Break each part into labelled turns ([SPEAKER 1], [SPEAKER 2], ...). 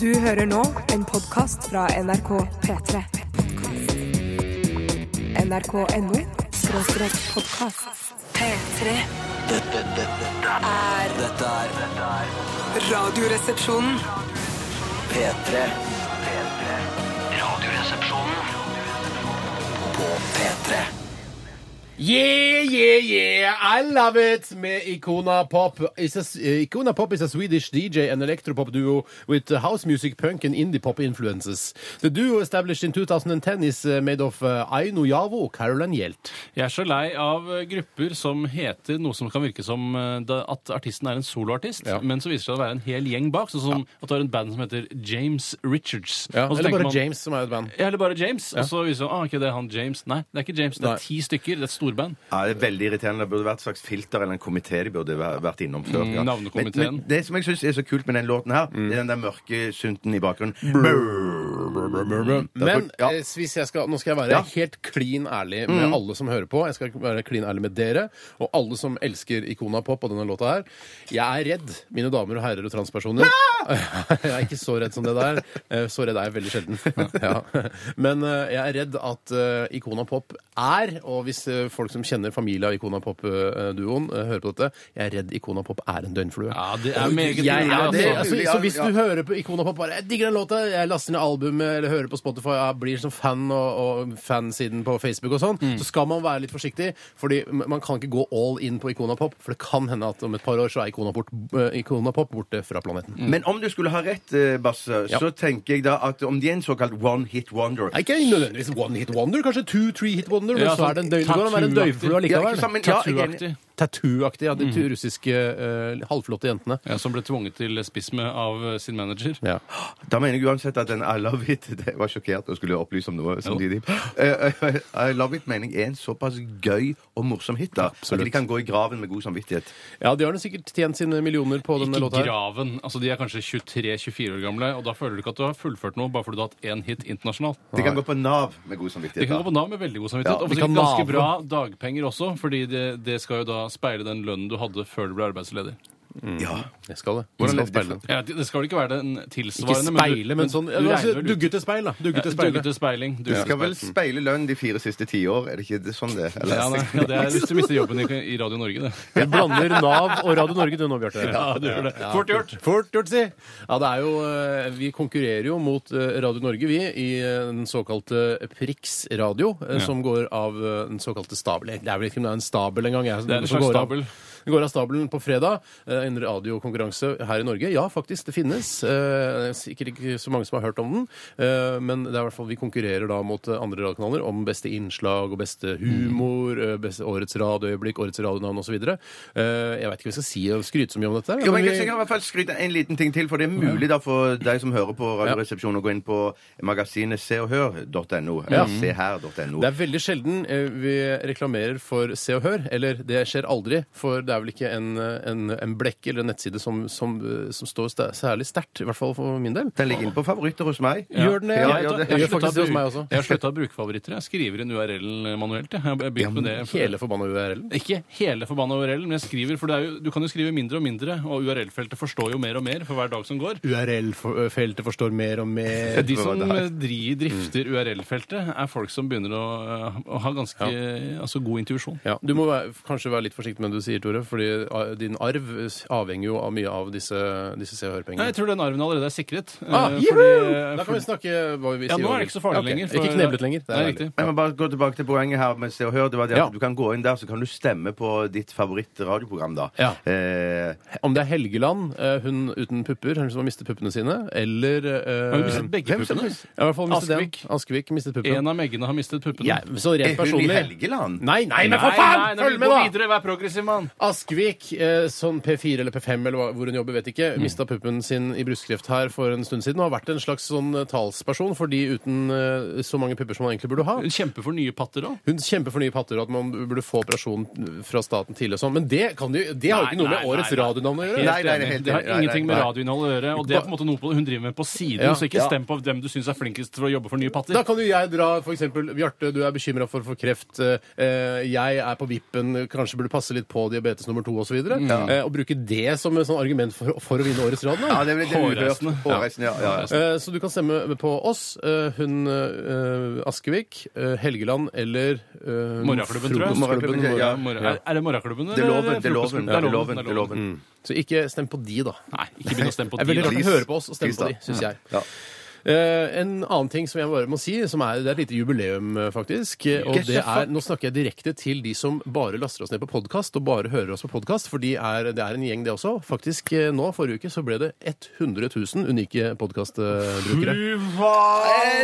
[SPEAKER 1] Du hører nå en podkast fra NRK P3. NRK.no skråstrek podkast. P3
[SPEAKER 2] Dette, dette,
[SPEAKER 1] er
[SPEAKER 2] dette er dette er
[SPEAKER 1] Radioresepsjonen.
[SPEAKER 2] P3. P3. Radioresepsjonen på P3.
[SPEAKER 3] Yeah, yeah, yeah, I love it! Med Icona Pop. Is a, eh, Icona Pop is a Swedish DJ and electropop duo with house music, punk and indie pop influences. The duo established in 2010 is uh, made of uh, Aino Javo, Caroline Hjelt.
[SPEAKER 4] Jeg er så lei av eh, grupper som heter noe som kan virke som eh, da- at artisten er en soloartist,
[SPEAKER 3] Ja.
[SPEAKER 4] men så viser det seg å være en hel gjeng bak. Sånn som at du har en band som heter James Richards. Og så
[SPEAKER 3] Eller
[SPEAKER 4] tenker
[SPEAKER 3] bare
[SPEAKER 4] man-
[SPEAKER 3] James, som er et band.
[SPEAKER 4] Ja, eller bare James. Og så viser det seg ah, ok, det er han James. Nei, det er ikke James. Det
[SPEAKER 3] Nei.
[SPEAKER 4] er ti stykker. Det er et storband.
[SPEAKER 5] Ja, det er Veldig irriterende. Det burde vært et slags filter eller en komité de burde væ- vært innom før. Ja. Men,
[SPEAKER 4] navnekomiteen.
[SPEAKER 5] men det som jeg syns er så kult med den låten her, det er den der mørke synten i bakgrunnen. Brr.
[SPEAKER 3] Men
[SPEAKER 5] Ja.
[SPEAKER 3] eh, hvis jeg skal, nå skal jeg være
[SPEAKER 5] Ja.
[SPEAKER 3] helt klin ærlig med alle som hører på. Jeg skal være klin ærlig med dere og alle som elsker Ikona Pop og denne låta her. Jeg er redd, mine damer og herrer og transpersoner. jeg er ikke så redd som det der. Eh, Så redd er jeg veldig sjelden. ja. Men eh, jeg er redd at eh, Ikona Pop er, og hvis eh, folk som kjenner familie av Ikona Pop-duoen eh, hører på dette, jeg er redd Ikona Pop er en døgnflue.
[SPEAKER 4] Ja, det er meget
[SPEAKER 3] Jeg, jeg,
[SPEAKER 4] mulig,
[SPEAKER 3] det,
[SPEAKER 4] altså.
[SPEAKER 3] altså,
[SPEAKER 5] mulig,
[SPEAKER 3] så
[SPEAKER 5] ja,
[SPEAKER 3] hvis du
[SPEAKER 5] ja.
[SPEAKER 3] hører på Ikona Pop bare 'Jeg digger den låta', jeg laster ned albumet eller hører på Spotify, jeg blir som fan og, og fansiden på Facebook og sånn,
[SPEAKER 5] Mm.
[SPEAKER 3] så skal man være litt forsiktig. Fordi m- man kan ikke gå all in på Ikona Pop, for det kan hende at om et par år så er Ikona, bort, eh, Ikona Pop borte fra planeten.
[SPEAKER 5] Men om du skulle ha rett, eh, Basse,
[SPEAKER 3] Ja.
[SPEAKER 5] så tenker jeg da at om de er en såkalt one hit wonder
[SPEAKER 3] Nei, ikke nødvendigvis one hit wonder, kanskje two, three hit wonder, men
[SPEAKER 4] Ja,
[SPEAKER 3] så
[SPEAKER 4] sånn
[SPEAKER 3] er det en døy, det går an å være en
[SPEAKER 4] tattoo-aktig.
[SPEAKER 3] døyflue
[SPEAKER 5] Ja, ikke Mm.
[SPEAKER 3] allikevel.
[SPEAKER 5] sant, men- ja, jeg er enig.
[SPEAKER 4] Turaktig.
[SPEAKER 3] Tattoo-aktig, ja. De tu- russiske eh, halvflotte jentene.
[SPEAKER 4] Ja, som ble tvunget til lesbisme av eh, sin manager.
[SPEAKER 3] Ja.
[SPEAKER 5] Da mener jeg uansett at den I love it Jeg var sjokkert og skulle opplyse om noe samtidig. Eh, eh, I love it mener jeg er en såpass gøy og morsom hit da, at
[SPEAKER 3] Absolutt.
[SPEAKER 5] de kan gå i graven med god samvittighet.
[SPEAKER 3] ja, de har nå sikkert tjent sine millioner på denne
[SPEAKER 4] Ikke
[SPEAKER 3] låta. her.
[SPEAKER 4] graven. Altså, De er kanskje 23-24 år gamle, og da føler du ikke at du har fullført noe bare fordi du har hatt én hit internasjonalt.
[SPEAKER 5] De kan gå på Nav med god
[SPEAKER 4] De
[SPEAKER 5] samvittighet.
[SPEAKER 4] kan
[SPEAKER 5] da.
[SPEAKER 4] gå på Nav med veldig god
[SPEAKER 5] Ja,
[SPEAKER 4] samvittighet.
[SPEAKER 5] de
[SPEAKER 4] og
[SPEAKER 3] kan
[SPEAKER 4] sikkert ganske
[SPEAKER 3] nave.
[SPEAKER 4] bra dagpenger også, fordi det, det skal jo da speile den lønnen du hadde før du ble arbeidsledig.
[SPEAKER 5] Ja.
[SPEAKER 3] Jeg skal det. Jeg
[SPEAKER 5] Hvordan er det
[SPEAKER 3] skal speile.
[SPEAKER 5] different?
[SPEAKER 4] Ja, det det skal vel ikke være den
[SPEAKER 3] Ikke
[SPEAKER 4] tilsvarende
[SPEAKER 3] speile, men sånn
[SPEAKER 4] du
[SPEAKER 3] altså,
[SPEAKER 4] regner vel ut-
[SPEAKER 3] Duggete speil, da.
[SPEAKER 4] Ja,
[SPEAKER 3] Duggete speil.
[SPEAKER 4] Duggete speiling.
[SPEAKER 5] Du
[SPEAKER 4] Duggete
[SPEAKER 5] skal vel
[SPEAKER 4] speil.
[SPEAKER 5] speile lønn de fire siste tiår, er det ikke det sånn det er? Eller?
[SPEAKER 4] ja, nei, ja, det er hvis du mister jobben i, i Radio Norge, det.
[SPEAKER 3] Du blander Nav og Radio Norge du nå, Bjarte.
[SPEAKER 4] Ja, du gjør det. Fort gjort.
[SPEAKER 3] Fort gjort, si! Ja, det er jo, eh, vi konkurrerer jo mot eh, Radio Norge, vi, i eh, den såkalte Prix radio, eh, som går av eh, den såkalte stabel. Det er vel ikke om det er en stabel engang. jeg,
[SPEAKER 4] Det er en
[SPEAKER 3] som
[SPEAKER 4] slags
[SPEAKER 3] går av-
[SPEAKER 4] stabel.
[SPEAKER 3] Den går av stabelen på fredag. eh, En radiokonkurranse her i Norge. Ja, faktisk, det finnes. Eh, Sikkert ikke så mange som har hørt om den, eh, men det er i hvert fall vi konkurrerer da mot eh, andre radiokanaler om beste innslag og beste humor, eh, beste årets radioøyeblikk, årets radionavn osv. Eh, Jeg veit ikke hva jeg skal si og skryte så mye om dette.
[SPEAKER 5] Jo, men
[SPEAKER 3] men
[SPEAKER 5] jeg kan i hvert fall skryte en liten ting til, for det er mulig da for deg som hører på Radioresepsjonen å gå inn på magasinet seoghør.no,
[SPEAKER 3] Ja.
[SPEAKER 5] eller seher.no.
[SPEAKER 3] Det er veldig sjelden eh, vi reklamerer for Se og Hør, eller det skjer aldri, for det er vel ikke en, eh, en, en blekk eller en nettside som, som, eh, som står sta- særlig sterkt, i hvert fall for min del.
[SPEAKER 5] Den ligger inne på favoritter hos meg.
[SPEAKER 3] Gjør den det?
[SPEAKER 5] Ja,
[SPEAKER 4] Jeg
[SPEAKER 5] ja,
[SPEAKER 4] tar-
[SPEAKER 5] det-
[SPEAKER 4] jeg
[SPEAKER 3] gjør
[SPEAKER 4] slutta
[SPEAKER 3] faktisk det
[SPEAKER 4] å
[SPEAKER 3] hos meg
[SPEAKER 4] bruke-
[SPEAKER 3] også.
[SPEAKER 4] Jeg har slutta å bruke favoritter. Jeg skriver inn URL-en eh, manuelt. jeg. Jeg har begynt med det.
[SPEAKER 3] Hele forbanna URL-en.
[SPEAKER 4] Ikke hele forbanna URL-en, men jeg skriver, for det er jo, du kan jo skrive mindre og mindre, og URL-feltet forstår jo mer og mer for hver dag som går.
[SPEAKER 3] URL-feltet forstår mer og mer.
[SPEAKER 4] De som
[SPEAKER 5] det her. Mm.
[SPEAKER 4] eh, dri, drifter URL-feltet, er folk som begynner å, eh, å ha ganske eh, altså god intuisjon.
[SPEAKER 3] Ja, du må være, kanskje være litt forsiktig med det du sier, Tore, fordi eh, din arv avhenger jo av mye av disse, disse Se og
[SPEAKER 4] Nei,
[SPEAKER 3] Hør-pengene.
[SPEAKER 4] jeg tror den arven allerede er sikret. eh,
[SPEAKER 3] Ah,
[SPEAKER 4] fordi-
[SPEAKER 3] juhu! da kan vi
[SPEAKER 4] for-
[SPEAKER 3] snakke hva vi sier.
[SPEAKER 4] ja, nå er det ikke så farlig
[SPEAKER 3] Ok,
[SPEAKER 4] lenger.
[SPEAKER 3] Ikke kneblet lenger.
[SPEAKER 4] Det er riktig.
[SPEAKER 5] Jeg må bare gå tilbake til poenget her med Se og Hør. Det var det
[SPEAKER 3] Ja.
[SPEAKER 5] at du kan gå inn der, så kan du stemme på ditt favorittradioprogram, da.
[SPEAKER 3] Ja.
[SPEAKER 5] Eh,
[SPEAKER 3] Om det er Helgeland, eh, hun uten pupper, hun som har mistet puppene sine, eller eh,
[SPEAKER 4] Har hun mistet begge
[SPEAKER 3] hvem som-
[SPEAKER 4] puppene?
[SPEAKER 3] Ja, i hvert fall mistet
[SPEAKER 4] Askvik.
[SPEAKER 3] den. Askvik mistet
[SPEAKER 4] En
[SPEAKER 3] puppene.
[SPEAKER 4] av meggene har mistet puppene.
[SPEAKER 3] Ja, så
[SPEAKER 5] er
[SPEAKER 3] rent
[SPEAKER 5] hun i
[SPEAKER 3] personlig
[SPEAKER 5] Helgeland?
[SPEAKER 3] Nei, nei, men for faen!
[SPEAKER 4] Nei, nei,
[SPEAKER 3] Følg
[SPEAKER 4] Gå
[SPEAKER 3] med, da!
[SPEAKER 4] videre, vær progressiv, mann!
[SPEAKER 3] Askvik, eh, sånn P4 eller P5 eller hva- hvor hun jobber, vet ikke,
[SPEAKER 4] Mm.
[SPEAKER 3] mista puppen sin i brystkreft her for en stund siden og har vært en slags sånn eh, talsperson for de uten eh, så mange pupper som man egentlig burde ha.
[SPEAKER 4] Hun kjemper for nye patter òg.
[SPEAKER 3] Hun kjemper for nye patter og at man burde få operasjon fra staten tidlig og sånn, men det, kan jo- det har jo
[SPEAKER 4] Nei,
[SPEAKER 3] ikke noe med
[SPEAKER 4] nei,
[SPEAKER 3] årets
[SPEAKER 4] nei, nei.
[SPEAKER 3] radionavn å gjøre.
[SPEAKER 5] Nei, nei, det er helt
[SPEAKER 4] Det har
[SPEAKER 5] enig. Nei,
[SPEAKER 4] ingenting
[SPEAKER 5] nei,
[SPEAKER 4] med
[SPEAKER 5] nei.
[SPEAKER 4] radioinnhold å gjøre. Og det er på en måte noe hun driver med på siden,
[SPEAKER 3] Ja.
[SPEAKER 4] så ikke stem på hvem du syns er flinkest for å jobbe for nye patter.
[SPEAKER 3] Da kan jo jeg dra for eksempel Bjarte, du er bekymra for, for kreft. eh, eh, Jeg er på vippen, kanskje burde passe litt på diabetes Fetes nummer to osv.
[SPEAKER 4] Mm.
[SPEAKER 3] videre Eh, og bruke det som et sånn argument for, for å vinne Årets radio.
[SPEAKER 5] Ja, det blir litt uhørt.
[SPEAKER 4] Hårreisende.
[SPEAKER 5] Hårreisende, ja, ja, ja.
[SPEAKER 3] Eh, Så du kan stemme på oss, eh, hun eh, Askevik, eh, Helgeland eller eh,
[SPEAKER 4] Morgenklubben, tror jeg.
[SPEAKER 3] Frokostklubben.
[SPEAKER 5] Morgenklubben, ja.
[SPEAKER 4] Morgen- Er, er det morgenklubben?
[SPEAKER 5] Det er
[SPEAKER 4] eller
[SPEAKER 5] loven, det er loven.
[SPEAKER 4] frokostklubben?
[SPEAKER 5] Det er loven, det er loven.
[SPEAKER 3] Så ikke stem på de, da.
[SPEAKER 4] Nei, ikke begynn å stemme på
[SPEAKER 3] Det er veldig
[SPEAKER 4] de.
[SPEAKER 3] rart
[SPEAKER 4] da.
[SPEAKER 3] å høre på oss og stemme
[SPEAKER 5] Please,
[SPEAKER 3] på
[SPEAKER 5] da.
[SPEAKER 3] de, syns jeg.
[SPEAKER 5] Ja.
[SPEAKER 3] Eh, en annen ting som jeg bare må si, som er, det er et lite jubileum, eh, faktisk. eh, Og
[SPEAKER 5] Get the
[SPEAKER 3] det er,
[SPEAKER 5] fuck-
[SPEAKER 3] nå snakker jeg direkte til de som bare laster oss ned på podkast, og bare hører oss på podkast, for de er, det er en gjeng, det også. Faktisk, eh, nå forrige uke så ble det 100 000 unike eh, podkastbrukere.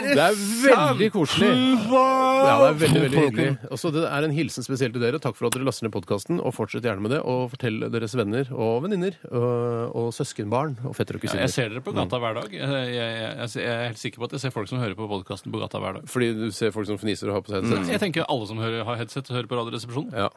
[SPEAKER 3] Det er veldig koselig. Ja, det er veldig, veldig hyggelig. Også, det er en hilsen spesielt til dere. Takk for at dere laster ned podkasten, og fortsett gjerne med det. Og fortell deres venner og venninner og, og søskenbarn og fettere og
[SPEAKER 4] Ja,
[SPEAKER 3] kusiner.
[SPEAKER 4] Jeg ser dere på gata hver dag. Jeg, jeg, jeg, jeg er helt sikker på at jeg ser folk som hører på podkasten på gata hver dag.
[SPEAKER 3] Fordi du ser folk som fniser og har på seg headset?
[SPEAKER 4] Jeg tenker alle som hører, har headset, hører på Radioresepsjonen.
[SPEAKER 3] Ja.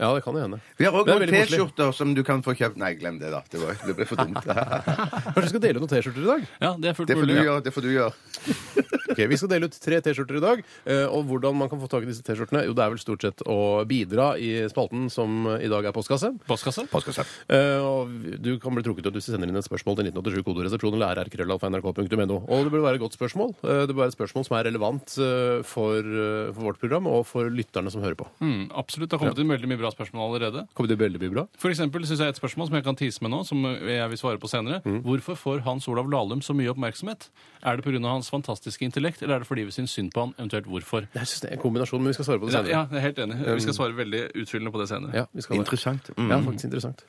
[SPEAKER 3] ja, det kan jo hende.
[SPEAKER 5] Vi har òg
[SPEAKER 3] Det er
[SPEAKER 5] noen
[SPEAKER 3] veldig koselig.
[SPEAKER 5] T-skjorter som du kan få kjøpt Nei, glem det, da. Det, var, det ble for dumt.
[SPEAKER 3] Kanskje vi skal dele ut noen T-skjorter i dag?
[SPEAKER 4] Ja, det er fullt
[SPEAKER 5] Det får du
[SPEAKER 4] mulig.
[SPEAKER 5] gjøre. det får du gjøre.
[SPEAKER 3] Ok, Vi skal dele ut tre T-skjorter i dag. eh, Og hvordan man kan få tak i disse T-skjortene? Jo, det er vel stort sett å bidra i spalten som i dag er postkasse.
[SPEAKER 4] Postkasse?
[SPEAKER 5] Postkasse.
[SPEAKER 3] Eh, Og du kan bli trukket ut hvis du sender inn et spørsmål til 1987 koderesepsjon eller rrkrøllalfa.nrk.no. Og det bør være et godt spørsmål. Eh, Det bør være et spørsmål som er relevant eh, for, eh, for vårt program og for lytterne som hører på.
[SPEAKER 4] Mm, absolutt. Det har kommet inn veldig mye bra spørsmål allerede.
[SPEAKER 3] Kommer det veldig mye bra?
[SPEAKER 4] For eksempel synes jeg et spørsmål som jeg kan tise med nå, som jeg vil svare på senere. Hvorfor får Hans Olav Lahlum så mye oppmerksomhet? Er det pga. hans fantastiske intellekt, eller er det fordi vi syns synd på han, eventuelt hvorfor?
[SPEAKER 3] Jeg synes det er en kombinasjon, men vi skal svare på det
[SPEAKER 4] Ja,
[SPEAKER 3] senere.
[SPEAKER 4] jeg er helt enig. Vi skal svare veldig utfyllende på det senere.
[SPEAKER 3] Ja, vi skal det.
[SPEAKER 5] Interessant. Mm.
[SPEAKER 3] Ja, faktisk interessant.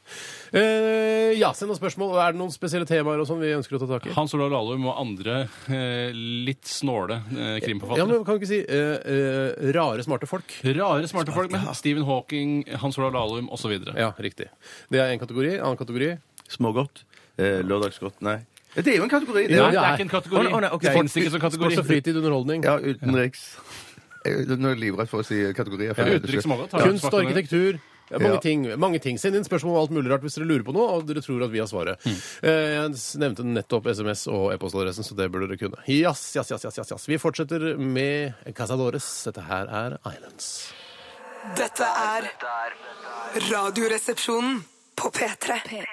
[SPEAKER 3] Eh, ja, send noen spørsmål. Er det noen spesielle temaer og sånn vi ønsker å ta tak i?
[SPEAKER 4] Hans Olav Lahlum og andre eh, litt snåle eh,
[SPEAKER 3] Ja,
[SPEAKER 4] krimforfattere.
[SPEAKER 3] men kan vi ikke si eh, eh, rare, smarte folk?
[SPEAKER 4] Rare, smarte folk med Stephen Hawking, Hans Olav Lahlum osv.
[SPEAKER 3] Ja, riktig. Det er én kategori. Annen kategori
[SPEAKER 5] Smågodt. Eh, lørdagsgodt. Nei. Det er jo en kategori. Det
[SPEAKER 4] Nei,
[SPEAKER 5] er,
[SPEAKER 4] det
[SPEAKER 3] Ja,
[SPEAKER 4] er ikke en kategori.
[SPEAKER 5] Å, nei, å, nei, ok.
[SPEAKER 4] Det finnes ikke som
[SPEAKER 3] Sport og
[SPEAKER 4] kategori.
[SPEAKER 3] fritid, underholdning.
[SPEAKER 5] ja, utenriks. Eh, Nå er jeg livredd for å si kategorier. for det-
[SPEAKER 4] Utenriks og smågodt. har jeg
[SPEAKER 3] Kunst og
[SPEAKER 4] svart på det.
[SPEAKER 3] arkitektur. Ja, mange,
[SPEAKER 5] Ja.
[SPEAKER 3] ting, mange ting. Send inn spørsmål om alt mulig rart hvis dere lurer på noe og dere tror at vi har svaret. Eh, jeg s- nevnte nettopp SMS og e-postadressen, så det burde dere kunne. Jass, jass, jass, jass, jass, jass. Vi fortsetter med Casadores. Dette her er Islands.
[SPEAKER 6] Dette er Radioresepsjonen på P3.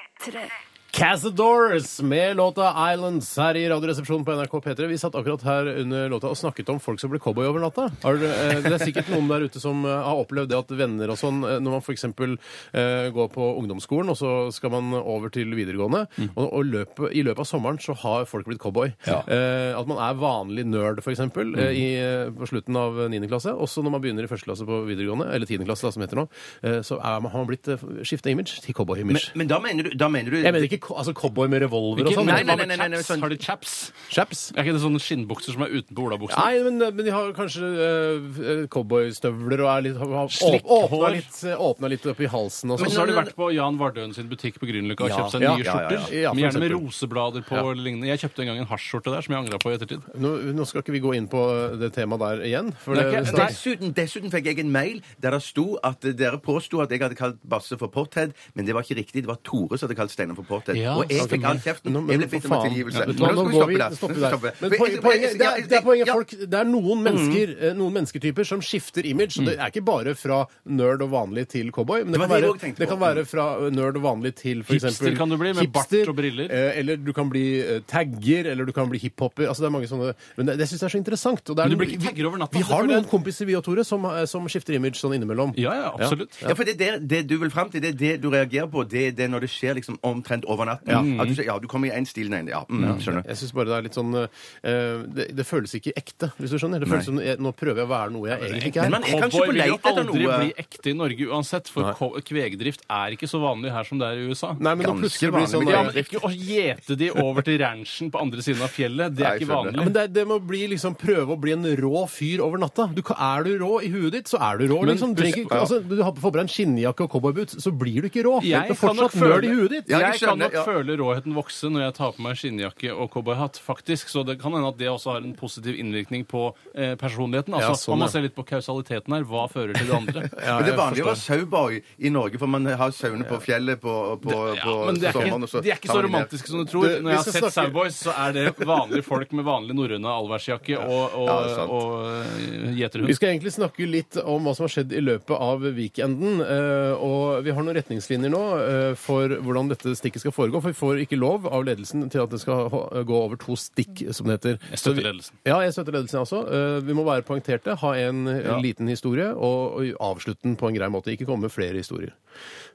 [SPEAKER 3] Cazadores med låta 'Islands' her i Radioresepsjonen på NRK P3. Vi satt akkurat her under låta og snakket om folk som ble cowboy over natta. Har du, eh, Det er sikkert noen der ute som eh, har opplevd det at venner og sånn eh, Når man f.eks. Eh, går på ungdomsskolen, og så skal man over til videregående, og, og løpet, i løpet av sommeren så har folk blitt cowboy. Eh, at man er vanlig nerd, f.eks., eh, i, eh, på slutten av 9. klasse. Også når man begynner i første klasse på videregående, eller 10. klasse, da, som heter nå, eh, så er man, har man blitt eh, skiftet image til
[SPEAKER 5] Men,
[SPEAKER 3] cowboy-image.
[SPEAKER 5] men da mener du, da mener du
[SPEAKER 3] Jeg mener ikke ko- altså cowboy med revolver og
[SPEAKER 4] Ikke-
[SPEAKER 3] sånn.
[SPEAKER 4] Nei,
[SPEAKER 3] men-
[SPEAKER 4] nei,
[SPEAKER 5] men-
[SPEAKER 4] nei, nei, nei,
[SPEAKER 5] sånn-
[SPEAKER 4] Har de chaps?
[SPEAKER 3] Chaps?
[SPEAKER 4] Er ikke det sånne skinnbukser som er utenpå olabuksen?
[SPEAKER 3] Nei, men, men de har kanskje eh, cowboystøvler og er litt, har, har
[SPEAKER 4] Slikkehår.
[SPEAKER 3] åpna litt, åpna litt opp i halsen og
[SPEAKER 4] Men
[SPEAKER 3] sånn.
[SPEAKER 4] så har de vært på Jan Vardøen sin butikk på Grünerløkka og
[SPEAKER 3] Ja.
[SPEAKER 4] kjøpt seg
[SPEAKER 3] Ja,
[SPEAKER 4] nye
[SPEAKER 3] ja, ja,
[SPEAKER 4] skjorter.
[SPEAKER 3] ja. Ja, for
[SPEAKER 4] men gjerne med
[SPEAKER 3] eksempel.
[SPEAKER 4] roseblader på eller lignende. Jeg kjøpte en gang en hasjskjorte der som jeg angra på i ettertid.
[SPEAKER 3] nå, nå skal ikke vi gå inn på eh, det temaet der igjen. For
[SPEAKER 4] Nei,
[SPEAKER 3] det,
[SPEAKER 4] ikke-
[SPEAKER 3] det,
[SPEAKER 5] Dessuten, dessuten fikk jeg en mail der det sto at dere påsto at jeg hadde kalt Basse for Pothead, men det var ikke riktig. Det var Tore som hadde kalt Steinar for Pothead.
[SPEAKER 4] Ja,
[SPEAKER 5] og jeg fikk
[SPEAKER 3] stemmer.
[SPEAKER 5] all kjeften.
[SPEAKER 3] Nå- altså, men
[SPEAKER 5] Jeg ble
[SPEAKER 3] for
[SPEAKER 5] bitt med
[SPEAKER 3] faen.
[SPEAKER 5] tilgivelse.
[SPEAKER 3] Ja, vet du
[SPEAKER 5] Men
[SPEAKER 3] hva, nå
[SPEAKER 5] skal
[SPEAKER 3] går vi- stopper
[SPEAKER 5] der. Nå
[SPEAKER 3] der.
[SPEAKER 5] skal vi stoppe.
[SPEAKER 3] Men
[SPEAKER 5] For
[SPEAKER 3] poen-
[SPEAKER 5] jeg-
[SPEAKER 3] poenget,
[SPEAKER 5] jeg-
[SPEAKER 3] det, er, det er poenget
[SPEAKER 5] ja,
[SPEAKER 3] folk, det er noen mennesker, eh, noen mennesketyper som skifter image. og Det er ikke bare fra nerd og vanlig til cowboy. Men det,
[SPEAKER 5] var
[SPEAKER 3] kan
[SPEAKER 5] det jeg også
[SPEAKER 3] være,
[SPEAKER 5] tenkte
[SPEAKER 3] det
[SPEAKER 5] på.
[SPEAKER 3] kan være fra nerd og vanlig til for
[SPEAKER 4] Hipster
[SPEAKER 3] eksempel
[SPEAKER 4] kan du bli, med bart og briller.
[SPEAKER 3] eh, Eller du kan bli eh, tagger, eller du kan bli hiphoper. Altså, det er mange sånne Men det, det syns jeg er så interessant. Og det er
[SPEAKER 4] Men
[SPEAKER 3] noen-
[SPEAKER 4] du blir ikke tagger over natta,
[SPEAKER 3] Vi har
[SPEAKER 4] selvfølgelig.
[SPEAKER 3] noen kompiser, vi og Tore, som, eh, som skifter image sånn innimellom.
[SPEAKER 4] Ja, ja, absolutt.
[SPEAKER 5] Ja, for det, er der, det du vil frem til, det er det du reagerer på, det er det når det skjer liksom omtrent over natten. At du, sier, ja, du kommer i én stil, nei, ja, mm, skjønner.
[SPEAKER 3] Jeg synes bare det er litt sånn eh, det, det føles ikke ekte, hvis du skjønner. Det føles som jeg, Nå prøver jeg å være noe jeg egentlig ikke er.
[SPEAKER 5] Men man er kanskje
[SPEAKER 4] Cowboy
[SPEAKER 5] på
[SPEAKER 4] vil jo
[SPEAKER 5] leit etter
[SPEAKER 4] aldri
[SPEAKER 5] noe.
[SPEAKER 4] bli ekte i Norge uansett, for ko- kvegdrift er ikke så vanlig her som det er i USA.
[SPEAKER 3] Nei, men nå
[SPEAKER 5] Ganske
[SPEAKER 3] plutselig blir det sånn
[SPEAKER 5] vanlig,
[SPEAKER 4] Ja,
[SPEAKER 5] Ja,
[SPEAKER 4] men ikke å gjete de over til ranchen på andre siden av fjellet. Det
[SPEAKER 5] Nei,
[SPEAKER 4] er ikke
[SPEAKER 5] skjønner.
[SPEAKER 3] Ja,
[SPEAKER 4] vanlig.
[SPEAKER 3] men det, er- det må bli liksom prøve å bli en rå fyr over natta. Du, kan- er du rå i huet ditt, så er du rå.
[SPEAKER 4] Men
[SPEAKER 3] liksom, du,
[SPEAKER 4] husk-
[SPEAKER 3] trenger ikke- altså, du har får på deg en skinnjakke og cowboyboot, så blir du ikke rå.
[SPEAKER 4] Jeg
[SPEAKER 3] du er
[SPEAKER 4] kan nok
[SPEAKER 3] fortsatt nerd
[SPEAKER 4] føle-
[SPEAKER 3] i huet ditt.
[SPEAKER 5] Ja, jeg
[SPEAKER 4] jeg kan
[SPEAKER 5] skjønner.
[SPEAKER 4] nok jeg
[SPEAKER 5] ja.
[SPEAKER 4] føler råheten vokse når jeg tar på meg skinnjakke og cowboyhatt, faktisk. Så det kan hende at det også har en positiv innvirkning på eh, personligheten. Altså,
[SPEAKER 3] Ja, sånn,
[SPEAKER 4] Man
[SPEAKER 3] ja.
[SPEAKER 4] må se litt på kausaliteten her. Hva fører til det andre?
[SPEAKER 5] Men det er
[SPEAKER 3] jeg
[SPEAKER 5] vanlig å være saueboy i Norge, for man har sauene på fjellet på, på,
[SPEAKER 4] Ja,
[SPEAKER 5] på
[SPEAKER 4] men de er,
[SPEAKER 5] sommeren. og
[SPEAKER 4] ikke, de er ikke
[SPEAKER 5] tar
[SPEAKER 4] så
[SPEAKER 5] man de ned.
[SPEAKER 4] romantiske som du tror.
[SPEAKER 3] Du,
[SPEAKER 4] Når
[SPEAKER 3] hvis
[SPEAKER 4] jeg har
[SPEAKER 3] jeg
[SPEAKER 4] sett
[SPEAKER 3] snakker-
[SPEAKER 4] Sauboys, så er det vanlige folk med vanlig norrøne allværsjakke og, og,
[SPEAKER 5] Ja, det er sant.
[SPEAKER 4] og, eh,
[SPEAKER 3] Vi
[SPEAKER 4] gjeterhund.
[SPEAKER 3] skal egentlig snakke litt om hva som har skjedd i løpet av weekenden. eh, Og vi har noen retningslinjer nå eh, for hvordan dette stikket skal foregå. For vi får ikke lov av ledelsen til at det skal ha- gå over to stikk, som det heter.
[SPEAKER 4] Jeg
[SPEAKER 3] Så vi-
[SPEAKER 4] støtter ledelsen.
[SPEAKER 3] Ja, jeg støtter ledelsen også. Eh, Vi må være poengterte, ha en eh, liten historie og og avslutte den på en grei måte. Ikke komme med flere historier.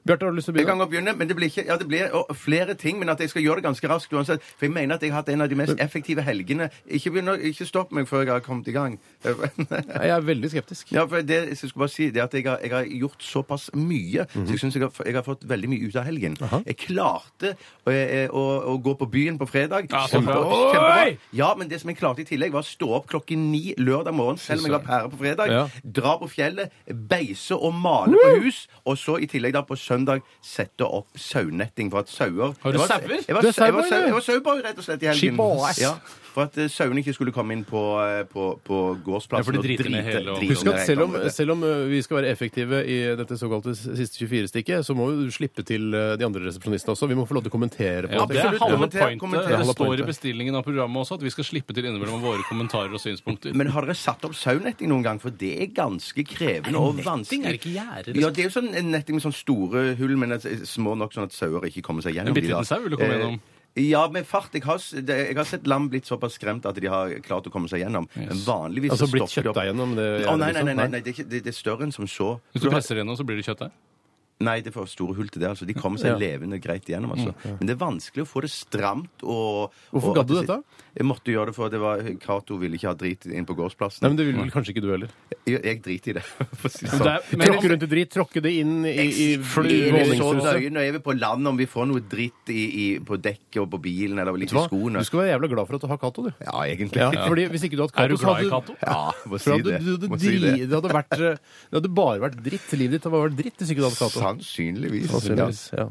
[SPEAKER 3] Bjarte, har du lyst til å
[SPEAKER 5] Jeg kan
[SPEAKER 3] begynne?
[SPEAKER 5] godt begynne, men det blir, ikke, ja, det blir å, flere ting. Men at jeg skal gjøre det ganske raskt uansett. For jeg mener at jeg har hatt en av de mest effektive helgene. Ikke, begynn å- ikke stopp meg før jeg har kommet i gang.
[SPEAKER 3] Nei, Jeg er veldig skeptisk.
[SPEAKER 5] Ja, for det jeg skulle bare si Det er at jeg har, jeg har gjort såpass mye,
[SPEAKER 4] Mhm.
[SPEAKER 5] så jeg syns jeg, har f- jeg har fått veldig mye ut av helgen. Jeg klarte å, eh, å, å gå på byen på fredag.
[SPEAKER 4] Ja,
[SPEAKER 5] Kjempe-
[SPEAKER 4] kjempebra. Oi!
[SPEAKER 5] Ja, men det som jeg klarte i tillegg, var å stå opp klokken ni lørdag morgen, selv om jeg var pære på fredag,
[SPEAKER 3] Ja.
[SPEAKER 5] dra på fjellet, beise og male på hus, og så i tillegg da på søndag sette opp saunetting for at sauer
[SPEAKER 4] Har du
[SPEAKER 5] Jeg var-
[SPEAKER 4] sauer?
[SPEAKER 5] Jeg var
[SPEAKER 3] Du er
[SPEAKER 5] sau- jeg var
[SPEAKER 3] saueboy,
[SPEAKER 5] sau-
[SPEAKER 3] du.
[SPEAKER 5] jeg var saueboy, rett og slett, i helgen.
[SPEAKER 3] Skiboss.
[SPEAKER 5] Ja, for at eh, sauene ikke skulle komme inn på, eh, på, på gårdsplassen
[SPEAKER 4] Ja, for de
[SPEAKER 5] og
[SPEAKER 4] driter ned hele og-
[SPEAKER 5] drite-
[SPEAKER 3] Husk at
[SPEAKER 5] Nei,
[SPEAKER 3] selv om,
[SPEAKER 5] kan du det?
[SPEAKER 3] selv om ø, vi skal være effektive i dette såkalte siste 24-stikket, så må vi slippe til ø, de andre resepsjonistene også. Vi må få lov til å kommentere på
[SPEAKER 4] Ja, det
[SPEAKER 3] det.
[SPEAKER 4] er
[SPEAKER 5] Absolutt.
[SPEAKER 4] halve
[SPEAKER 5] Kommenter- kommenter.
[SPEAKER 4] pointet.
[SPEAKER 3] Halve
[SPEAKER 4] Det står
[SPEAKER 3] pointet.
[SPEAKER 4] i bestillingen av programmet også at vi skal slippe til innimellom våre kommentarer og synspunkter.
[SPEAKER 5] Men har dere satt opp saunetting noen gang? For det er ganske krevende og vanskelig.
[SPEAKER 4] Er det ikke gjerde, liksom?
[SPEAKER 5] Ja, det er jo sånn en netting med sånn store hull, men et- små nok sånn at sauer ikke kommer seg gjennom.
[SPEAKER 4] En bitte
[SPEAKER 5] de da.
[SPEAKER 4] liten sau vil du komme gjennom.
[SPEAKER 5] Eh, Ja, med fart. Jeg har, s- det- jeg har sett lam blitt såpass skremt at de har klart å komme seg gjennom. Men vanligvis
[SPEAKER 3] Altså
[SPEAKER 5] så
[SPEAKER 3] blitt
[SPEAKER 5] stopper de opp.
[SPEAKER 3] kjøttet gjennom det
[SPEAKER 5] Å, nei, nei, nei,
[SPEAKER 3] gjerdet,
[SPEAKER 5] nei,
[SPEAKER 3] liksom?
[SPEAKER 5] nei det, er ikke, det, det er større enn som så.
[SPEAKER 4] Hvis du presser igjennom, så blir det kjøttdeig.
[SPEAKER 5] Nei, det er for store hull til det. altså. De kommer seg
[SPEAKER 3] Ja. Mm,
[SPEAKER 5] levende greit igjennom. altså. Men det er vanskelig å få det stramt og
[SPEAKER 3] Hvorfor
[SPEAKER 5] og
[SPEAKER 3] gadd
[SPEAKER 5] at det
[SPEAKER 3] du dette?
[SPEAKER 5] sit- Jeg måtte gjøre det, for det var, Cato ville ikke ha drit inn på gårdsplassen.
[SPEAKER 3] Nei, men Det vil vel kanskje ikke du heller.
[SPEAKER 5] Jeg, jeg driter i det. for å si det
[SPEAKER 4] Men
[SPEAKER 5] sånn.
[SPEAKER 4] det er- men-
[SPEAKER 3] Tråkke rundt i drit, tråkke det inn i, i, i
[SPEAKER 5] Er det så
[SPEAKER 3] våningshuset.
[SPEAKER 5] nøye når jeg er på land om vi får noe dritt i, i, på dekket og på bilen eller litt i
[SPEAKER 3] Hva?
[SPEAKER 5] skoene?
[SPEAKER 3] Du skal være jævla glad for at du har Cato, du.
[SPEAKER 5] Ja, egentlig.
[SPEAKER 3] Ja,
[SPEAKER 5] Ja,
[SPEAKER 3] Fordi Hvis ikke du hadde
[SPEAKER 4] Er
[SPEAKER 3] Cato,
[SPEAKER 4] du glad i
[SPEAKER 3] så
[SPEAKER 4] Cato?
[SPEAKER 3] hadde
[SPEAKER 5] må
[SPEAKER 3] for
[SPEAKER 5] si
[SPEAKER 3] hadde
[SPEAKER 5] det.
[SPEAKER 3] du, du,
[SPEAKER 5] Må
[SPEAKER 3] dri-
[SPEAKER 5] si det.
[SPEAKER 3] det hadde vært ø, Det hadde bare vært dritt. Livet ditt hadde vært dritt hvis ikke du hadde Cato.
[SPEAKER 5] Sannsynligvis.
[SPEAKER 3] Sannsynligvis, Ja.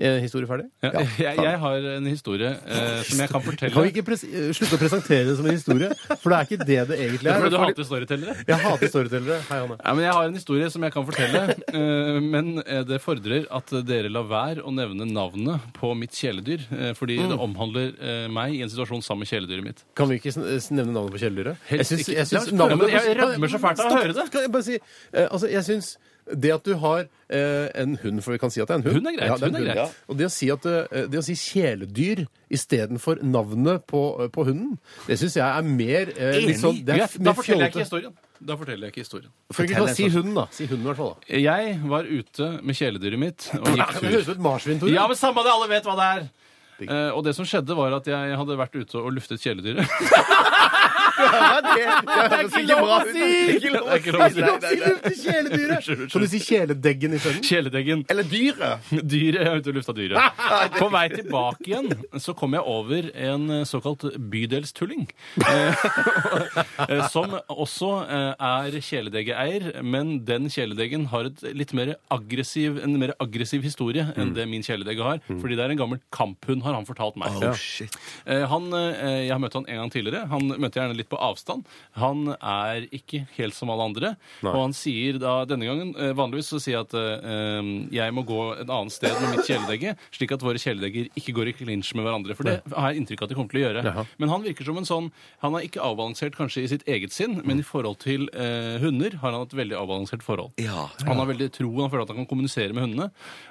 [SPEAKER 3] Eh, Historie ferdig?
[SPEAKER 4] Ja, jeg, jeg har en historie eh, som jeg kan fortelle.
[SPEAKER 3] Kan vi ikke pres eh, slutte å presentere det som en historie? For det er ikke det det egentlig
[SPEAKER 4] Fordi
[SPEAKER 3] er.
[SPEAKER 4] du hater storytellere?
[SPEAKER 3] Jeg hater storytellere. Hei, Hanne.
[SPEAKER 4] Ja, men jeg har en historie som jeg kan fortelle, eh, men eh, det fordrer at dere lar være å nevne navnet på mitt kjæledyr, eh, fordi
[SPEAKER 3] Mm.
[SPEAKER 4] det omhandler eh, meg i en situasjon sammen med kjæledyret mitt.
[SPEAKER 3] Kan vi ikke sn- s- nevne navnet på kjæledyret? Jeg syns,
[SPEAKER 4] ikke.
[SPEAKER 3] jeg
[SPEAKER 4] La
[SPEAKER 3] syns
[SPEAKER 4] oss prøve.
[SPEAKER 3] navnet
[SPEAKER 4] Ja, men jeg rødmer så fælt av å
[SPEAKER 3] Stopp,
[SPEAKER 4] høre det.
[SPEAKER 3] Skal jeg bare si, eh, altså, jeg syns det at du har eh, en hund, for vi kan si at det er en hund
[SPEAKER 4] Hund er greit,
[SPEAKER 3] det en
[SPEAKER 4] hund er
[SPEAKER 3] hund.
[SPEAKER 4] greit.
[SPEAKER 3] Og det å si, at, eh, det å si kjæledyr istedenfor navnet på, eh, på hunden, det syns jeg er mer eh, litt sånn, det er
[SPEAKER 4] Greit,
[SPEAKER 3] f- mer
[SPEAKER 4] Da forteller jeg
[SPEAKER 3] fjollete.
[SPEAKER 4] ikke historien. Da forteller jeg ikke historien.
[SPEAKER 3] Kan vi ikke bare si hunden, da? Si hunden i hvert fall, da.
[SPEAKER 4] Jeg var ute med kjæledyret mitt og gikk
[SPEAKER 3] Det
[SPEAKER 4] tur.
[SPEAKER 3] høres ut som et marsvin, Tore.
[SPEAKER 4] Ja, men samme det, alle vet hva det er! Eh, og det som skjedde, var at jeg hadde vært ute og luftet kjæledyret.
[SPEAKER 5] Det
[SPEAKER 3] ikke lov å si!
[SPEAKER 5] Ikke lov
[SPEAKER 4] Det er ikke lov å si.
[SPEAKER 5] Nei, nei, nei.
[SPEAKER 3] Lufte kjæledyret! Kan du si kjæledeggen isteden?
[SPEAKER 4] Kjæledeggen.
[SPEAKER 5] Eller dyret. Ah,
[SPEAKER 4] Dyret, jeg er ute og lufta dyret. På vei tilbake igjen så kom jeg over en eh, såkalt bydelstulling. eh, Som også eh, er kjæledeggeeier, men den kjæledeggen har et litt mer aggressiv, en mer aggressiv historie enn det min kjæledegge har. Fordi det er en gammel kamphund, har han fortalt meg.
[SPEAKER 5] Oh, shit.
[SPEAKER 4] Eh, Han, eh, jeg har møtt han en gang tidligere. Han møtte jeg gjerne litt på avstand. Han er ikke helt som alle andre. Og han sier da denne gangen eh, Vanligvis så sier jeg at eh, jeg må gå et annet sted med mitt kjæledegge, slik at våre kjæledegger ikke går i klinsj med hverandre. For det har jeg inntrykk av at de kommer til å gjøre.
[SPEAKER 3] Jaha.
[SPEAKER 4] Men han virker som en sånn Han er ikke avbalansert kanskje i sitt eget sinn, men i forhold til eh, hunder har han et veldig avbalansert forhold.
[SPEAKER 5] Ja.
[SPEAKER 4] Han har veldig troen, han føler at han kan kommunisere med hundene.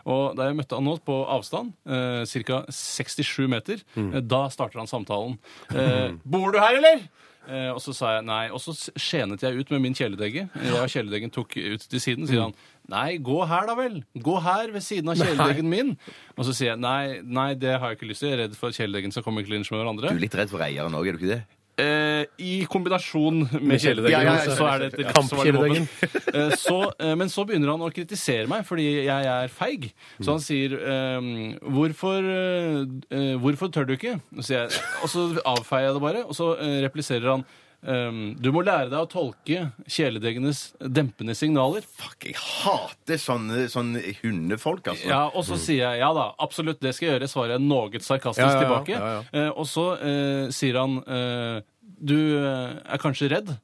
[SPEAKER 4] Og da jeg møtte han nå på avstand, eh, ca. 67 meter, eh, da starter han samtalen. Eh, bor du her, eller? Eh, og så sa jeg nei. Og så s- skjenet jeg ut med min kjæledegge. Jeg og kjæledeggen tok ut til siden, sier han. Nei, gå her da vel. Gå her ved siden av kjæledeggen min. Og så sier jeg nei, nei, det har jeg ikke lyst til. Jeg er redd for at kjæledeggen skal komme i klinsj med hverandre.
[SPEAKER 5] Du er litt redd for eieren òg, er du ikke det?
[SPEAKER 4] Eh, I kombinasjon med kjæledeggen,
[SPEAKER 5] Ja, ja, ja,
[SPEAKER 4] så er det et
[SPEAKER 3] Kampkjæledeggen.
[SPEAKER 4] Eh, så, eh, men så begynner han å kritisere meg fordi jeg er feig. Så han sier ehm, hvorfor, eh, eh, hvorfor tør du ikke? Og, sier jeg, og så avfeier jeg det bare, og så eh, repliserer han Um, du må lære deg å tolke kjæledeggenes dempende signaler.
[SPEAKER 5] Fuck, jeg hater sånne, sånne hundefolk, altså.
[SPEAKER 4] Ja, Og så sier jeg ja da, absolutt, det skal jeg gjøre, svarer jeg noe
[SPEAKER 3] Mm.
[SPEAKER 4] sarkastisk
[SPEAKER 3] Ja, ja, ja,
[SPEAKER 4] tilbake.
[SPEAKER 3] ja,
[SPEAKER 4] Eh, og så eh, sier han eh, du eh, er kanskje redd.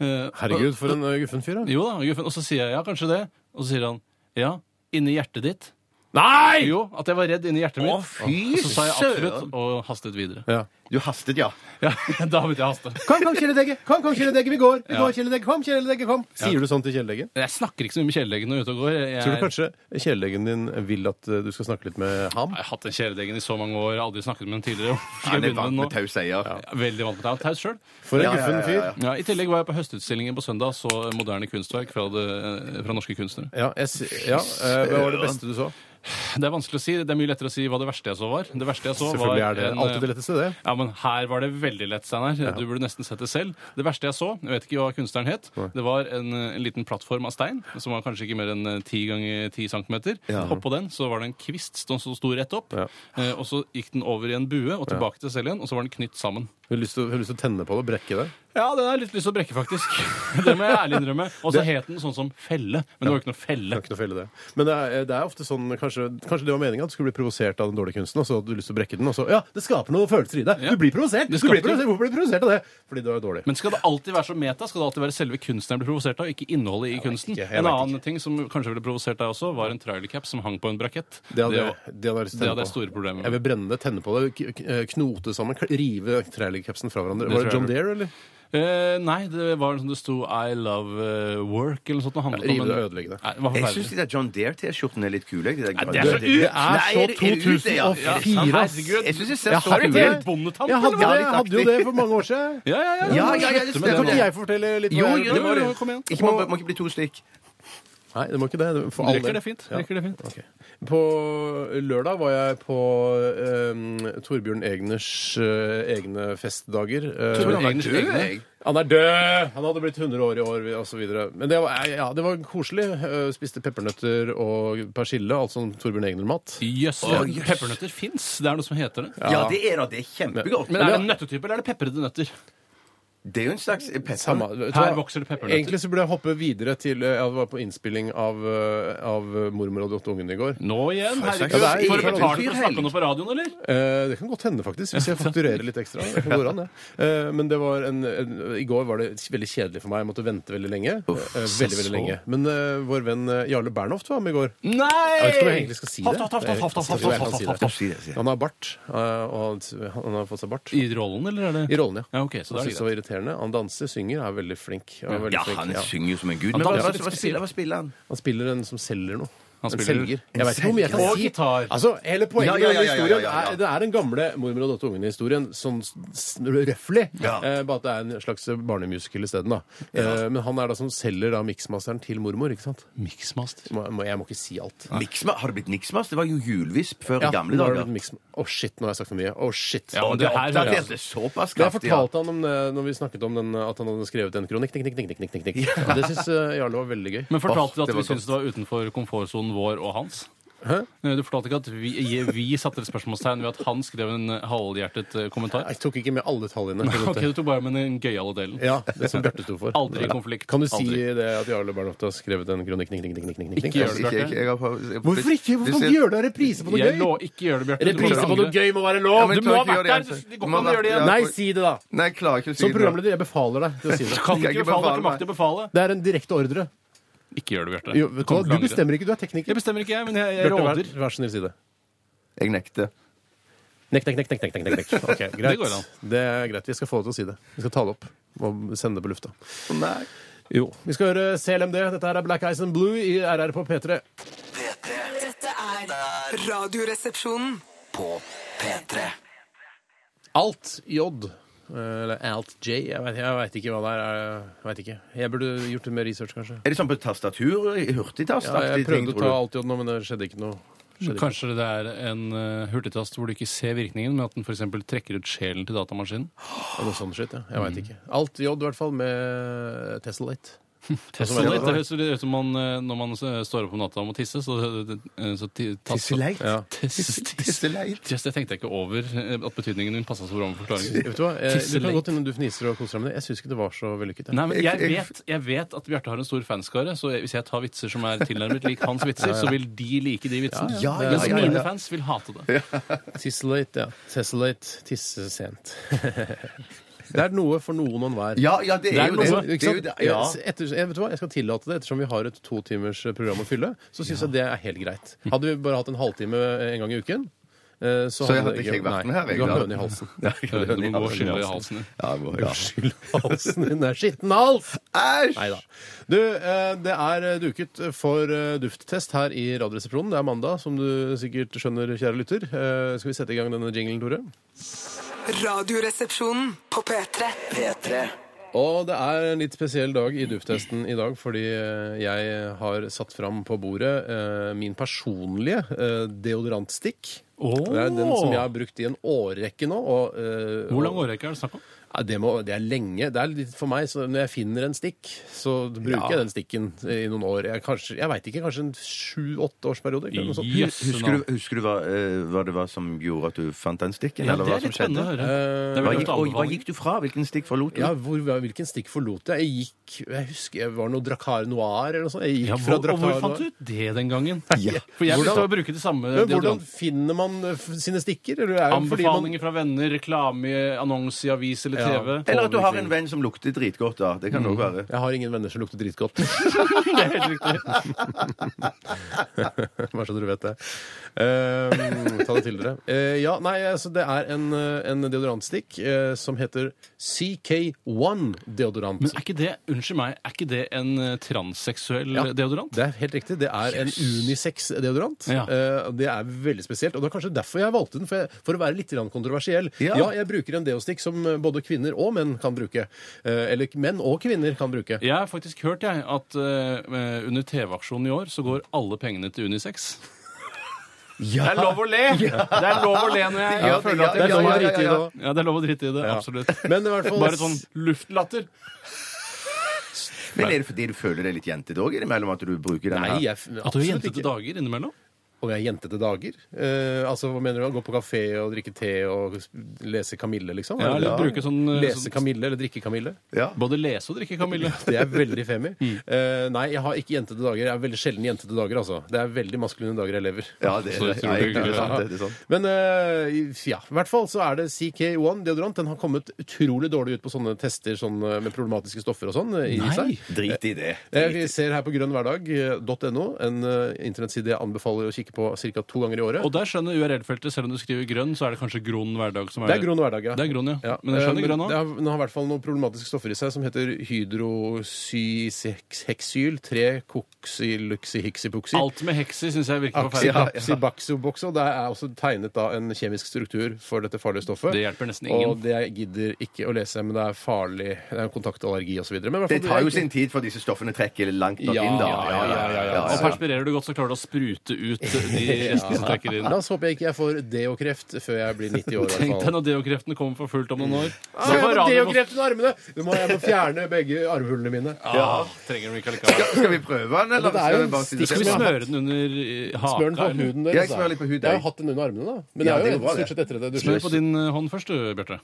[SPEAKER 4] Eh,
[SPEAKER 3] Herregud, for en eh, guffen fyr, da.
[SPEAKER 4] Jo da, guffen. Og så sier jeg ja, kanskje det. Og så sier han ja, inni hjertet ditt.
[SPEAKER 3] Nei!
[SPEAKER 4] Jo, at jeg var redd inni hjertet mitt.
[SPEAKER 5] Å, fy
[SPEAKER 4] og så sa jeg
[SPEAKER 5] søren.
[SPEAKER 4] absolutt, og hastet videre.
[SPEAKER 3] Ja.
[SPEAKER 5] Du hastet, ja.
[SPEAKER 4] Ja, da begynte jeg å haste.
[SPEAKER 3] Kom, kom, kjæledegge! Kom, kom, kjæledegge, vi går! Vi
[SPEAKER 4] Ja.
[SPEAKER 3] går, kjæledegge! Kom, kjæledegge, kom! Sier du sånn til kjæledeggen?
[SPEAKER 4] Jeg snakker ikke så mye med kjæledeggen når jeg er ute og går. Jeg,
[SPEAKER 3] Tror du kanskje kjæledeggen din vil at eh, du skal snakke litt med ham?
[SPEAKER 4] jeg har hatt den kjæledeggen i så mange år, jeg har aldri snakket med den tidligere. Hvorfor Skal jeg
[SPEAKER 5] Han er
[SPEAKER 4] begynne
[SPEAKER 5] vant med
[SPEAKER 4] med den nå?
[SPEAKER 5] taus eier.
[SPEAKER 4] Ja, Veldig vant med det. Jeg er Taus sjøl.
[SPEAKER 3] For en
[SPEAKER 5] Ja, ja,
[SPEAKER 3] guffen
[SPEAKER 5] ja, ja,
[SPEAKER 3] fyr.
[SPEAKER 5] ja.
[SPEAKER 4] Ja, I tillegg var jeg på Høstutstillingen på søndag så moderne kunstverk fra, det, eh, fra norske kunstnere.
[SPEAKER 3] Ja, jeg, s- ja, eh, hva var det beste du så?
[SPEAKER 4] Det er vanskelig å si. Det er mye lettere å si hva det verste jeg så var. Det verste jeg så var
[SPEAKER 3] Selvfølgelig er det
[SPEAKER 4] en, eh,
[SPEAKER 3] alltid det letteste, det.
[SPEAKER 4] Ja, men Her var det veldig lett, Steinar. Du burde nesten sett det selv. Det verste jeg så, jeg vet ikke hva kunstneren het, det var en, eh, en liten plattform av stein som var kanskje ikke mer enn eh, 10 ganger 10 centimeter. Oppå den så var det en kvist som sto- sto rett opp, eh, og så gikk den over i en bue og tilbake til selv igjen, og så var den knytt sammen.
[SPEAKER 3] Hun har lyst til å- hun har lyst til å tenne på det og brekke det.
[SPEAKER 4] Ja, den har jeg litt lyst til å brekke, faktisk. Det må jeg ærlig innrømme. Og så het den sånn som felle, men det var jo ikke noe felle.
[SPEAKER 3] Kan ikke noe felle det. Men det er, det er ofte sånn Kanskje, kanskje det var meninga at du skulle bli provosert av den dårlige kunsten, og så hadde du lyst til å brekke den, og så Ja, det skaper noen følelser i deg!
[SPEAKER 4] Ja.
[SPEAKER 3] Du blir provosert!
[SPEAKER 4] Det
[SPEAKER 3] Du blir
[SPEAKER 4] skaper-
[SPEAKER 3] provosert. Hvorfor blir du provosert av det? Fordi det var dårlig.
[SPEAKER 4] Men skal det alltid være så meta? Skal det alltid være selve kunstneren blir provosert av, ikke innholdet i kunsten?
[SPEAKER 3] ikke, jeg
[SPEAKER 4] en
[SPEAKER 3] vet
[SPEAKER 4] annen ting som kanskje ville provosert deg også, var en trailercap som hang på en brakett.
[SPEAKER 3] det hadde,
[SPEAKER 4] var-
[SPEAKER 3] jeg- det hadde jeg lyst til å
[SPEAKER 4] det hadde
[SPEAKER 3] tenne
[SPEAKER 4] jeg store problemer med.
[SPEAKER 3] Jeg vil brenne det, tenne på det, k- k- knote sammen, kl- rive trailercapsen fra hverandre.
[SPEAKER 4] Det
[SPEAKER 3] Var det
[SPEAKER 4] tror jeg
[SPEAKER 3] John Deere, eller?
[SPEAKER 4] Eh, nei, det var sånn det sto 'I love eh, work' eller noe sånt. Det handlet
[SPEAKER 3] Rive
[SPEAKER 4] om
[SPEAKER 3] det
[SPEAKER 4] en-
[SPEAKER 3] og ødelegge det.
[SPEAKER 4] Nei, det var
[SPEAKER 5] Jeg syns
[SPEAKER 4] forferdelig.
[SPEAKER 5] de der John Dare-T-skjortene er litt kule. De der grønne.
[SPEAKER 4] det er så ut!
[SPEAKER 5] Nei, er det- er det ut, ja? Ja,
[SPEAKER 3] Det er så 2004, ass.
[SPEAKER 4] Herregud.
[SPEAKER 5] Jeg syns jeg ser
[SPEAKER 3] Jeg
[SPEAKER 5] så
[SPEAKER 3] har
[SPEAKER 5] kul
[SPEAKER 3] det.
[SPEAKER 5] ut.
[SPEAKER 4] Bondetamp,
[SPEAKER 3] Jeg hadde,
[SPEAKER 5] eller hva?
[SPEAKER 3] det, jeg hadde jo det for mange år siden.
[SPEAKER 4] Ja, ja, ja.
[SPEAKER 5] Ja, ja, ja, det
[SPEAKER 4] Slutt
[SPEAKER 5] stemmer
[SPEAKER 4] med
[SPEAKER 3] Kan
[SPEAKER 4] det.
[SPEAKER 3] ikke jeg fortelle litt
[SPEAKER 5] Jo,
[SPEAKER 3] hva jeg
[SPEAKER 5] jo,
[SPEAKER 3] gjorde?
[SPEAKER 5] jo, jo,
[SPEAKER 4] kom igjen.
[SPEAKER 5] Ikke, må, må ikke bli to stykk.
[SPEAKER 3] Nei, det må ikke det. For all
[SPEAKER 4] Rekker
[SPEAKER 3] del.
[SPEAKER 4] det fint?
[SPEAKER 3] Ja.
[SPEAKER 4] Rekker det fint?
[SPEAKER 3] Ok. På lørdag var jeg på eh, Torbjørn Egners eh, egne festdager. Eh,
[SPEAKER 5] Torbjørn
[SPEAKER 3] Egners
[SPEAKER 5] er død,
[SPEAKER 3] egne.
[SPEAKER 5] jeg.
[SPEAKER 3] Han er død! Han hadde blitt 100 år i år osv. Men det var, eh, ja, det var koselig. Eh, Spiste peppernøtter og persille, alt sånn Torbjørn Egner-mat.
[SPEAKER 4] Jøss.
[SPEAKER 5] Å, jøss.
[SPEAKER 4] Peppernøtter fins. Det er noe som heter det.
[SPEAKER 5] Ja, det er da. Det er kjempegodt.
[SPEAKER 4] Men er det nøttetype, eller er det peprede nøtter?
[SPEAKER 5] Det er jo en slags eh, pepper.
[SPEAKER 3] Samme- vet du
[SPEAKER 4] Her
[SPEAKER 3] hva?
[SPEAKER 4] vokser det peppernøtter.
[SPEAKER 3] Egentlig så burde jeg hoppe videre til eh, Jeg var på innspilling av, eh, av Mormor og de åtte ungene i går.
[SPEAKER 4] Nå igjen? Herregud.
[SPEAKER 3] det
[SPEAKER 5] Ja,
[SPEAKER 3] er-
[SPEAKER 4] Får du betalt for å
[SPEAKER 5] Helt.
[SPEAKER 4] snakke om det på radioen, eller?
[SPEAKER 3] Eh, det kan godt hende, faktisk, hvis jeg fakturerer litt ekstra. Det kan gå an, det. Eh, men det var en, en, i går var det veldig kjedelig for meg. Jeg måtte vente veldig lenge. Eh, veldig, veldig lenge. Men eh, vår venn eh, Jarle Bernhoft var med i går.
[SPEAKER 4] Nei!
[SPEAKER 3] Jeg vet ikke om jeg egentlig skal si det.
[SPEAKER 4] Haft, haft, haft, haft, haft, haft,
[SPEAKER 3] Jo, jeg kan si
[SPEAKER 4] haft,
[SPEAKER 3] det.
[SPEAKER 4] haft.
[SPEAKER 5] Si det, si det.
[SPEAKER 3] Han har bart. eh, og han har fått seg bart.
[SPEAKER 4] I rollen, eller er det
[SPEAKER 3] I rollen, ja.
[SPEAKER 4] Ja, ok, så
[SPEAKER 3] Han
[SPEAKER 4] da er det
[SPEAKER 3] synes det var irriterende. Han danser, synger, er veldig flink. er veldig
[SPEAKER 5] Ja,
[SPEAKER 3] flink,
[SPEAKER 5] han
[SPEAKER 3] ja.
[SPEAKER 5] synger jo som en gud.
[SPEAKER 4] Han
[SPEAKER 5] Men hva,
[SPEAKER 4] danser
[SPEAKER 5] hva,
[SPEAKER 4] litt
[SPEAKER 5] hva, spiller, hva spiller han?
[SPEAKER 3] Han spiller en som selger noe.
[SPEAKER 4] Han
[SPEAKER 3] en
[SPEAKER 4] spiller-
[SPEAKER 3] selger.
[SPEAKER 5] En
[SPEAKER 3] Jeg vet ikke hvor mye jeg kan
[SPEAKER 4] selger.
[SPEAKER 3] si.
[SPEAKER 4] Og gitar.
[SPEAKER 3] Altså, hele poenget
[SPEAKER 5] Ja,
[SPEAKER 3] med
[SPEAKER 5] ja,
[SPEAKER 3] denne
[SPEAKER 5] ja, ja, ja,
[SPEAKER 3] historien
[SPEAKER 5] ja, ja.
[SPEAKER 3] er, det er den gamle mormor og datter ungene-historien, sånn s- s- røffelig,
[SPEAKER 5] Ja.
[SPEAKER 3] eh, bare at det er en slags barnemusical isteden. da. Eh, men han er da som selger da miksmasteren til mormor, ikke sant?
[SPEAKER 4] Mixmaster.
[SPEAKER 3] Må, må, jeg må ikke si alt.
[SPEAKER 5] Miksma? Har det blitt miksmas? Det var jo julvisp før i gamle
[SPEAKER 3] nå har det
[SPEAKER 5] dager.
[SPEAKER 3] blitt mix- Å, shit, nå har jeg sagt for mye. Å, shit.
[SPEAKER 4] Ja,
[SPEAKER 5] Og
[SPEAKER 4] men
[SPEAKER 5] det
[SPEAKER 4] det her
[SPEAKER 5] oppdaterte
[SPEAKER 4] hører jeg.
[SPEAKER 5] såpass
[SPEAKER 3] Det
[SPEAKER 5] kraftig. ja.
[SPEAKER 3] fortalte han om det når vi snakket om den, at han hadde skrevet en kronikk. Nikk, nikk, nikk, nikk, nikk, nikk. Og det syns eh, Jarle var veldig gøy.
[SPEAKER 4] Men
[SPEAKER 5] Åh,
[SPEAKER 4] fortalte du
[SPEAKER 5] det
[SPEAKER 4] at
[SPEAKER 5] var
[SPEAKER 4] vi syntes det var utenfor komfortsonen vår og hans?
[SPEAKER 3] Hæ?
[SPEAKER 4] Eh, Du fortalte ikke at vi, vi satte et spørsmålstegn ved at han skrev en eh, halvhjertet eh, kommentar?
[SPEAKER 3] Jeg tok ikke med alle tallene.
[SPEAKER 4] Ok, du tok bare med den gøyale delen.
[SPEAKER 3] Ja, det som Bjarte sto for.
[SPEAKER 4] Aldri konflikt.
[SPEAKER 3] Kan du si
[SPEAKER 4] Aldri.
[SPEAKER 3] det at Jarle Bernhoft har skrevet en kronikk? Nikk, nikk, nikk, nikk, nikk, nikk,
[SPEAKER 4] Ikke gjør det,
[SPEAKER 5] Ikke-
[SPEAKER 4] Bjarte.
[SPEAKER 5] ikke- jeg har- jeg-
[SPEAKER 3] Hvorfor ikke? Hvorfor kan du gjøre det? Reprise på noe
[SPEAKER 4] Jeg lå
[SPEAKER 3] gøy?
[SPEAKER 4] ikke gjør det, Bjarte. Du må
[SPEAKER 3] Reprise på
[SPEAKER 4] angre.
[SPEAKER 3] noe gøy må være lov!
[SPEAKER 5] Ja, men
[SPEAKER 3] Du
[SPEAKER 5] jeg
[SPEAKER 3] må ha
[SPEAKER 5] klarer ikke
[SPEAKER 3] vært
[SPEAKER 5] å gjøre
[SPEAKER 4] der!
[SPEAKER 5] det,
[SPEAKER 4] så Det
[SPEAKER 5] altså. Du
[SPEAKER 4] går
[SPEAKER 5] må
[SPEAKER 4] ikke an å gjøre det igjen.
[SPEAKER 5] være-
[SPEAKER 3] Nei, si det, da!
[SPEAKER 5] Nei, jeg klarer ikke å si
[SPEAKER 3] Som
[SPEAKER 5] det.
[SPEAKER 3] programleder, jeg befaler deg til å si det.
[SPEAKER 4] Kan ikke
[SPEAKER 5] Jeg ikke
[SPEAKER 4] befale,
[SPEAKER 5] befaler
[SPEAKER 4] ikke makt til å befale.
[SPEAKER 3] Det er en direkte ordre.
[SPEAKER 4] Ikke gjør det, Bjarte.
[SPEAKER 3] Jo, vet du, hva?
[SPEAKER 4] Kommer til å
[SPEAKER 3] du
[SPEAKER 4] angre.
[SPEAKER 3] bestemmer ikke, du er
[SPEAKER 4] Jeg
[SPEAKER 3] tekniker.
[SPEAKER 4] bestemmer ikke, jeg, men jeg, jeg
[SPEAKER 3] Bjarte, vær,
[SPEAKER 4] råder.
[SPEAKER 3] vær så snill, si det.
[SPEAKER 5] Jeg nekter.
[SPEAKER 3] Nekk, nekk, nekk, nekk, nekk, nekk, nekk. Ok, greit.
[SPEAKER 4] går an.
[SPEAKER 3] Det er greit. Vi skal få deg til å si det. Vi skal ta det opp og sende det på lufta.
[SPEAKER 5] Nei.
[SPEAKER 3] Jo. Vi skal høre CLMD. Dette her er Black Eyes and Blue i RR på P3.
[SPEAKER 2] P3
[SPEAKER 6] Radioresepsjonen.
[SPEAKER 2] på P3
[SPEAKER 3] Alt J. Eller Alt J. Jeg vet, jeg vet ikke hva det er. Jeg vet ikke. Jeg burde gjort mer research, kanskje.
[SPEAKER 5] Er det sånn på tastatur? Hurtigtast?
[SPEAKER 3] Ja, jeg prøvde å ta Alt J nå, men det skjedde ikke noe. Skjedde ikke.
[SPEAKER 4] Kanskje det er en eh, hurtigtast hvor du ikke ser virkningen, men at den f.eks. trekker ut sjelen til datamaskinen?
[SPEAKER 3] noe. Noe sånt shit, ja. Jeg vet ikke. Alt J, i hvert fall, med eh, Tesselate.
[SPEAKER 4] Tesla. Altså, Det høres litt ut som man, eh, når man eh, står opp om natta og må tisse. Så, eh, så ti- tass-
[SPEAKER 5] Tisseleit?
[SPEAKER 4] Ja.
[SPEAKER 5] Tisse- tisseleit.
[SPEAKER 4] Just, jeg tenkte ikke over eh, at betydningen min passa så bra med forklaringen.
[SPEAKER 3] Vet du hva? Eh, Du kan
[SPEAKER 4] Tisseleit.
[SPEAKER 3] godt hende du fniser og koser deg med det. Jeg syns ikke det var så vellykket. jeg.
[SPEAKER 4] Nei, men jeg
[SPEAKER 5] Jeg- jeg-
[SPEAKER 4] vet, jeg vet at Bjarte har en stor fanskare, så hvis jeg tar vitser som er tilnærmet lik hans vitser, så vil de like de vitsene.
[SPEAKER 5] Ja, ja,
[SPEAKER 4] Mens
[SPEAKER 5] ja, ja, ja.
[SPEAKER 4] mine fans vil hate det.
[SPEAKER 3] Tisselate, ja. Tesselate. Tisse sent. det er noe for noen og enhver.
[SPEAKER 5] Ja, ja, det
[SPEAKER 4] Det
[SPEAKER 5] er
[SPEAKER 4] er
[SPEAKER 5] jo
[SPEAKER 4] noe
[SPEAKER 5] det.
[SPEAKER 4] som-
[SPEAKER 5] det,
[SPEAKER 3] Ikke
[SPEAKER 5] er jo
[SPEAKER 3] sant?
[SPEAKER 5] det ja.
[SPEAKER 3] Jeg- Etter, jeg, vet du hva? jeg skal tillate det ettersom vi har et to timers eh, program å fylle. Så syns jeg det er helt greit. Hadde vi bare hatt en halvtime en gang i uken eh, så,
[SPEAKER 5] Så jeg hadde ikke jeg vært med her,
[SPEAKER 3] Nei,
[SPEAKER 5] jeg,
[SPEAKER 3] du har
[SPEAKER 5] da.
[SPEAKER 3] høne i halsen.
[SPEAKER 5] Ja, jeg har
[SPEAKER 4] Du
[SPEAKER 5] høne i
[SPEAKER 4] må gå og
[SPEAKER 5] halsen.
[SPEAKER 4] skylle i halsen din.
[SPEAKER 5] Ja, jeg må- ja.
[SPEAKER 3] Skyld halsen din er skitten hals!
[SPEAKER 5] Æsj!
[SPEAKER 3] Nei da. Du, eh, det er eh, duket for eh, dufttest her i Radioresepsjonen. Det er mandag, som du sikkert skjønner, kjære lytter. Eh, Skal vi sette i gang denne jinglen, Tore?
[SPEAKER 6] Radioresepsjonen på P3.
[SPEAKER 2] P3
[SPEAKER 3] Og det er en litt spesiell dag i dufttesten i dag, fordi eh, jeg har satt fram på bordet eh, min personlige eh, deodorantstikk.
[SPEAKER 4] Åh!
[SPEAKER 3] Det er den som jeg har brukt i en årrekke nå. Og, eh,
[SPEAKER 4] Hvor lang
[SPEAKER 3] og-
[SPEAKER 4] årrekke er det snakk om?
[SPEAKER 3] Ja, det, må, det er lenge. Det er litt for meg, så når jeg finner en stikk, så bruker jeg den stikken i noen år. Jeg, kanskje- jeg veit ikke, kanskje en sju-åtte årsperiode? eller noe sånt.
[SPEAKER 4] Jøsse
[SPEAKER 5] Husker
[SPEAKER 4] navn.
[SPEAKER 5] du, husker du hva, eh, hva det var som gjorde at du fant den stikken?
[SPEAKER 4] Ja,
[SPEAKER 5] eller
[SPEAKER 4] det
[SPEAKER 5] hva
[SPEAKER 4] er
[SPEAKER 5] som
[SPEAKER 4] litt spennende å
[SPEAKER 5] skjedde?
[SPEAKER 4] høre. Det er
[SPEAKER 5] Hva
[SPEAKER 4] vel
[SPEAKER 5] gikk,
[SPEAKER 4] ofte
[SPEAKER 5] oi, hva
[SPEAKER 4] anbefalinger.
[SPEAKER 5] gikk du fra? Hvilken stikk forlot du?
[SPEAKER 3] Ja, hvor, Hvilken stikk forlot jeg? Jeg gikk Jeg husker jeg var noe Dracar Noir eller noe sånt. Jeg gikk
[SPEAKER 4] Ja,
[SPEAKER 3] fra
[SPEAKER 4] hvor, og
[SPEAKER 3] Dracar
[SPEAKER 4] hvor fant
[SPEAKER 3] Noir.
[SPEAKER 4] du ut det den gangen?
[SPEAKER 5] Ja.
[SPEAKER 4] For jeg
[SPEAKER 3] Hvordan-
[SPEAKER 4] begynte å bruke det samme
[SPEAKER 3] Men hvordan
[SPEAKER 4] Eh, deodorant.
[SPEAKER 3] finner man eh, f- sine stikker? Eller er det fordi man,
[SPEAKER 4] Anbefalinger fra venner, reklame, annonse i avis eller
[SPEAKER 3] Ja.
[SPEAKER 4] TV.
[SPEAKER 5] Eller at du har en venn som lukter dritgodt, da. Det
[SPEAKER 3] Mm.
[SPEAKER 5] kan det òg være.
[SPEAKER 3] jeg har ingen venner som lukter dritgodt.
[SPEAKER 4] Det er helt riktig.
[SPEAKER 3] Bare så dere vet det. Ehm, ta det til dere. Eh, ja, nei, altså det er en, eh, en deodorantstikk eh, som heter CK1 deodorant.
[SPEAKER 4] Men er ikke det unnskyld meg, er ikke det en eh, transseksuell
[SPEAKER 3] Ja.
[SPEAKER 4] eh, deodorant?
[SPEAKER 3] Det er helt riktig. Det er en unisex-deodorant.
[SPEAKER 4] Ja.
[SPEAKER 3] Eh, det er veldig spesielt. Og det er kanskje derfor jeg valgte den, for, jeg, for å være litt grann kontroversiell. Ja.
[SPEAKER 5] Ja.
[SPEAKER 3] jeg bruker en deostikk som eh, både kvinner og menn kan bruke. Eh, eller menn og kvinner kan bruke.
[SPEAKER 4] Jeg har faktisk hørt jeg, at eh, under TV-aksjonen i år så går alle pengene til Unisex. Det er lov å le! Det er lov å le når jeg,
[SPEAKER 5] Ja,
[SPEAKER 4] jeg føler at
[SPEAKER 5] ja,
[SPEAKER 3] Det
[SPEAKER 4] jeg
[SPEAKER 3] er lov å
[SPEAKER 5] ja, ja,
[SPEAKER 3] drite i det
[SPEAKER 5] ja.
[SPEAKER 3] også.
[SPEAKER 4] Ja, det er lov å drite i det.
[SPEAKER 3] Ja.
[SPEAKER 4] Absolutt.
[SPEAKER 3] Men i hvert fall
[SPEAKER 4] Bare sånn luftlatter.
[SPEAKER 5] Men er det fordi du føler deg litt jentete òg innimellom at du bruker den
[SPEAKER 3] Nei,
[SPEAKER 5] her?
[SPEAKER 3] jeg,
[SPEAKER 4] At du er
[SPEAKER 3] absolutt
[SPEAKER 4] jente til
[SPEAKER 3] ikke.
[SPEAKER 4] dager innimellom.
[SPEAKER 3] Om jeg er jente til dager? Eh, altså, Hva mener du? Gå på kafé og drikke te og s- lese Kamille, liksom?
[SPEAKER 4] Ja,
[SPEAKER 3] Er det
[SPEAKER 4] eller
[SPEAKER 3] det?
[SPEAKER 4] bruke sånn, eh,
[SPEAKER 3] Lese
[SPEAKER 4] sånn-
[SPEAKER 3] Kamille eller drikke Kamille?
[SPEAKER 5] Ja.
[SPEAKER 4] Både lese og drikke, Kamille.
[SPEAKER 3] Det er veldig femi.
[SPEAKER 4] Mm.
[SPEAKER 3] Eh, nei, jeg har ikke jentete dager. Jeg er veldig sjelden jentete dager, altså. Det er veldig maskuline dager jeg lever.
[SPEAKER 5] Ja, det er
[SPEAKER 4] Så
[SPEAKER 5] det.
[SPEAKER 4] jeg tror
[SPEAKER 5] Ja,
[SPEAKER 4] det er
[SPEAKER 5] det er sant,
[SPEAKER 3] Ja.
[SPEAKER 5] det er sant.
[SPEAKER 3] Men eh, ja, i hvert fall så er det CK1 deodorant. Den har kommet utrolig dårlig ut på sånne tester sånn, eh, med problematiske stoffer og sånn eh, i
[SPEAKER 4] Nei.
[SPEAKER 3] seg.
[SPEAKER 5] Drit i det.
[SPEAKER 3] Eh, Vi ser her på grønnhverdag.no, en eh, internettside jeg anbefaler å kikke på ca. to ganger i året.
[SPEAKER 4] Og der skjønner URL-feltet, selv om du skriver grønn, så er det kanskje grunn hverdag som er
[SPEAKER 3] Det er grønn hverdag, ja.
[SPEAKER 4] Det er grunn, ja. Men jeg
[SPEAKER 3] Eh,
[SPEAKER 4] skjønner
[SPEAKER 3] det
[SPEAKER 4] grønn òg.
[SPEAKER 3] har- Den har i hvert fall noen problematiske stoffer i seg som heter hydrosyseksyl, 3 koksyluksihiksipuksi
[SPEAKER 4] Alt med hekser syns jeg virker
[SPEAKER 3] Aksi,
[SPEAKER 4] forferdelig.
[SPEAKER 3] aksi, bakso, bokso. Det er også tegnet da en kjemisk struktur for dette farlige stoffet.
[SPEAKER 4] Det hjelper nesten ingen.
[SPEAKER 3] Og det gidder ikke å lese, men det er farlig. Det er kontaktallergi osv.
[SPEAKER 5] Det tar jo sin tid, for disse stoffene trekker langt nok
[SPEAKER 3] Ja,
[SPEAKER 5] inn, da.
[SPEAKER 3] ja, ja, ja, ja, ja.
[SPEAKER 4] Og perspirerer du godt, så klarer du å sprute ut de restene som trekker inn.
[SPEAKER 3] La oss håpe jeg ikke jeg får deokreft før jeg blir 90 år. i
[SPEAKER 4] Tenk
[SPEAKER 3] hvert
[SPEAKER 4] deg
[SPEAKER 3] fall.
[SPEAKER 4] når deokreftene kommer for fullt om noen år.
[SPEAKER 3] Ah, jeg
[SPEAKER 4] Så
[SPEAKER 3] får
[SPEAKER 4] får radioen-
[SPEAKER 3] deokreft under armene! Du må, jeg må fjerne begge armhullene mine.
[SPEAKER 4] Ah, trenger de ikke allikevel.
[SPEAKER 5] Skal vi prøve den, eller
[SPEAKER 3] Men det er jo
[SPEAKER 5] skal vi bare sitte
[SPEAKER 3] stikk-
[SPEAKER 4] Skal vi smøre den under eh, haka?
[SPEAKER 3] Smør den på
[SPEAKER 4] eller?
[SPEAKER 3] huden deres.
[SPEAKER 5] Jeg
[SPEAKER 3] da.
[SPEAKER 5] smører litt på huden,
[SPEAKER 3] Jeg har
[SPEAKER 5] jeg.
[SPEAKER 3] hatt den under armene, da. Men jeg
[SPEAKER 5] Ja, det
[SPEAKER 3] er
[SPEAKER 5] er
[SPEAKER 3] jo
[SPEAKER 5] bra, det.
[SPEAKER 3] stort sett etter det. Du
[SPEAKER 4] Smør på din eh, hånd først, du, Bjarte.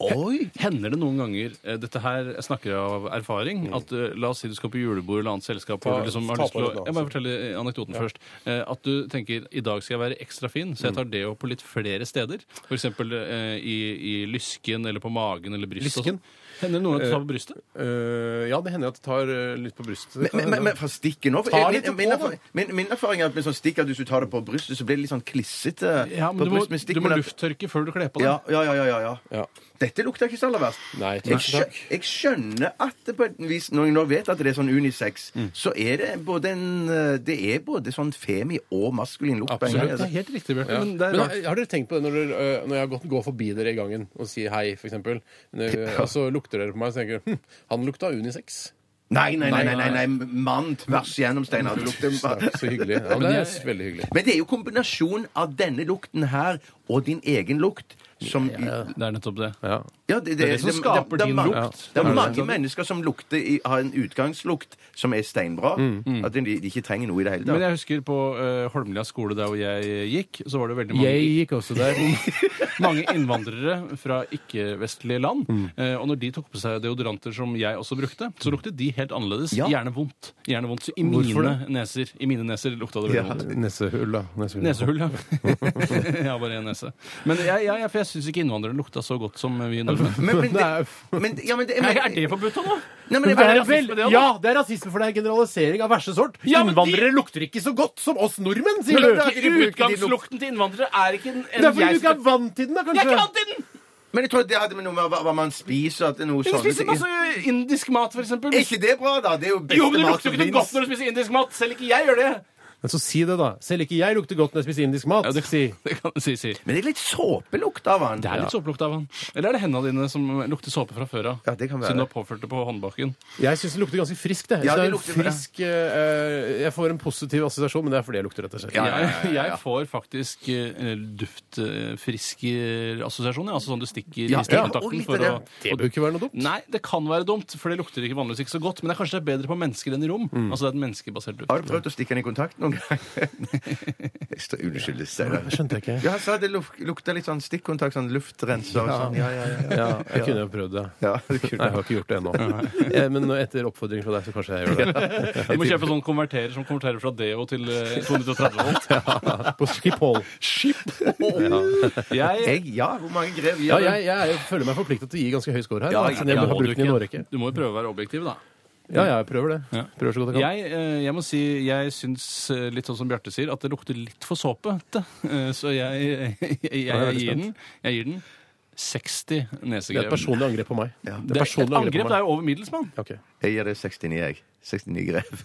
[SPEAKER 5] Oi!
[SPEAKER 4] Hender det noen ganger eh, Dette her jeg snakker av erfaring. At, eh, la oss si du skal på julebord eller annet selskap.
[SPEAKER 3] Ta-
[SPEAKER 4] og liksom har
[SPEAKER 3] Mm. ta
[SPEAKER 4] lyst
[SPEAKER 3] på
[SPEAKER 4] til å,
[SPEAKER 3] litt nå,
[SPEAKER 4] jeg bare forteller eh, anekdoten først. Eh, At du tenker i dag skal jeg være ekstra fin,
[SPEAKER 3] Mm.
[SPEAKER 4] så jeg tar deo på litt flere steder. F.eks. Eh, i, i lysken eller på magen eller brystet. og
[SPEAKER 3] Lysken? Eh,
[SPEAKER 4] sånn. Hender det noen at du tar på brystet?
[SPEAKER 3] Øh, ja, det hender at det tar øh, litt på brystet. Det kan
[SPEAKER 5] Men, men,
[SPEAKER 3] hende.
[SPEAKER 5] men fra stikken opp
[SPEAKER 3] Ta
[SPEAKER 5] min,
[SPEAKER 3] litt
[SPEAKER 5] min,
[SPEAKER 3] på,
[SPEAKER 5] erfaring- min, min erfaring er at med sånn stikk at hvis du tar det på brystet, så blir det litt sånn klissete.
[SPEAKER 4] Ja, men
[SPEAKER 5] på
[SPEAKER 4] du må,
[SPEAKER 5] brystet med stikk,
[SPEAKER 4] du må
[SPEAKER 5] men at-
[SPEAKER 4] lufttørke før du kler på deg.
[SPEAKER 5] Ja, ja, ja, ja, ja, ja.
[SPEAKER 3] Ja.
[SPEAKER 5] Dette lukter ikke så aller verst.
[SPEAKER 3] Nei,
[SPEAKER 5] Jeg,
[SPEAKER 3] tusen
[SPEAKER 5] skjø- jeg skjønner at det på et vis, når jeg nå vet at det er sånn unisex,
[SPEAKER 3] Mm.
[SPEAKER 5] så er det både en eh, Det er både sånn femi og maskulin lukt. på en gang.
[SPEAKER 4] Absolutt. Det er helt riktig, Bjarte.
[SPEAKER 3] Ja.
[SPEAKER 4] Men
[SPEAKER 3] Men
[SPEAKER 4] det er
[SPEAKER 3] har-
[SPEAKER 4] rart.
[SPEAKER 3] har dere tenkt på det når, dere, øh, når jeg har gått, går forbi dere i gangen og sier hei, f.eks., og så lukter dere på meg og tenker hm, han lukta unisex.
[SPEAKER 5] Nei, nei, nei, nei, nei, nei. mann tvers igjennom, Steinar. Du lukter
[SPEAKER 3] Så hyggelig. Ja, men det er veldig hyggelig.
[SPEAKER 5] Men det er jo kombinasjonen av denne lukten her og din egen lukt som
[SPEAKER 4] Det er nettopp det.
[SPEAKER 3] Ja.
[SPEAKER 5] Ja, det,
[SPEAKER 4] Det er det som skaper
[SPEAKER 5] det er
[SPEAKER 4] din
[SPEAKER 5] mange-
[SPEAKER 4] lukt.
[SPEAKER 5] Det
[SPEAKER 4] Ja.
[SPEAKER 5] er mange mennesker som lukter i, har en utgangslukt som er steinbra. At de, de ikke trenger noe i det hele
[SPEAKER 4] Mm. Men
[SPEAKER 5] tatt.
[SPEAKER 4] jeg husker på eh, Holmlia skole der hvor jeg gikk, så var det veldig mange
[SPEAKER 3] Jeg gikk også der.
[SPEAKER 4] mange innvandrere fra ikke-vestlige land. Eh, og når de tok på seg deodoranter som jeg også brukte, så luktet de helt annerledes.
[SPEAKER 5] Ja.
[SPEAKER 4] Gjerne vondt. Gjerne vondt. Så i
[SPEAKER 3] Hvorfor
[SPEAKER 4] mine, neser, i mine neser lukta det veldig vondt.
[SPEAKER 3] Nesehull, da. Nesehull.
[SPEAKER 4] Nesehull, ja. jeg har bare én nese. Men jeg, jeg, jeg, for jeg syns ikke innvandrere lukta så godt som vi nordmenn.
[SPEAKER 5] Men, men,
[SPEAKER 3] Det er-
[SPEAKER 5] det, men, ja, men, det, men,
[SPEAKER 4] Er det forbudt da, nå?
[SPEAKER 5] Nei, men
[SPEAKER 3] Det
[SPEAKER 5] det,
[SPEAKER 3] er
[SPEAKER 5] men,
[SPEAKER 3] vel,
[SPEAKER 4] rasisme, det, da?
[SPEAKER 3] ja, det er rasisme, for det er generalisering av verste sort.
[SPEAKER 4] Ja, men de-
[SPEAKER 3] Innvandrere lukter ikke så godt som oss nordmenn, sier
[SPEAKER 5] Men
[SPEAKER 3] du.
[SPEAKER 5] det er-
[SPEAKER 4] Ikke Utgangslukten til innvandrere er ikke en,
[SPEAKER 3] Det
[SPEAKER 4] en
[SPEAKER 3] er fordi du ikke er vant til den, da,
[SPEAKER 4] Jeg er ikke
[SPEAKER 3] kanskje.
[SPEAKER 4] vant til den!
[SPEAKER 5] men jeg tror det hadde med noe med hva, hva man spiser at det er noe
[SPEAKER 4] Jeg
[SPEAKER 5] sånne
[SPEAKER 4] spiser
[SPEAKER 5] ting.
[SPEAKER 4] masse indisk mat, for eksempel.
[SPEAKER 5] Er ikke det bra, da? Det er jo beste
[SPEAKER 4] Jo, men det
[SPEAKER 5] mat
[SPEAKER 4] lukter jo
[SPEAKER 5] som
[SPEAKER 4] ikke noe
[SPEAKER 5] finnes.
[SPEAKER 4] godt når du spiser indisk mat. Selv ikke jeg gjør det.
[SPEAKER 3] Men så si det, da. Selv ikke jeg lukter godt når jeg spiser indisk mat.
[SPEAKER 4] Ja, det-
[SPEAKER 3] Si.
[SPEAKER 4] Det kan si, si.
[SPEAKER 5] Men det er litt såpelukt av han.
[SPEAKER 4] Det er litt såpelukt av han. Eller er det hendene dine som lukter såpe fra før av?
[SPEAKER 5] Ja, det kan være.
[SPEAKER 4] Siden du har påført det på håndbaken.
[SPEAKER 3] Jeg syns det lukter ganske friskt. Det.
[SPEAKER 5] Ja,
[SPEAKER 3] Så det er
[SPEAKER 5] det
[SPEAKER 3] en
[SPEAKER 5] lukter bra.
[SPEAKER 3] frisk, eh, jeg får en positiv assosiasjon, men det er fordi jeg lukter, rett og slett.
[SPEAKER 4] Jeg, jeg får faktisk eh, duftfriske assosiasjoner. Altså sånn du stikker i
[SPEAKER 5] Ja, ja, og
[SPEAKER 4] stikkontakten
[SPEAKER 5] litt av
[SPEAKER 4] for å
[SPEAKER 5] det.
[SPEAKER 3] Det bør ikke være noe dumt.
[SPEAKER 4] Nei, det kan være dumt, for det lukter ikke vanligvis ikke så godt. Men det er kanskje det er bedre på mennesker enn i rom.
[SPEAKER 5] Mm.
[SPEAKER 4] Altså det er et menneskebasert duft.
[SPEAKER 5] Har du prøvd å stikke den i kontakt noen gang? Jeg står- Unnskyld, Steinar.
[SPEAKER 3] Det skjønte jeg ikke.
[SPEAKER 5] Ja, han sa det luk- lukta litt sånn stikkontakt, sånn luftrenser og sånn. Ja, ja, ja.
[SPEAKER 3] Ja, jeg kunne jo prøvd det.
[SPEAKER 5] ja det
[SPEAKER 3] Nei, jeg
[SPEAKER 5] kunne.
[SPEAKER 3] har ikke gjort det ennå. Eh, Men etter oppfordring fra deg, så kanskje jeg gjør det.
[SPEAKER 4] Du må kjøpe sånn konverterer som konverterer fra Deo til eh, 230 volt.
[SPEAKER 3] På Skip Hall.
[SPEAKER 4] Jeg,
[SPEAKER 5] Jeg, ja, hvor mange grev
[SPEAKER 3] Ja,
[SPEAKER 5] gjør
[SPEAKER 3] jeg, jeg føler meg forplikta til å gi ganske høy score her.
[SPEAKER 5] Ja,
[SPEAKER 3] da,
[SPEAKER 5] ja,
[SPEAKER 3] siden jeg
[SPEAKER 4] ja,
[SPEAKER 3] har
[SPEAKER 4] må du
[SPEAKER 3] brukt den i en
[SPEAKER 4] ikke.
[SPEAKER 3] årrekke.
[SPEAKER 4] du må jo prøve å være objektiv, da.
[SPEAKER 3] Ja, ja, jeg prøver det.
[SPEAKER 4] Ja.
[SPEAKER 3] Prøver så godt jeg kan.
[SPEAKER 4] Jeg, eh, jeg må si, jeg syns eh, litt sånn som Bjarte sier, at det lukter litt for såpete. Eh, Så jeg, jeg, jeg,
[SPEAKER 3] er veldig
[SPEAKER 4] gir
[SPEAKER 3] spent.
[SPEAKER 4] den Jeg gir den 60
[SPEAKER 3] Det er et
[SPEAKER 4] nesegrev.
[SPEAKER 3] personlig angrep på meg.
[SPEAKER 4] Det er et angrep det er jo over middels, mann.
[SPEAKER 3] Ok.
[SPEAKER 5] Jeg gir det 69, jeg. 69 grev.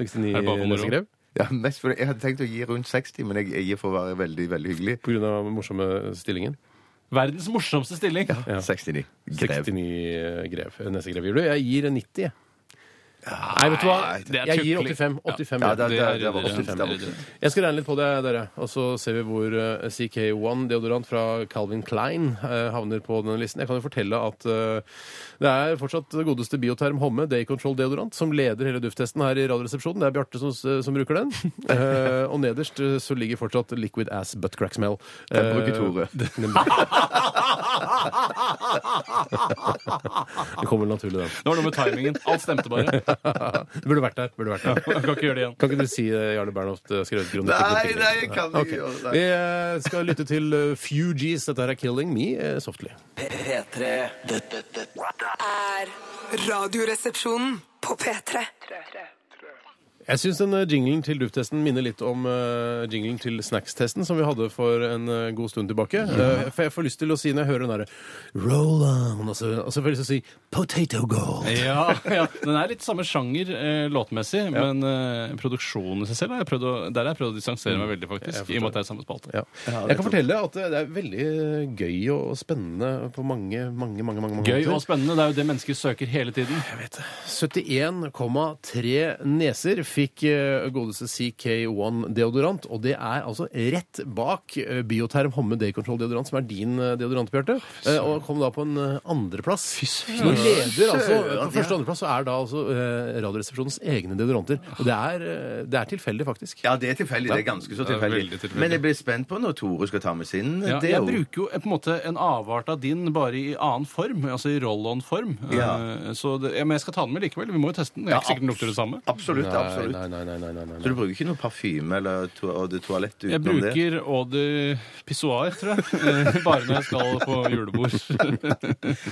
[SPEAKER 4] Er det bare for
[SPEAKER 3] 69
[SPEAKER 4] moro?
[SPEAKER 3] nesegrev?
[SPEAKER 5] Ja, mest for, jeg hadde tenkt å gi rundt 60, men jeg, jeg gir for å være veldig, veldig hyggelig.
[SPEAKER 3] På grunn av den morsomme stillingen.
[SPEAKER 4] Verdens morsomste stilling.
[SPEAKER 3] Ja.
[SPEAKER 5] 69 grev.
[SPEAKER 3] 69 grev. Nesegrev gir du. Jeg gir en 90, jeg. Nei, vet du hva?
[SPEAKER 4] det er
[SPEAKER 3] Jeg gir
[SPEAKER 4] tukling.
[SPEAKER 3] 85. 85
[SPEAKER 5] Ja,
[SPEAKER 3] ja.
[SPEAKER 5] det, det, det,
[SPEAKER 4] Det er
[SPEAKER 5] var
[SPEAKER 4] ryddigere.
[SPEAKER 5] 85.
[SPEAKER 4] Det er ryddigere.
[SPEAKER 3] Jeg skal regne litt på det, dere. Og så ser vi hvor eh, CK1 deodorant fra Calvin Klein eh, havner på denne listen. Jeg kan jo fortelle at eh, det er fortsatt det godeste Bioterm Homme Day Control deodorant som leder hele dufttesten her i Radioresepsjonen. Det er Bjarte som, som bruker den. Eh, og nederst eh, så ligger fortsatt Liquid Ass Butt Crack Smell. Eh,
[SPEAKER 5] Den bruker Tore.
[SPEAKER 3] Det kommer vel naturlig, den.
[SPEAKER 4] Det var noe med timingen. Alt stemte bare.
[SPEAKER 3] Du burde vært der. Burde vært der.
[SPEAKER 4] Jeg kan ikke gjøre det igjen.
[SPEAKER 3] Kan ikke du si eh, Jarle Bernhoft eh, skrevet kronikk?
[SPEAKER 5] Nei, nei, jeg kan ikke
[SPEAKER 3] Ok.
[SPEAKER 5] gjøre det.
[SPEAKER 3] Vi eh, skal lytte til eh, Fugees. Dette her er 'Killing Me' eh, softly.
[SPEAKER 2] P3 Dette
[SPEAKER 6] er radioresepsjonen på P3.
[SPEAKER 3] Jeg syns den eh, jinglen til dufttesten minner litt om eh, jinglen til snackstesten som vi hadde for en eh, god stund tilbake.
[SPEAKER 4] Mhm.
[SPEAKER 3] Eh, for jeg får lyst til å si når jeg hører den derre Roll on, og så, og så får jeg lyst til å si Potato Gold.
[SPEAKER 4] Ja, ja, Den er litt samme sjanger eh, låtmessig, men eh, produksjonen i seg selv har jeg prøvd å, der har jeg prøvd å distansere meg veldig, faktisk. I og med at det er samme spalte.
[SPEAKER 3] Ja. Jeg kan fortelle at eh, det er veldig eh, gøy og spennende på mange, mange, mange, mange, mange
[SPEAKER 4] Gøy
[SPEAKER 3] måter.
[SPEAKER 4] og spennende. Det er jo det mennesker søker hele tiden.
[SPEAKER 3] 71,3 neser fikk eh, godeste CK1 deodorant, og det er altså rett bak eh, Bioterm Homme Day Control deodorant, som er din eh, deodorant, Bjarte, eh, og kom da på en eh, andreplass. Så nå leder altså På første og andreplass så er da altså eh, Radioresepsjonens egne deodoranter. Og det er, eh, det er tilfeldig, faktisk.
[SPEAKER 5] Ja, det er tilfeldig. Det er ganske så
[SPEAKER 4] Det er
[SPEAKER 5] tilfeldig.
[SPEAKER 4] veldig tilfeldig.
[SPEAKER 5] Men jeg blir spent på når Tore skal ta med sin.
[SPEAKER 4] Ja,
[SPEAKER 5] det er
[SPEAKER 4] jeg
[SPEAKER 5] jo-
[SPEAKER 4] bruker jo eh, på en måte en avart av din bare i annen form, altså i roll-on-form.
[SPEAKER 5] Ja.
[SPEAKER 4] Eh, Så det, ja, men jeg skal ta den med likevel. Vi må jo teste den. Jeg er ikke sikker den lukter det samme.
[SPEAKER 5] Absolutt. absolutt.
[SPEAKER 3] Nei, nei, nei, nei, nei, nei,
[SPEAKER 5] Så du
[SPEAKER 3] nei.
[SPEAKER 5] bruker ikke noe parfyme eller to og det toalett
[SPEAKER 4] Jeg
[SPEAKER 5] utenom det?
[SPEAKER 4] bruker eau de pissoir, tror jeg. Eh, Bare når jeg skal på julebord.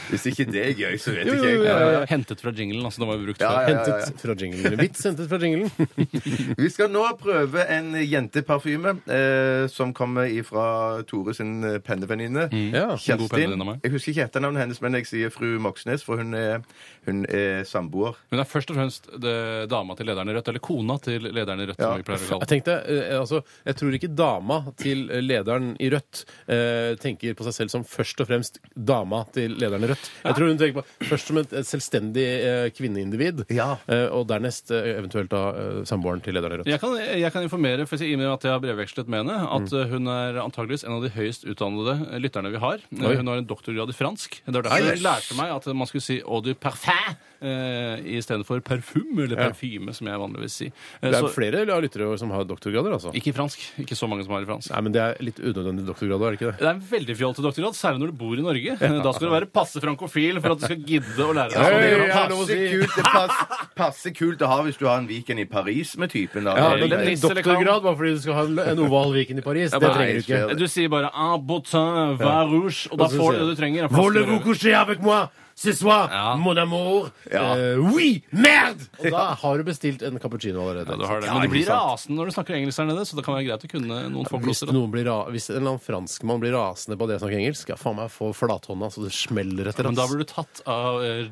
[SPEAKER 5] Hvis ikke det er gøy, så vet
[SPEAKER 3] Jo, jo,
[SPEAKER 5] ikke jeg.
[SPEAKER 3] jo, ja, ja.
[SPEAKER 4] Hentet fra jinglen, altså. Den var jo brukt
[SPEAKER 5] Ja,
[SPEAKER 4] før.
[SPEAKER 5] ja, ja,
[SPEAKER 3] Hentet fra jinglen. Vits hentet fra jinglen.
[SPEAKER 5] Vi skal nå prøve en jenteparfyme eh, som kommer ifra Tore sin eh, pennevenninne.
[SPEAKER 3] Ja, en
[SPEAKER 4] god pennevenninne av meg.
[SPEAKER 5] Jeg husker ikke etternavnet hennes, men jeg sier fru Moxnes, for hun er, hun er samboer.
[SPEAKER 4] Hun er først og fremst det, dama til lederen i Rødt, Eller kona til lederen i Rødt, som vi pleier å kalle
[SPEAKER 3] Jeg
[SPEAKER 4] den.
[SPEAKER 3] tenkte, eh, altså, jeg tror ikke dama til lederen i Rødt eh, tenker på seg selv som først og fremst dama til lederen i Rødt. Jeg tror hun tenker på først som et, et selvstendig eh, kvinneindivid,
[SPEAKER 5] Ja.
[SPEAKER 3] eh, og dernest eh, eventuelt da eh, samboeren til lederen i Rødt.
[SPEAKER 4] Jeg kan, jeg kan informere for å si, i og med at jeg har brevvekslet med henne, at
[SPEAKER 3] Mm.
[SPEAKER 4] eh, hun er antageligvis en av de høyest utdannede lytterne vi har. Eh,
[SPEAKER 3] Oi.
[SPEAKER 4] Hun har en doktorgrad i fransk. Det var derfor
[SPEAKER 3] Ah,
[SPEAKER 4] hun
[SPEAKER 3] yes.
[SPEAKER 4] lærte meg at man skulle si eau de parfum eh, istedenfor parfum, eller parfyme, som jeg vanligvis sier. Eh,
[SPEAKER 3] Det er
[SPEAKER 4] så-
[SPEAKER 3] flere av lyttere som har doktorgrader, altså.
[SPEAKER 4] Ikke i fransk. Ikke så mange som har i fransk.
[SPEAKER 3] Nei, men det er litt unødvendig doktorgrad, er det ikke det?
[SPEAKER 4] Det er en veldig fjollete doktorgrad, særlig når du bor i Norge. Da skal du være passe frankofil for at du skal gidde å lære
[SPEAKER 3] Ja,
[SPEAKER 4] deg
[SPEAKER 3] ja,
[SPEAKER 4] sånn.
[SPEAKER 3] ja. er lov å
[SPEAKER 5] Passe
[SPEAKER 3] si.
[SPEAKER 5] kult, det pass, passe kult å ha hvis du har en Viken i Paris med typen. Da.
[SPEAKER 3] Ja,
[SPEAKER 4] men
[SPEAKER 3] men
[SPEAKER 4] det-
[SPEAKER 3] en doktorgrad bare fordi du skal ha en- en oval Viken i Paris, det
[SPEAKER 5] bare-
[SPEAKER 3] trenger du ikke.
[SPEAKER 5] Nei,
[SPEAKER 4] Du sier bare ah, botin, vin rouge, og da
[SPEAKER 3] Og så
[SPEAKER 4] får
[SPEAKER 3] sier
[SPEAKER 4] du det du trenger. av
[SPEAKER 3] Voulez-vous
[SPEAKER 4] flasker.
[SPEAKER 3] coucher avec moi ce soir,
[SPEAKER 4] Ja.
[SPEAKER 3] mon amour?
[SPEAKER 5] Ja.
[SPEAKER 3] Eh, oui! Merde! Og da har du bestilt en cappuccino allerede.
[SPEAKER 4] Ja, du har det.
[SPEAKER 5] Ja,
[SPEAKER 4] Men de blir
[SPEAKER 5] ikke sant.
[SPEAKER 4] rasende når du snakker engelsk der nede, så det kan være greit å kunne noen få
[SPEAKER 3] Hvis,
[SPEAKER 4] glosser. da.
[SPEAKER 3] noen blir ra Hvis en eller annen franskmann blir rasende på det å snakke engelsk, skal jeg faen meg få flathånda så det smeller etter.
[SPEAKER 4] Men da
[SPEAKER 3] ass.
[SPEAKER 4] blir du tatt av eh,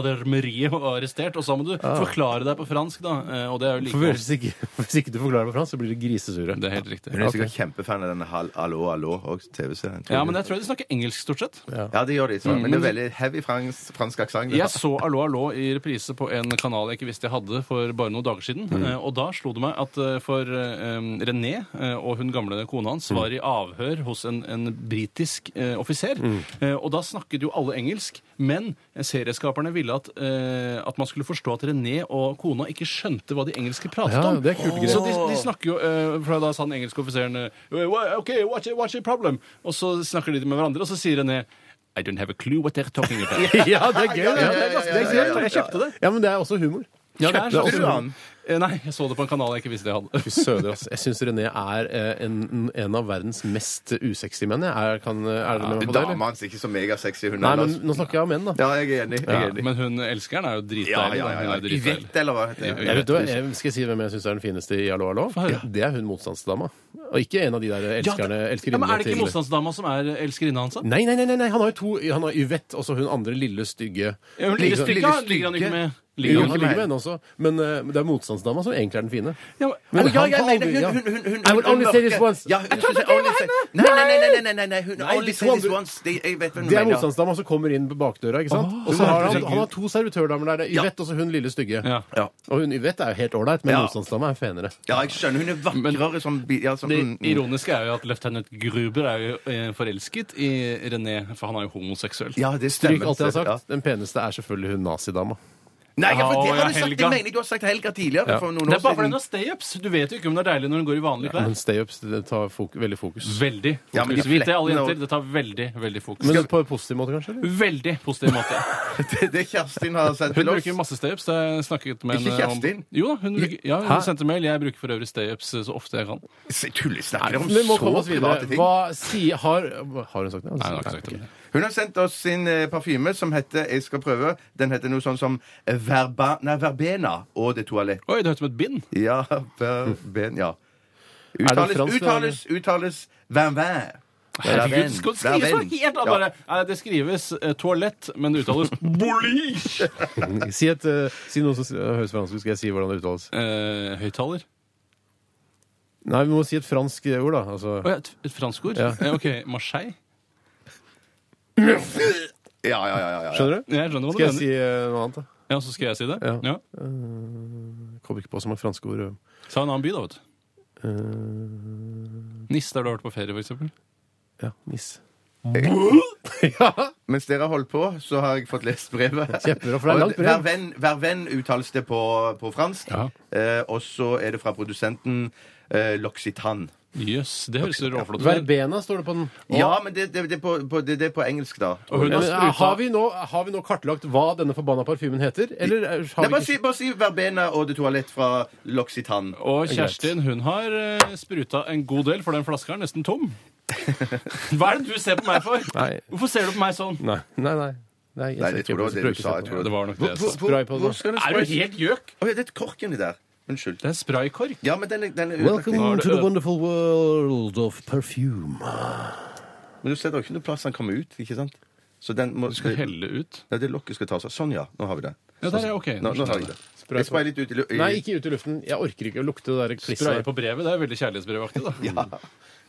[SPEAKER 4] gendarmeriet og arrestert, og så må du forklare deg på fransk, da. Eh, og det er jo
[SPEAKER 3] For
[SPEAKER 4] like
[SPEAKER 3] hvis ikke, hvis ikke du forklarer det på fransk, så blir du grisesure.
[SPEAKER 4] Det er helt riktig.
[SPEAKER 5] Hun er sikkert kjempefan av denne Hall- Hallo, hallo og TV-serien.
[SPEAKER 4] Ja, men jeg tror de snakker engelsk, stort sett.
[SPEAKER 5] ja, det gjør de.
[SPEAKER 3] Mm,
[SPEAKER 5] Så. Men det er veldig heavy fransk, fransk aksent.
[SPEAKER 4] Jeg så Allo Allo i reprise på en kanal jeg ikke visste jeg hadde for bare noen dager siden.
[SPEAKER 3] Mm.
[SPEAKER 4] eh, Og da slo det meg at eh, for eh, um, René eh, og hun gamle kona hans var
[SPEAKER 3] Mm.
[SPEAKER 4] i avhør hos en, en britisk eh, offiser. Eh, Og da snakket jo alle engelsk, men serieskaperne ville at, eh, at man skulle forstå at René og kona ikke skjønte hva de engelske pratet
[SPEAKER 3] Ja,
[SPEAKER 4] om.
[SPEAKER 3] det er kult grep.
[SPEAKER 4] Så de, de snakker jo eh, For da sa den engelske offiseren eh, «Wha- OK, what's, what's your problem? Og så snakker de med hverandre, og så sier René I don't have a clue what they're talking about.
[SPEAKER 3] Ja, det er gøy.
[SPEAKER 5] Ja,
[SPEAKER 3] det.
[SPEAKER 5] ja, ja, ja, ja, ja, ja.
[SPEAKER 4] Jeg kjøpte det.
[SPEAKER 3] Ja, men det er også humor.
[SPEAKER 4] Ja, det er
[SPEAKER 3] Kjøpte
[SPEAKER 4] sånn.
[SPEAKER 3] også
[SPEAKER 5] du
[SPEAKER 3] humor.
[SPEAKER 5] han?
[SPEAKER 4] Eh, Nei, jeg så det på en kanal jeg ikke visste jeg hadde.
[SPEAKER 3] Fy søder, ass. Jeg syns René er eh, en, en av verdens mest usexy menn. jeg. Er, kan, er det med meg på det?
[SPEAKER 5] Dama
[SPEAKER 3] eller?
[SPEAKER 5] hans er ikke så megasexy. Hun
[SPEAKER 3] Nei,
[SPEAKER 5] er,
[SPEAKER 3] men
[SPEAKER 5] altså.
[SPEAKER 3] nå snakker jeg om menn, da.
[SPEAKER 5] Ja, jeg er enig. Jeg er enig.
[SPEAKER 4] Men hun elskeren er jo dritdeilig.
[SPEAKER 5] Ja, ja,
[SPEAKER 4] da.
[SPEAKER 5] ja,
[SPEAKER 4] Hun
[SPEAKER 5] ja.
[SPEAKER 4] er
[SPEAKER 5] I
[SPEAKER 4] dritdeilig.
[SPEAKER 5] vett, eller hva? heter det?
[SPEAKER 4] Ja,
[SPEAKER 3] Jeg vet, hva, jeg skal si hvem jeg syns er den fineste i Hallo, hallo.
[SPEAKER 4] Få høre.
[SPEAKER 3] Det er hun motstandsdama. Og ikke en av de der
[SPEAKER 4] Ja, det-
[SPEAKER 3] elskerne,
[SPEAKER 4] ja, men
[SPEAKER 3] elskerinnene
[SPEAKER 4] Er det ikke
[SPEAKER 3] til
[SPEAKER 4] motstandsdama som er elskerinna hans? da?
[SPEAKER 3] Nei, nei, nei, nei, nei, han har jo to. Han har Yvette og så hun andre lille stygge.
[SPEAKER 4] Ja, hun ligger
[SPEAKER 3] Liksom-
[SPEAKER 4] stygge,
[SPEAKER 5] lille
[SPEAKER 4] ligger han ikke
[SPEAKER 5] stygge.
[SPEAKER 4] med?
[SPEAKER 3] Jo,
[SPEAKER 4] Ligger
[SPEAKER 3] han
[SPEAKER 4] han ikke
[SPEAKER 3] ligger
[SPEAKER 4] med?
[SPEAKER 3] med henne også, men eh, det er motstandsdama som egentlig er den fine.
[SPEAKER 4] Ja, men-
[SPEAKER 3] Men
[SPEAKER 5] Men ja,
[SPEAKER 3] han
[SPEAKER 5] jeg
[SPEAKER 3] kan
[SPEAKER 5] mener,
[SPEAKER 3] aldri- ja.
[SPEAKER 5] hun, hun, hun, hun,
[SPEAKER 3] I will
[SPEAKER 5] hun
[SPEAKER 3] only say this
[SPEAKER 5] mørker.
[SPEAKER 3] once.
[SPEAKER 5] Ja, hun, hun, hun, only say, nei, nei, nei, nei, nei, nei, nei, hun only
[SPEAKER 3] this
[SPEAKER 5] say this
[SPEAKER 3] one.
[SPEAKER 5] once. Det, jeg vet hva hun
[SPEAKER 3] Det er
[SPEAKER 5] mener.
[SPEAKER 3] motstandsdama som kommer inn på bakdøra. ikke sant? og så har han, han har to servitørdamer der. Det er
[SPEAKER 5] Ja.
[SPEAKER 3] Yvette og så hun lille stygge.
[SPEAKER 4] Ja.
[SPEAKER 5] Ja.
[SPEAKER 3] Og hun Yvette er jo helt ålreit, men
[SPEAKER 5] Ja.
[SPEAKER 3] motstandsdama er fenere.
[SPEAKER 5] Ja, jeg skjønner. Hun er vakrere som bi- ja, som,
[SPEAKER 4] Det
[SPEAKER 5] mm, mm.
[SPEAKER 4] ironiske er jo at løytnant Gruber er jo eh, forelsket i René, for han er jo homoseksuell.
[SPEAKER 5] Ja, det
[SPEAKER 3] Stryk
[SPEAKER 5] stemmer.
[SPEAKER 3] alt jeg har
[SPEAKER 5] Ja.
[SPEAKER 3] sagt. Den peneste er selvfølgelig hun nazidama.
[SPEAKER 5] Nei, ja, for det
[SPEAKER 4] Å,
[SPEAKER 5] har
[SPEAKER 4] ja,
[SPEAKER 5] du sagt.
[SPEAKER 4] Helga.
[SPEAKER 5] Det mener jeg du har sagt Helga tidligere. For noen
[SPEAKER 4] Det
[SPEAKER 5] år
[SPEAKER 4] er bare fordi
[SPEAKER 5] siden.
[SPEAKER 4] hun har stay-ups. Du vet jo ikke om det er deilig når hun går i vanlige klær.
[SPEAKER 3] Men stay-ups det tar fok veldig fokus.
[SPEAKER 4] Veldig.
[SPEAKER 5] Ja, men de
[SPEAKER 4] så vidt det er alle
[SPEAKER 5] flettene og-
[SPEAKER 4] jenter. Det tar veldig, veldig fokus.
[SPEAKER 3] Men på en positiv måte, kanskje? eller?
[SPEAKER 4] Veldig positiv måte.
[SPEAKER 5] Det, det Kjerstin har sendt
[SPEAKER 4] Hun
[SPEAKER 5] til oss.
[SPEAKER 4] bruker masse stay-ups. Det har jeg snakket med
[SPEAKER 5] Ikke
[SPEAKER 4] henne om.
[SPEAKER 5] Kjerstin?
[SPEAKER 4] Jo da, hun, bruker, ja,
[SPEAKER 3] Hæ?
[SPEAKER 4] hun sendte mail. Jeg bruker for øvrig stay-ups eh, så ofte jeg kan.
[SPEAKER 5] Se, Tulle snakker om
[SPEAKER 3] Vi må komme
[SPEAKER 5] så
[SPEAKER 3] oss videre.
[SPEAKER 5] private ting.
[SPEAKER 3] Hva sier Har, har hun sagt det?
[SPEAKER 4] Nei, hun har ikke sagt det.
[SPEAKER 5] Hun har sendt oss sin eh, parfyme som heter Jeg skal prøve. Den heter noe sånn som Verba, nei, Verbena og det toalett.
[SPEAKER 4] Oi, det hørtes ut som et bind.
[SPEAKER 5] Ja, Verben, ja.
[SPEAKER 3] det
[SPEAKER 5] Uttales,
[SPEAKER 3] fransk,
[SPEAKER 5] uttales, uttales Vervin.
[SPEAKER 4] Herregud, skal det skrives noe helt annet? Bare, nei, det skrives eh, toalett, men det uttales bolige.
[SPEAKER 3] det. Si, et, eh, si noe som eh, høres fransk ut, skal jeg si hvordan det uttales.
[SPEAKER 4] Eh, høyttaler.
[SPEAKER 3] Nei, vi må si et fransk ord, da. Altså.
[SPEAKER 4] Å ja, et, et fransk ord?
[SPEAKER 3] Ja.
[SPEAKER 4] Eh, OK, Marseille?
[SPEAKER 5] Ja, ja, ja. ja, ja.
[SPEAKER 3] Skjønner du?
[SPEAKER 4] Jeg skjønner hva du
[SPEAKER 3] Skal jeg
[SPEAKER 4] mener.
[SPEAKER 3] si eh, noe annet, da?
[SPEAKER 4] Ja, så skal jeg si det?
[SPEAKER 3] Ja.
[SPEAKER 4] Ja.
[SPEAKER 3] Kom ikke på så mange franske ord.
[SPEAKER 4] Ta en annen by, da, vet du.
[SPEAKER 3] Eh.
[SPEAKER 4] Nisse, der du har vært på ferie, for eksempel.
[SPEAKER 3] Ja, niss.
[SPEAKER 5] Mens dere har holdt på, så har jeg fått lest brevet.
[SPEAKER 3] Kjempebra, for det er langt brev.
[SPEAKER 5] Verven, verven uttales det på, på fransk.
[SPEAKER 4] Ja.
[SPEAKER 5] Eh, og så er det fra produsenten eh, L'Occitane.
[SPEAKER 4] Jøss, det høres jo råflott ut.
[SPEAKER 3] Verbena står det på den.
[SPEAKER 5] Ja, men det, det, det, er på, på, det, det er på engelsk, da.
[SPEAKER 4] Og hun
[SPEAKER 3] Ja,
[SPEAKER 4] har
[SPEAKER 3] men, eh,
[SPEAKER 4] spruta-
[SPEAKER 3] har, vi nå, har vi nå kartlagt hva denne forbanna parfymen heter? Eller er- har
[SPEAKER 5] Nei,
[SPEAKER 3] vi
[SPEAKER 5] bare, si, bare si verbena og det toalett fra L'Occitane.
[SPEAKER 4] Og Kjerstin hun har eh, spruta en god del, for den flaska er nesten tom. Hva er det du ser på meg for?
[SPEAKER 3] Nei.
[SPEAKER 4] Hvorfor ser du på meg sånn?
[SPEAKER 3] Nei, nei. nei. nei, jeg
[SPEAKER 5] Nei,
[SPEAKER 3] ser ikke
[SPEAKER 5] jeg tror det
[SPEAKER 3] på-
[SPEAKER 5] var det du
[SPEAKER 3] prøver ikke
[SPEAKER 5] sa.
[SPEAKER 3] å se på
[SPEAKER 5] Jeg tror
[SPEAKER 4] Det
[SPEAKER 5] det. altså.
[SPEAKER 4] var nok det jeg sa.
[SPEAKER 3] Spray på den.
[SPEAKER 5] skal den
[SPEAKER 4] Er du helt gjøk?
[SPEAKER 5] Å, ja, det er korken i der. Unnskyld.
[SPEAKER 4] Det er spraykork.
[SPEAKER 5] Ja, men den er, den er
[SPEAKER 4] Nå er
[SPEAKER 3] Welcome
[SPEAKER 4] det
[SPEAKER 3] to the
[SPEAKER 4] øl.
[SPEAKER 3] wonderful world of perfume.
[SPEAKER 5] Men du ser det er ikke noe plass han kommer ut, ikke sant? Så den må
[SPEAKER 4] Du skal helle ut.
[SPEAKER 5] Nei, det lokket skal tas av. Sånn, ja. Nå har vi det.
[SPEAKER 4] Ja, der er jeg ok.
[SPEAKER 5] Nå, nå har jeg det.
[SPEAKER 3] Sprøyt
[SPEAKER 5] Jeg speier litt ut i lu- i-
[SPEAKER 3] Nei, ikke ut i luften. Jeg orker ikke å lukte det der
[SPEAKER 4] Spraye
[SPEAKER 3] klisset.
[SPEAKER 4] på brevet. Det er veldig kjærlighetsbrevaktig, da.
[SPEAKER 5] Ja.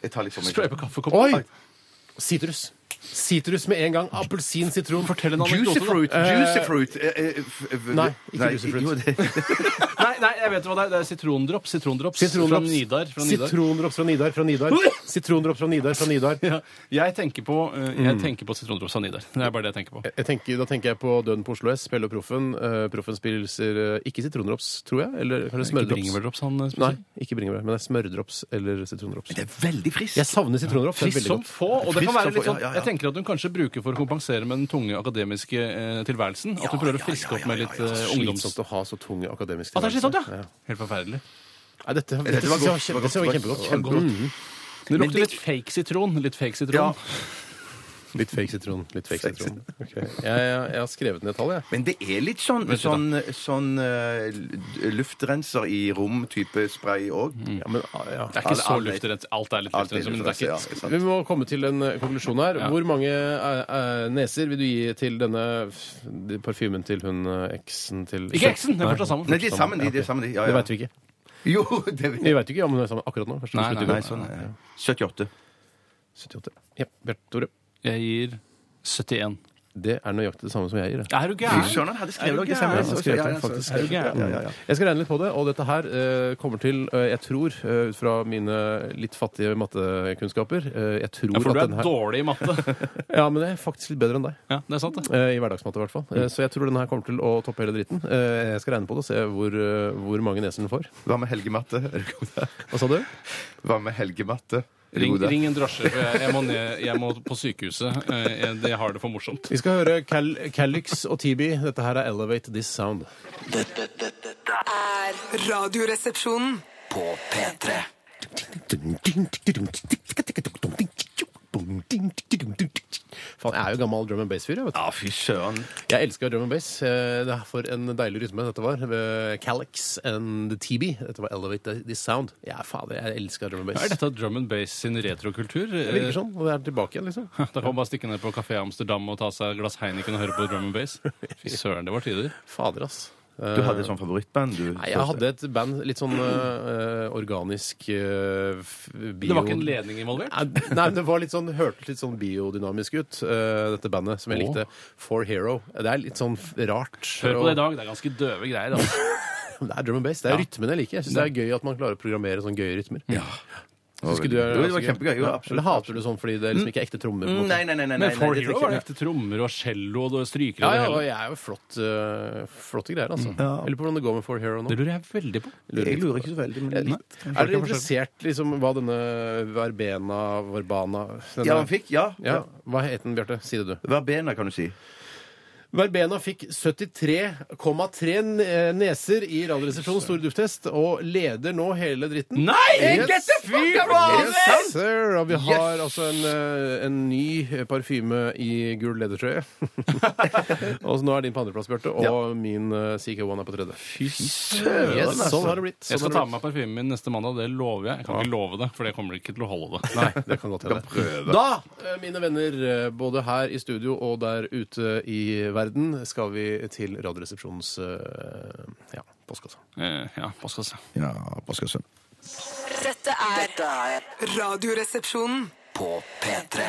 [SPEAKER 5] Jeg tar litt for meg.
[SPEAKER 4] Spraye på kaffekoppen.
[SPEAKER 3] Oi! Sitrus. Sitrus med en gang. Appelsin, sitron. Fortell en
[SPEAKER 5] Juicy fruit. Juicy
[SPEAKER 3] Eh,
[SPEAKER 5] fruit. Eh, eh, f- f-
[SPEAKER 3] nei, ikke juicy fruit.
[SPEAKER 5] jo, det-
[SPEAKER 4] Nei, nei, jeg vet hva det er. Det er sitrondrops. Sitrondrops fra
[SPEAKER 3] Sitrondrops
[SPEAKER 4] Nidar. Fra Nidar.
[SPEAKER 3] Sitrondrops fra Nidar. Fra Nidar. Sitrondrops fra Nidar. Fra Nidar.
[SPEAKER 4] Ja. Jeg tenker på, eh, jeg tenker på sitrondrops fra Nidar. Det er bare det jeg tenker på.
[SPEAKER 3] Jeg tenker, da tenker jeg på Døden på Oslo S, Pelle og Proffen. Eh, proffen spiser eh, ikke sitrondrops, tror jeg. Eller kanskje
[SPEAKER 4] Ikke
[SPEAKER 3] smørdrops.
[SPEAKER 4] bringebærdrops han eh,
[SPEAKER 3] Nei,
[SPEAKER 4] spiser.
[SPEAKER 3] ikke bringebær, men det er smørdrops eller sitrondrops.
[SPEAKER 5] det er veldig friskt.
[SPEAKER 3] Jeg savner sitrondrops. det er
[SPEAKER 4] Frisk
[SPEAKER 3] veldig
[SPEAKER 4] som
[SPEAKER 3] godt.
[SPEAKER 4] få. og det kan
[SPEAKER 5] Frisk
[SPEAKER 4] være
[SPEAKER 5] som
[SPEAKER 4] litt
[SPEAKER 5] få,
[SPEAKER 4] sånn,
[SPEAKER 5] ja, ja, ja.
[SPEAKER 4] Jeg tenker at hun kanskje bruker for å kompensere med den tunge akademiske eh, tilværelsen. At hun prøver å friske opp med litt eh, ungdoms...
[SPEAKER 3] Slitsomt å ha så tung akademisk
[SPEAKER 4] At det er slitsomt,
[SPEAKER 3] tilværelse.
[SPEAKER 4] ja! Helt forferdelig.
[SPEAKER 3] Nei, dette, dette,
[SPEAKER 5] Dette var godt,
[SPEAKER 3] synes jeg
[SPEAKER 5] var
[SPEAKER 3] var kjempe- dette var
[SPEAKER 5] godt, var-
[SPEAKER 3] kjempegodt.
[SPEAKER 5] var godt.
[SPEAKER 3] Kjempe-
[SPEAKER 4] Det lukter
[SPEAKER 5] det-
[SPEAKER 4] litt fake sitron. Litt fake
[SPEAKER 5] Ja.
[SPEAKER 4] sitron.
[SPEAKER 3] Litt fake sitron. Litt fake sitron. Ok. Jeg, jeg, jeg har skrevet ned tallet, jeg.
[SPEAKER 5] Men det er litt sånn, sånn, sånn eh, l- luftrenser i rom-type spray òg.
[SPEAKER 3] Ja, men, ah, ja.
[SPEAKER 4] Det er ikke
[SPEAKER 5] Ja,
[SPEAKER 4] så
[SPEAKER 5] det er-
[SPEAKER 4] luftrent. Alt er litt
[SPEAKER 5] Alt er
[SPEAKER 4] luftrent. Men det er
[SPEAKER 5] luftrenser,
[SPEAKER 4] ikke
[SPEAKER 5] ja, ikke sant.
[SPEAKER 3] Vi må komme til en eh, konklusjon her.
[SPEAKER 4] Ja.
[SPEAKER 3] Hvor mange eh, eh, neser vil du gi til denne f- de- parfymen til hun eh, eksen til
[SPEAKER 4] Ikke eksen! Det er fortsatt sammen.
[SPEAKER 5] Nei, de er sammen, de. de er sammen, de. Ja,
[SPEAKER 3] Det
[SPEAKER 5] ja.
[SPEAKER 3] veit vi ikke.
[SPEAKER 5] Jo, det vet
[SPEAKER 3] Vi vet ikke om hun er sammen akkurat nå. Kanskje hun
[SPEAKER 4] Nei,
[SPEAKER 3] slutter i
[SPEAKER 5] Nei,
[SPEAKER 3] går.
[SPEAKER 5] sånn er det. 78.
[SPEAKER 3] 78. Ja, Bjarte Tore.
[SPEAKER 4] Jeg gir 71.
[SPEAKER 3] Det er nøyaktig det samme som jeg gir. det.
[SPEAKER 4] Er du
[SPEAKER 5] Fy
[SPEAKER 4] gæren?
[SPEAKER 5] søren, han hadde skrevet
[SPEAKER 4] Er
[SPEAKER 5] dere
[SPEAKER 4] du
[SPEAKER 5] sammen.
[SPEAKER 3] Ja, jeg
[SPEAKER 4] gæren?
[SPEAKER 5] så-
[SPEAKER 3] har skrevet
[SPEAKER 5] ja,
[SPEAKER 3] det,
[SPEAKER 5] ja, så-
[SPEAKER 3] faktisk.
[SPEAKER 4] Er du gæren?
[SPEAKER 5] Ja, ja, ja.
[SPEAKER 3] Jeg skal regne litt på det, og dette her eh, kommer til, eh, jeg tror, eh, ut fra mine litt fattige mattekunnskaper eh, Jeg tror
[SPEAKER 4] Ja, for du
[SPEAKER 3] at
[SPEAKER 4] er
[SPEAKER 3] den her
[SPEAKER 4] dårlig i matte.
[SPEAKER 3] Ja, men jeg er faktisk litt bedre enn deg.
[SPEAKER 4] Ja, det er sant, det.
[SPEAKER 3] Eh, I hverdagsmatte, i hvert fall. Eh, Så jeg tror denne her kommer til å toppe hele dritten. Eh, Jeg skal regne på det og se hvor, eh, hvor mange neser den får.
[SPEAKER 5] Hva med helgematte? Er du god der?
[SPEAKER 3] Hva sa du?
[SPEAKER 5] Hva med helgematte? Er du
[SPEAKER 4] Ring,
[SPEAKER 5] god der?
[SPEAKER 4] ring en drosje. for Jeg jeg må, ned, jeg må på sykehuset. Eh, Jeg jeg har det for morsomt.
[SPEAKER 3] Vi skal høre Cal Calix og TB. Dette her er Elevate This Sound.
[SPEAKER 2] Dette, dette, dette
[SPEAKER 6] er Radioresepsjonen.
[SPEAKER 2] på P3
[SPEAKER 3] Faen, jeg er jo gammel drum and bass-fyr. Jeg vet du.
[SPEAKER 5] Ja, fy søren.
[SPEAKER 3] Jeg elsker drum and bass. Eh, Det er for en deilig rytme dette var. Ved Calix and the TB. Dette var Elevate This Sound. Ja, fader, jeg elsker drum and
[SPEAKER 4] Er
[SPEAKER 3] bass.
[SPEAKER 4] dette drum and bass sin retrokultur?
[SPEAKER 3] Det virker sånn, og det er tilbake igjen, liksom.
[SPEAKER 4] Da kan man bare stikke ned på Kafé Amsterdam og ta seg et glass Heineken og høre på drum and bass. Fy søren, det var tider.
[SPEAKER 3] Fader, ass.
[SPEAKER 5] Du hadde et sånt favorittband, du?
[SPEAKER 3] Nei, jeg hadde et band, litt sånn eh, organisk eh, f- bio...
[SPEAKER 4] Det var ikke en ledning involvert?
[SPEAKER 3] Nei, nei, men det var litt sånn, hørtes litt sånn biodynamisk ut, eh, dette bandet som jeg
[SPEAKER 4] Åh.
[SPEAKER 3] likte. For Hero. Det er litt sånn f- rart.
[SPEAKER 4] Hør på det i
[SPEAKER 3] og-
[SPEAKER 4] dag. Det er ganske døve greier. Altså.
[SPEAKER 3] Det er drum and bass. Det er rytmen jeg liker. Jeg synes det er gøy at man klarer å programmere sånne gøye rytmer. Husker du, eh,
[SPEAKER 5] Jo, det var kjempegøy. Jo,
[SPEAKER 3] Ja.
[SPEAKER 5] absolutt.
[SPEAKER 3] Eller hater du sånn fordi det liksom ikke er ekte trommer? på en
[SPEAKER 5] Mm,
[SPEAKER 3] måte?
[SPEAKER 5] Nei, nei, nei. nei, nei
[SPEAKER 4] Men
[SPEAKER 5] det
[SPEAKER 4] For
[SPEAKER 5] tenker
[SPEAKER 4] Hero var det
[SPEAKER 5] jeg-
[SPEAKER 4] ekte trommer og cello og
[SPEAKER 3] Ja,
[SPEAKER 4] strykere og det
[SPEAKER 3] ja, og
[SPEAKER 4] hele.
[SPEAKER 3] jeg er jo flott, eh, flotte greier, altså. Jeg lurer på hvordan det går med For Hero nå.
[SPEAKER 4] Det lurer jeg veldig på.
[SPEAKER 5] Jeg lurer ikke så veldig, men Eh, litt.
[SPEAKER 3] Er dere interessert liksom hva denne verbena, verbana denne,
[SPEAKER 5] Ja, han fikk, ja.
[SPEAKER 3] Ja, Hva het den, Bjarte? Si det, du.
[SPEAKER 5] Verbena, kan du si.
[SPEAKER 3] Verbena fikk 73,3 n- eh, neser i Radioresepsjonens store dufttest, og leder nå hele dritten.
[SPEAKER 4] Nei!
[SPEAKER 3] Yes! Yes, sir! Og vi har altså en, eh, en ny parfyme i gul ledertrøye. og så nå er din på andreplass, Bjarte, og min eh, CK1 er på tredje.
[SPEAKER 4] Fy søren!
[SPEAKER 3] Yes,
[SPEAKER 5] altså.
[SPEAKER 3] sånn har det blitt.
[SPEAKER 4] Jeg
[SPEAKER 3] Sånn
[SPEAKER 4] skal
[SPEAKER 3] har
[SPEAKER 4] ta med meg parfymen min neste mandag. Det lover jeg. Jeg kan ikke love det, for det kommer ikke til å holde det.
[SPEAKER 3] Nei, det kan godt hende. Da, eh, mine venner, eh, både her i studio og der ute i verden, skal vi til Radioresepsjonens eh, ja, postkasse.
[SPEAKER 4] Eh, Ja, hva skal jeg si?
[SPEAKER 5] Ja, hva skal jeg si?
[SPEAKER 6] Dette er
[SPEAKER 2] Dette er
[SPEAKER 6] Radioresepsjonen.
[SPEAKER 2] på P3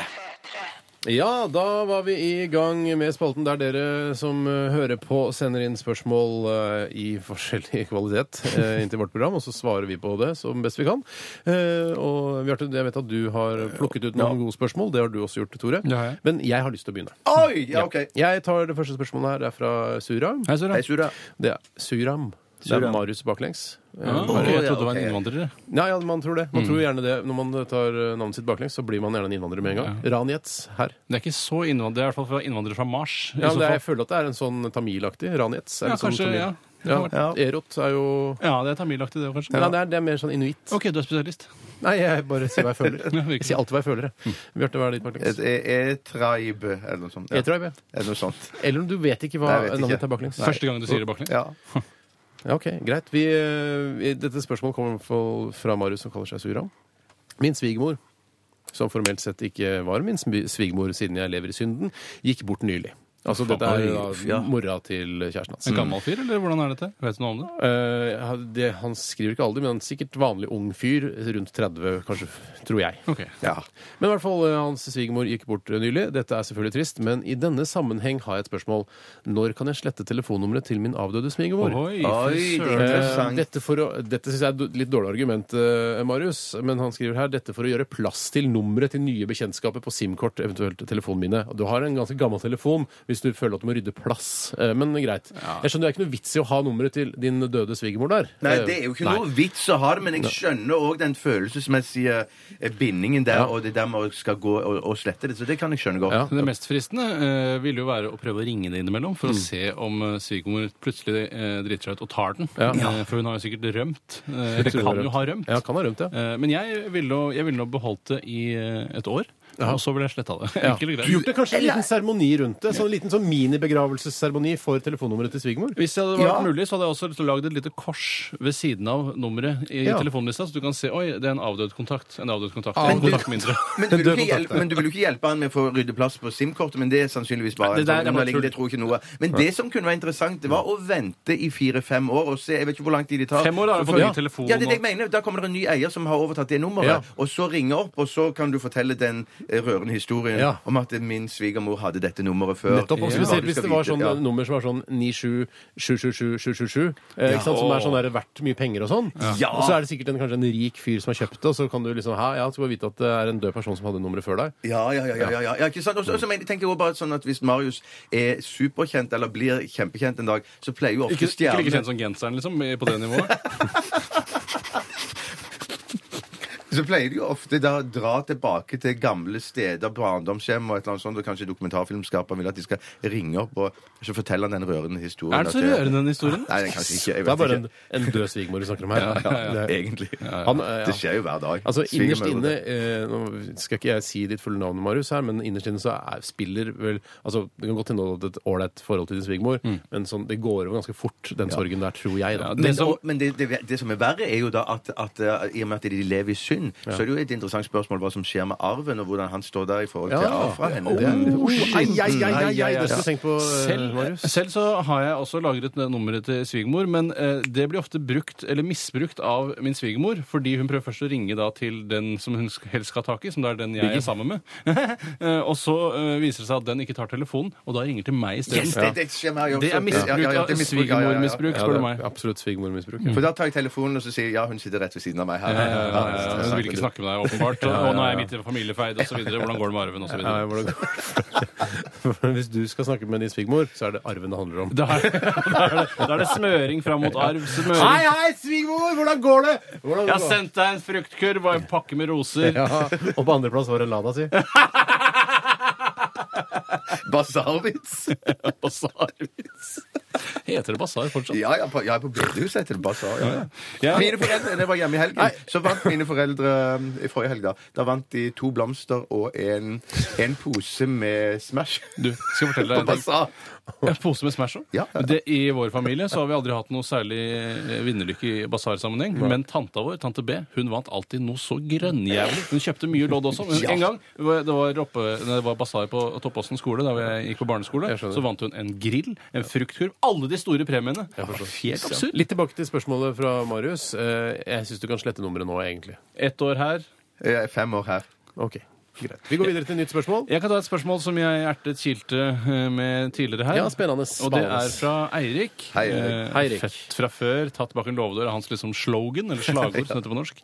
[SPEAKER 3] Ja, da var vi i gang med spalten der dere som eh, hører på, sender inn spørsmål eh, i forskjellig kvalitet eh, inn til vårt program, og så svarer vi på det som best vi kan. Eh, og Bjarte, jeg vet at du har plukket ut noen gode spørsmål. Det har du også gjort, Tore.
[SPEAKER 4] Eh, Det har jeg.
[SPEAKER 3] Men jeg har lyst til å begynne.
[SPEAKER 5] Oi! Ja, OK.
[SPEAKER 3] Jeg tar det første spørsmålet her. Det er fra Sura.
[SPEAKER 4] Hei, Sura.
[SPEAKER 5] Hei, Sura.
[SPEAKER 3] Det er Suram. Det er
[SPEAKER 5] Suram.
[SPEAKER 3] Marius baklengs.
[SPEAKER 4] Ja,
[SPEAKER 3] Ja.
[SPEAKER 4] ok, jeg
[SPEAKER 5] ja,
[SPEAKER 4] trodde det var en
[SPEAKER 5] ok.
[SPEAKER 4] innvandrer.
[SPEAKER 3] Ja, man tror
[SPEAKER 4] Mm.
[SPEAKER 3] det. Man tror gjerne det. Når man tar eh, navnet sitt baklengs, så blir man gjerne en innvandrer med en gang. Ranietz her.
[SPEAKER 4] Det er ikke så innvandrer, det er i hvert fall fra innvandrer fra Mars. i
[SPEAKER 3] Ja, men
[SPEAKER 4] så
[SPEAKER 3] det er,
[SPEAKER 4] fall.
[SPEAKER 3] jeg føler at det er en sånn tamilaktig. Ranietz. er
[SPEAKER 4] Ja,
[SPEAKER 3] litt sånn
[SPEAKER 4] kanskje,
[SPEAKER 3] tamil.
[SPEAKER 4] ja. Det
[SPEAKER 3] ja.
[SPEAKER 4] kan
[SPEAKER 3] Erot er jo
[SPEAKER 4] ja, det er tamilaktig det òg, kanskje.
[SPEAKER 3] Nei, det er, det er mer sånn inuitt.
[SPEAKER 4] OK, du er spesialist.
[SPEAKER 3] Nei, jeg bare sier hva jeg føler.
[SPEAKER 4] Ja, virkelig.
[SPEAKER 3] Jeg sier alltid hva jeg føler. jeg.
[SPEAKER 4] Mm.
[SPEAKER 3] Bjarte, hva er ditt baklengs?
[SPEAKER 5] E-tribe, eller noe sånt. Ja.
[SPEAKER 3] E-tribe. ja.
[SPEAKER 5] Eller noe sånt.
[SPEAKER 3] Eller om du vet ikke hva
[SPEAKER 5] Nei, jeg vet
[SPEAKER 3] navnet
[SPEAKER 5] ikke.
[SPEAKER 3] ditt er baklengs.
[SPEAKER 4] Første gang du sier det baklengs.
[SPEAKER 5] Ja.
[SPEAKER 3] Ja, ok, greit. Vi, eh, vi, dette spørsmålet kommer fra- fra Marius, som kaller seg Suram. Min svigermor som formelt sett ikke var min smi- svigermor siden jeg lever i synden, gikk bort nylig. Altså, dette er
[SPEAKER 5] Oi, ja.
[SPEAKER 3] da mora til kjæresten hans.
[SPEAKER 4] En gammel fyr, eller hvordan er dette? Vet du noe om det?
[SPEAKER 3] Eh, han- det, han skriver ikke alder, men han er sikkert vanlig ung fyr. Rundt 30, kanskje, tror jeg.
[SPEAKER 4] Ok.
[SPEAKER 5] Ja.
[SPEAKER 3] Men i hvert fall, eh, hans svigermor gikk bort eh, nylig. Dette er selvfølgelig trist, men i denne sammenheng har jeg et spørsmål. Når kan jeg slette telefonnummeret til min avdøde svigermor?
[SPEAKER 4] Oi,
[SPEAKER 5] Oi,
[SPEAKER 4] fy
[SPEAKER 5] det er
[SPEAKER 4] søren.
[SPEAKER 3] Eh,
[SPEAKER 5] interessant.
[SPEAKER 3] Dette, for å, dette syns jeg er et litt dårlig argument, eh, Marius. Men han skriver her dette for å gjøre plass til nummeret til nye bekjentskaper på SIM-kort, eventuelt telefonminne. Du har en ganske gammel telefon hvis du føler at du må rydde plass. Eh, Men greit. Jeg skjønner det er ikke noe vits i å ha nummeret til din døde svigermor der.
[SPEAKER 5] Nei,
[SPEAKER 3] Eh,
[SPEAKER 5] det er jo ikke
[SPEAKER 3] nei.
[SPEAKER 5] noe vits å ha det, men jeg skjønner òg den følelsesmessige eh, bindingen der,
[SPEAKER 3] Ja.
[SPEAKER 5] og det der med å skal gå og, og slette det, så det kan jeg skjønne godt.
[SPEAKER 3] Ja.
[SPEAKER 4] Det mest fristende eh, ville jo være å prøve å ringe det innimellom for å se om eh, svigermor plutselig eh, driter seg ut og tar den.
[SPEAKER 3] Ja.
[SPEAKER 4] Eh, for hun har jo sikkert rømt. Eh,
[SPEAKER 3] Tror
[SPEAKER 4] kan
[SPEAKER 3] jeg
[SPEAKER 4] jo ha rømt.
[SPEAKER 3] Ja, kan ha rømt, ja.
[SPEAKER 4] Eh, men jeg ville, nå- jeg ville nå beholdt det i eh, et år, og så ville jeg sletta det.
[SPEAKER 3] Ja.
[SPEAKER 4] Enkelt og greit.
[SPEAKER 3] Du gjorde kanskje en liten seremoni rundt det? Sånn en liten sånn minibegravelsesseremoni for telefonnummeret til svigermor?
[SPEAKER 4] Hvis det hadde vært
[SPEAKER 5] Ja.
[SPEAKER 4] mulig, så hadde jeg også lyst til å lage et lite kors ved siden av nummeret i
[SPEAKER 3] Ja.
[SPEAKER 4] telefonlista, så du kan se oi, det er en avdød kontakt. En avdød kontakt.
[SPEAKER 3] Avdød
[SPEAKER 4] En kontakt mindre.
[SPEAKER 5] Men, du vil ikke hjelpe, men du vil jo ikke hjelpe han med å få rydde plass på SIM-kortet, men det er sannsynligvis bare
[SPEAKER 4] Nei,
[SPEAKER 5] en
[SPEAKER 4] det der er bare
[SPEAKER 5] sånn underliggende,
[SPEAKER 4] tull.
[SPEAKER 5] det tror jeg ikke noe. Men det som kunne være interessant, det var å vente i fire-fem år og se Jeg vet ikke hvor lang tid de tar.
[SPEAKER 4] Fem år da har du
[SPEAKER 5] For-
[SPEAKER 4] fått ny
[SPEAKER 5] ja.
[SPEAKER 4] telefon
[SPEAKER 5] Ja, det er det
[SPEAKER 4] og-
[SPEAKER 5] jeg mener. Da kommer det en ny eier som har overtatt det nummeret,
[SPEAKER 3] Ja.
[SPEAKER 5] og så ringer opp, og så kan du fortelle den eh, rørende historien
[SPEAKER 3] Ja.
[SPEAKER 5] om at min svigermor hadde dette nummeret før.
[SPEAKER 3] Nettopp, og
[SPEAKER 5] Ja.
[SPEAKER 3] spesielt
[SPEAKER 5] Du
[SPEAKER 3] hvis
[SPEAKER 5] skal
[SPEAKER 3] det var
[SPEAKER 5] vite,
[SPEAKER 3] sånn
[SPEAKER 5] ja.
[SPEAKER 3] nummer som var sånn 977777, eh, ikke sant, som er sånn der verdt mye penger og sånn.
[SPEAKER 5] Ja.
[SPEAKER 3] Og så er det sikkert en, kanskje en rik fyr som har kjøpt det, og så kan du liksom ha, ja, så får vi vite at det er en død person som hadde nummeret før deg.
[SPEAKER 5] Ja, ja, ja. ja, ja, ja. ja ikke sant? Og
[SPEAKER 4] Mm.
[SPEAKER 5] så og så men- tenker jeg også bare sånn at Hvis Marius er superkjent eller blir kjempekjent en dag, så pleier jo ofte
[SPEAKER 4] Ikke, ikke like
[SPEAKER 5] stjernene
[SPEAKER 4] kjent som genseren, liksom, i- på det nivået.
[SPEAKER 5] Så pleier de jo ofte da å dra tilbake til gamle steder, barndomshjem og et eller annet sånt, og kanskje dokumentarfilmskaper vil at de skal ringe opp og så fortelle han den rørende historien.
[SPEAKER 4] Er den så
[SPEAKER 5] at det-
[SPEAKER 4] rørende, den historien?
[SPEAKER 5] Nei, den er kanskje ikke. Jeg
[SPEAKER 3] Det
[SPEAKER 5] vet
[SPEAKER 3] er bare en,
[SPEAKER 5] ikke.
[SPEAKER 3] en død svigermor du snakker om her.
[SPEAKER 5] Ja,
[SPEAKER 3] Det-
[SPEAKER 5] egentlig.
[SPEAKER 3] Han, eh, ja.
[SPEAKER 5] Det skjer jo hver dag.
[SPEAKER 3] Altså, Innerst
[SPEAKER 5] Svigermødre.
[SPEAKER 3] inne eh, Nå skal ikke jeg si ditt fulle navn, Marius, her, men innerst inne så er, spiller vel altså, Det kan godt hende du har hatt et ålreit forhold til din svigermor, men sånn, det går over ganske fort, den sorgen der, tror jeg. Da.
[SPEAKER 4] Ja,
[SPEAKER 5] Men,
[SPEAKER 4] det som,
[SPEAKER 5] og, men det, det, det som er verre, er jo da at, at eh, i og med at de lever i synd, så er det jo et interessant spørsmål hva som skjer med arven, og hvordan han står der i forhold til arv fra henne. Det er-
[SPEAKER 3] Oh, ai, ai, ai, ai, ai, det skulle
[SPEAKER 5] Ja.
[SPEAKER 3] jeg tenkt på, eh,
[SPEAKER 4] selv,
[SPEAKER 3] Marius.
[SPEAKER 4] selv så har jeg også lagret det nummeret til svigermor, men eh, det blir ofte brukt eller misbrukt av min svigermor, fordi hun prøver først å ringe da til den som hun sk- helst skal ha tak i, som det er den jeg er sammen med. Eh, og så eh, viser det seg at den ikke tar telefonen, og da ringer til meg isteden.
[SPEAKER 5] Yes, det, det skjer meg også.
[SPEAKER 4] Det er misbruk
[SPEAKER 5] Ja, ja, ja,
[SPEAKER 4] av
[SPEAKER 5] det er misbruk, ja, ja, ja.
[SPEAKER 4] svigermormisbruk,
[SPEAKER 3] Ja,
[SPEAKER 4] spør
[SPEAKER 3] det er
[SPEAKER 4] du meg. Mm.
[SPEAKER 3] absolutt svigermormisbruk.
[SPEAKER 5] For da tar jeg telefonen og så sier jeg, ja, hun sitter rett ved siden av meg her.
[SPEAKER 4] Ja, ja, ja, ja, ja. Eh, Hun vil ikke snakke med deg, åpenbart. Og, og nå er jeg midt i familiefeid osv. Hvordan går det med arven osv.?
[SPEAKER 3] Ja, hvordan går det? Hvis du skal snakke med din svigermor, så er det arven det handler om.
[SPEAKER 4] Da er, da, er det, da er det smøring fram mot arv.
[SPEAKER 3] Hei,
[SPEAKER 4] Smøring.
[SPEAKER 3] hei, svigermor! Hvordan går det? Hvordan
[SPEAKER 4] Jeg har
[SPEAKER 3] går det?
[SPEAKER 4] sendt deg en fruktkurv og en pakke med roser.
[SPEAKER 3] Ja, og på andreplass var det Lada si.
[SPEAKER 5] Basarvits!
[SPEAKER 4] Basarvits. Heter det basar fortsatt?
[SPEAKER 5] Ja, ja, på, ja, på bedehuset heter det basar. Ja, ja.
[SPEAKER 4] Ja.
[SPEAKER 5] Mine foreldre, da jeg var hjemme i helgen, så vant mine foreldre um, i forrige helg da, da vant de to blomster og en, en pose med Smash
[SPEAKER 4] Du, skal jeg fortelle
[SPEAKER 5] på
[SPEAKER 4] deg en ting?
[SPEAKER 5] basar.
[SPEAKER 4] En pose med Smash
[SPEAKER 5] Ja, ja, ja.
[SPEAKER 4] Det, I vår familie så har vi aldri hatt noe særlig eh, vinnerlykke i basarsammenheng. Men tanta vår, tante B, hun vant alltid noe så grønnjævlig. Hun kjøpte mye lodd også. Men
[SPEAKER 5] Ja.
[SPEAKER 4] en gang det var, oppe, nei, det var basar på Toppåsen skole, da jeg gikk på barneskole,
[SPEAKER 3] Jeg skjønner.
[SPEAKER 4] så vant hun en grill, en fruktkurv. Alle de store premiene. Det var Helt absurd.
[SPEAKER 3] Litt tilbake til spørsmålet fra Marius. Eh, Jeg syns du kan slette nummeret nå, egentlig.
[SPEAKER 4] Ett år her.
[SPEAKER 5] Jeg er fem år her.
[SPEAKER 3] Ok, greit. Vi går videre til nytt spørsmål.
[SPEAKER 4] Jeg kan ta et spørsmål som jeg ertet kilte eh, med tidligere her.
[SPEAKER 3] Ja, spennende.
[SPEAKER 4] Og det
[SPEAKER 3] Spennende.
[SPEAKER 4] er fra Eirik.
[SPEAKER 5] Hei, Eirik.
[SPEAKER 4] Eh,
[SPEAKER 3] Hei, Eirik.
[SPEAKER 4] Født fra før, tatt bak en låvedør er hans liksom slogan, eller slagord, som det heter på norsk.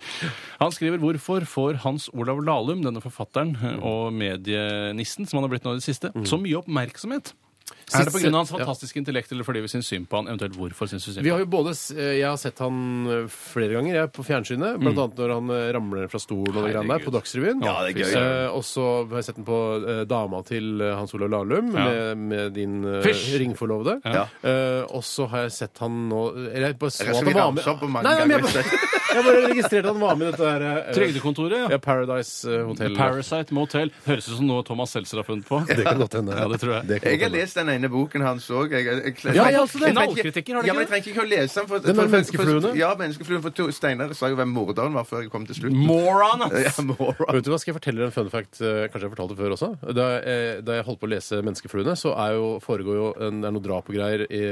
[SPEAKER 4] Han skriver hvorfor får Hans Olav Lahlum, denne forfatteren eh, og medienissen som han har blitt nå i det siste, så mye oppmerksomhet? Er det pga. hans
[SPEAKER 3] Mm. Ja.
[SPEAKER 4] fantastiske intellekt eller fordi vi syns synd på han? Eventuelt hvorfor syns vi synd
[SPEAKER 3] Vi
[SPEAKER 4] på han?
[SPEAKER 3] har jo både, s- eh, Jeg har sett han eh, flere ganger jeg, på fjernsynet. Blant annet når han eh, ramler fra stolen og det greiene der på Dagsrevyen.
[SPEAKER 4] Ja, det er gøy,
[SPEAKER 3] Eh, Og så har jeg sett den på eh, dama til eh, Hans Olav Lahlum
[SPEAKER 4] Ja.
[SPEAKER 3] med, med din eh,
[SPEAKER 4] Fysj!
[SPEAKER 3] ringforlovede.
[SPEAKER 5] Ja.
[SPEAKER 3] Eh, og så har jeg sett han nå Eller jeg bare så
[SPEAKER 5] Jeg
[SPEAKER 3] at
[SPEAKER 5] skal
[SPEAKER 3] han
[SPEAKER 5] vi
[SPEAKER 3] var
[SPEAKER 5] ramse opp
[SPEAKER 3] med.
[SPEAKER 5] på mange
[SPEAKER 3] Nei, nei, men
[SPEAKER 5] ganger.
[SPEAKER 3] jeg bare- Jeg bare registrerte at han var med i dette her eh,
[SPEAKER 4] Trygdekontoret,
[SPEAKER 3] ja,
[SPEAKER 4] ja.
[SPEAKER 3] Paradise eh, Hotel.
[SPEAKER 4] Parasite Motel. Høres ut som noe Thomas Seltzer har funnet på.
[SPEAKER 3] Det kan godt hende.
[SPEAKER 4] Ja, det tror jeg.
[SPEAKER 3] Det kan
[SPEAKER 5] Jeg
[SPEAKER 3] godt
[SPEAKER 5] har
[SPEAKER 3] hende.
[SPEAKER 5] lest den ene boken hans òg. Jeg, jeg, jeg,
[SPEAKER 3] Ja, jeg har også det.
[SPEAKER 5] trenger ikke-
[SPEAKER 4] Knallkritikker, har du
[SPEAKER 5] ja,
[SPEAKER 4] ikke
[SPEAKER 5] men jeg trenger ikke å lese den. For,
[SPEAKER 3] Den
[SPEAKER 5] for,
[SPEAKER 3] om menneskefluene?
[SPEAKER 5] Ja, menneskefluen. For to- Steinar sa jo hvem morderen var før jeg kom til slutten.
[SPEAKER 4] Moron, ass!
[SPEAKER 5] Ja, moron.
[SPEAKER 3] Vet du hva, Skal jeg fortelle dere en fun fact? eh, Kanskje jeg fortalte det før også? Da, eh, da jeg holdt på å lese 'Menneskefluene', så er jo, foregår jo en, det er noe drap og greier i,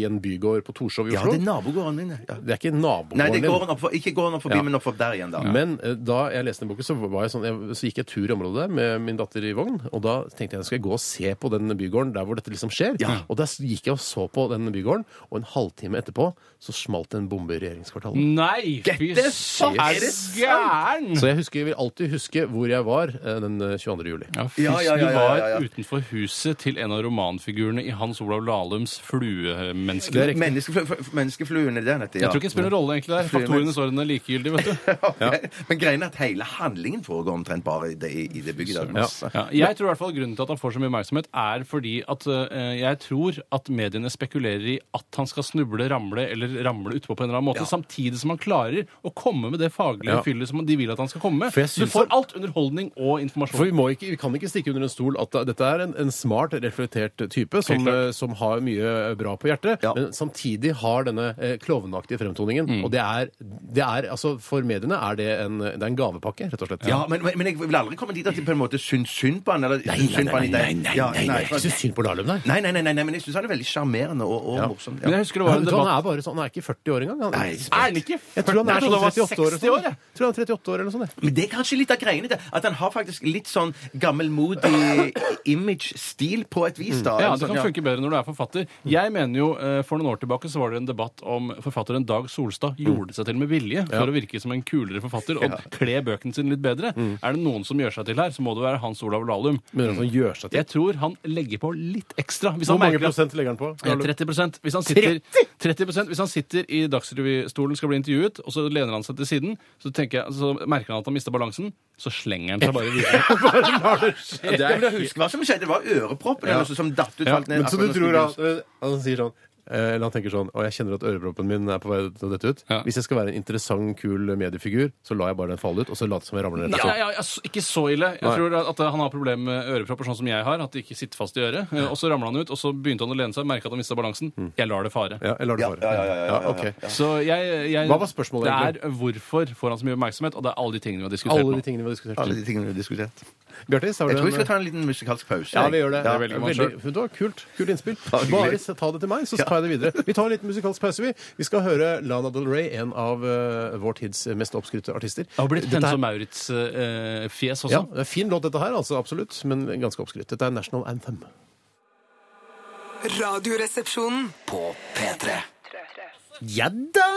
[SPEAKER 3] i en bygård på Torshov i
[SPEAKER 5] Ja,
[SPEAKER 3] Oslo.
[SPEAKER 5] det er nabogården min. Ja.
[SPEAKER 3] det er ikke nabogården
[SPEAKER 5] Nei, det
[SPEAKER 3] din.
[SPEAKER 5] går han opp for, ikke går han opp forbi,
[SPEAKER 3] Ja.
[SPEAKER 5] men opp for der igjen, da.
[SPEAKER 3] Men eh, da jeg leste den boken, så, var jeg sånn, jeg, så gikk jeg tur i området der med min datter i vogn. Og da tenkte jeg skal jeg gå og se på den bygården der hvor dette liksom skjer. Og der s- gikk jeg og så på den bygården, og en halvtime etterpå så smalt det en bombe i
[SPEAKER 5] Mm.
[SPEAKER 3] regjeringskvartalet.
[SPEAKER 4] Nei, fy
[SPEAKER 5] Dette er
[SPEAKER 4] søren!
[SPEAKER 5] sant!
[SPEAKER 4] Er det gæren?
[SPEAKER 3] Så jeg husker, jeg vil alltid huske hvor jeg var eh, den eh, 22. juli.
[SPEAKER 4] Ja, fy,
[SPEAKER 5] Ja, ja, ja,
[SPEAKER 4] Du
[SPEAKER 5] ja, ja,
[SPEAKER 4] var
[SPEAKER 5] ja.
[SPEAKER 4] utenfor huset til en av romanfigurene i Hans Olav Lahlums Fluemennesker.
[SPEAKER 3] Det er riktig.
[SPEAKER 5] Menneskeflu, f- f- menneskefluen, er det den heter? Ja.
[SPEAKER 4] Jeg tror ikke det spiller noen rolle egentlig der. Faktorene står henne likegyldig, vet du.
[SPEAKER 5] Ok. Men greien er at hele handlingen foregår omtrent bare i det, i det bygget der.
[SPEAKER 3] altså.
[SPEAKER 5] Masse.
[SPEAKER 4] Ja, jeg tror i hvert fall grunnen til at han får så mye oppmerksomhet, er fordi at eh, jeg tror at mediene spekulerer i at han skal snuble, ramle eller ramle utpå på en eller annen måte, samtidig som han klarer å komme med det faglige
[SPEAKER 3] Ja.
[SPEAKER 4] fyllet som de vil at han skal komme
[SPEAKER 3] For jeg
[SPEAKER 4] med. Så
[SPEAKER 3] synes
[SPEAKER 4] Du får
[SPEAKER 3] at-
[SPEAKER 4] alt underholdning og
[SPEAKER 3] For
[SPEAKER 4] informasjon.
[SPEAKER 3] vi, må ikke, vi kan ikke stikke under en stol at det- dette er en, en smart, reflektert type som,
[SPEAKER 4] klart.
[SPEAKER 3] eh, som har mye eh, bra på hjertet,
[SPEAKER 5] Ja.
[SPEAKER 3] men samtidig har denne eh, klovnaktige fremtoningen. Og det er, det er altså, for mediene er det en, det er en gavepakke, rett og slett.
[SPEAKER 5] Ja, men, men- men jeg vil aldri komme dit at de på en måte syns synd på han. Eller,
[SPEAKER 3] Nei,
[SPEAKER 5] syns
[SPEAKER 3] nei,
[SPEAKER 5] synd på
[SPEAKER 3] nei,
[SPEAKER 5] han i
[SPEAKER 3] nei,
[SPEAKER 5] deg.
[SPEAKER 3] nei,
[SPEAKER 5] Ja,
[SPEAKER 3] nei, nei,
[SPEAKER 5] nei,
[SPEAKER 3] ikke så synd på Lahlum, nei.
[SPEAKER 5] Nei, nei, nei, nei, nei, men jeg syns han er veldig sjarmerende og, og
[SPEAKER 3] Ja.
[SPEAKER 5] morsom.
[SPEAKER 4] Men jeg husker det var en
[SPEAKER 3] Vet du, han
[SPEAKER 4] debatt
[SPEAKER 3] er bare sånn, han er ikke 40 år engang. Han.
[SPEAKER 5] Nei,
[SPEAKER 4] Er han ikke?
[SPEAKER 3] Jeg tror han er sånn 38 år. eller sånn.
[SPEAKER 4] jeg.
[SPEAKER 3] Jeg tror han er 38 år eller noe sånt. jeg.
[SPEAKER 5] Men det er kanskje litt av greiene det, at han har faktisk litt sånn gammelmodig image-stil på et vis, da.
[SPEAKER 4] Mm. Ja,
[SPEAKER 5] Eller
[SPEAKER 4] det
[SPEAKER 5] sånn,
[SPEAKER 4] kan funke bedre når du er forfatter. Jeg mener jo, eh, For noen år tilbake så var det en debatt om forfatteren Dag Solstad
[SPEAKER 3] Mm.
[SPEAKER 4] gjorde seg til med vilje for å virke som en kulere forfatter og kle bøkene sine litt bedre. Er det noen som gjør seg til her, så må det være Hans Olav Lahlum.
[SPEAKER 3] Mm. Men at han gjør sånn seg til.
[SPEAKER 4] Jeg tror han legger på litt ekstra. Hvis
[SPEAKER 3] Hvor
[SPEAKER 4] han
[SPEAKER 3] mange
[SPEAKER 4] merker at-
[SPEAKER 3] prosent legger han på?
[SPEAKER 4] Ja, 30 hvis han sitter, 30 Hvis han sitter i Dagsrevystolen skal bli intervjuet, og så lener han seg til siden, så, tenker jeg, så merker han at han mister balansen, så slenger han seg bare videre.
[SPEAKER 3] Bare lar det skje.
[SPEAKER 5] Ja, men jeg husker hva som skjedde. Det var øreproppen eller noe sånt som datt ut.
[SPEAKER 3] Ja,
[SPEAKER 5] falt ned,
[SPEAKER 3] men så du
[SPEAKER 5] akkurat
[SPEAKER 3] tror
[SPEAKER 5] når
[SPEAKER 3] at eh, han sier sånn eh, eller han tenker sånn Og jeg kjenner at øreproppen min er på vei til å dette ut.
[SPEAKER 4] Ja.
[SPEAKER 3] Hvis jeg skal være en interessant, kul mediefigur, så lar jeg bare den falle ut, og så later som jeg ramler ned.
[SPEAKER 4] Ja,
[SPEAKER 3] og
[SPEAKER 4] ja, ja, s- ikke så ille. Jeg
[SPEAKER 3] Nei.
[SPEAKER 4] tror at at han har problemer med ørepropper, sånn som jeg har. At det ikke sitter fast i øret. Eh, Og så ramla han ut, og så begynte han å lene seg, merka at han mista balansen. Jeg lar det fare.
[SPEAKER 3] Ja, jeg lar det
[SPEAKER 5] Ja,
[SPEAKER 3] fare.
[SPEAKER 5] ja, ja, ja, ja, ja, ja.
[SPEAKER 3] ok.
[SPEAKER 4] Så jeg, jeg
[SPEAKER 3] Hva var spørsmålet
[SPEAKER 4] Det er hvorfor får han så mye oppmerksomhet, og det er alle de tingene vi har diskutert
[SPEAKER 3] Alle
[SPEAKER 4] nå.
[SPEAKER 3] de tingene vi har
[SPEAKER 5] vi- Alle
[SPEAKER 3] diskutert.
[SPEAKER 5] de tingene vi har diskutert.
[SPEAKER 3] Bjartis, har
[SPEAKER 5] Jeg
[SPEAKER 3] du
[SPEAKER 5] tror vi skal
[SPEAKER 3] en
[SPEAKER 5] ta en liten musikalsk pause.
[SPEAKER 3] ja, vi gjør det.
[SPEAKER 5] Ja.
[SPEAKER 4] Det velger man
[SPEAKER 3] Veldig, det var kult. Kult innspill.
[SPEAKER 5] hyggelig.
[SPEAKER 3] Bare se- ta det til meg, så tar jeg det videre. Vi tar en liten musikalsk pause, vi. Vi skal høre Lana Del Rey, en av eh, vår tids mest oppskrytte artister.
[SPEAKER 4] Det har
[SPEAKER 3] Dette
[SPEAKER 4] blitt Hennes
[SPEAKER 3] er-
[SPEAKER 4] og Maurits-fjes også.
[SPEAKER 3] Ja, det er fin låt dette her, altså. Absolutt. Men ganske oppskrytt. Dette er National Anthem.
[SPEAKER 6] Radioresepsjonen.
[SPEAKER 2] På P3.
[SPEAKER 7] Ja da!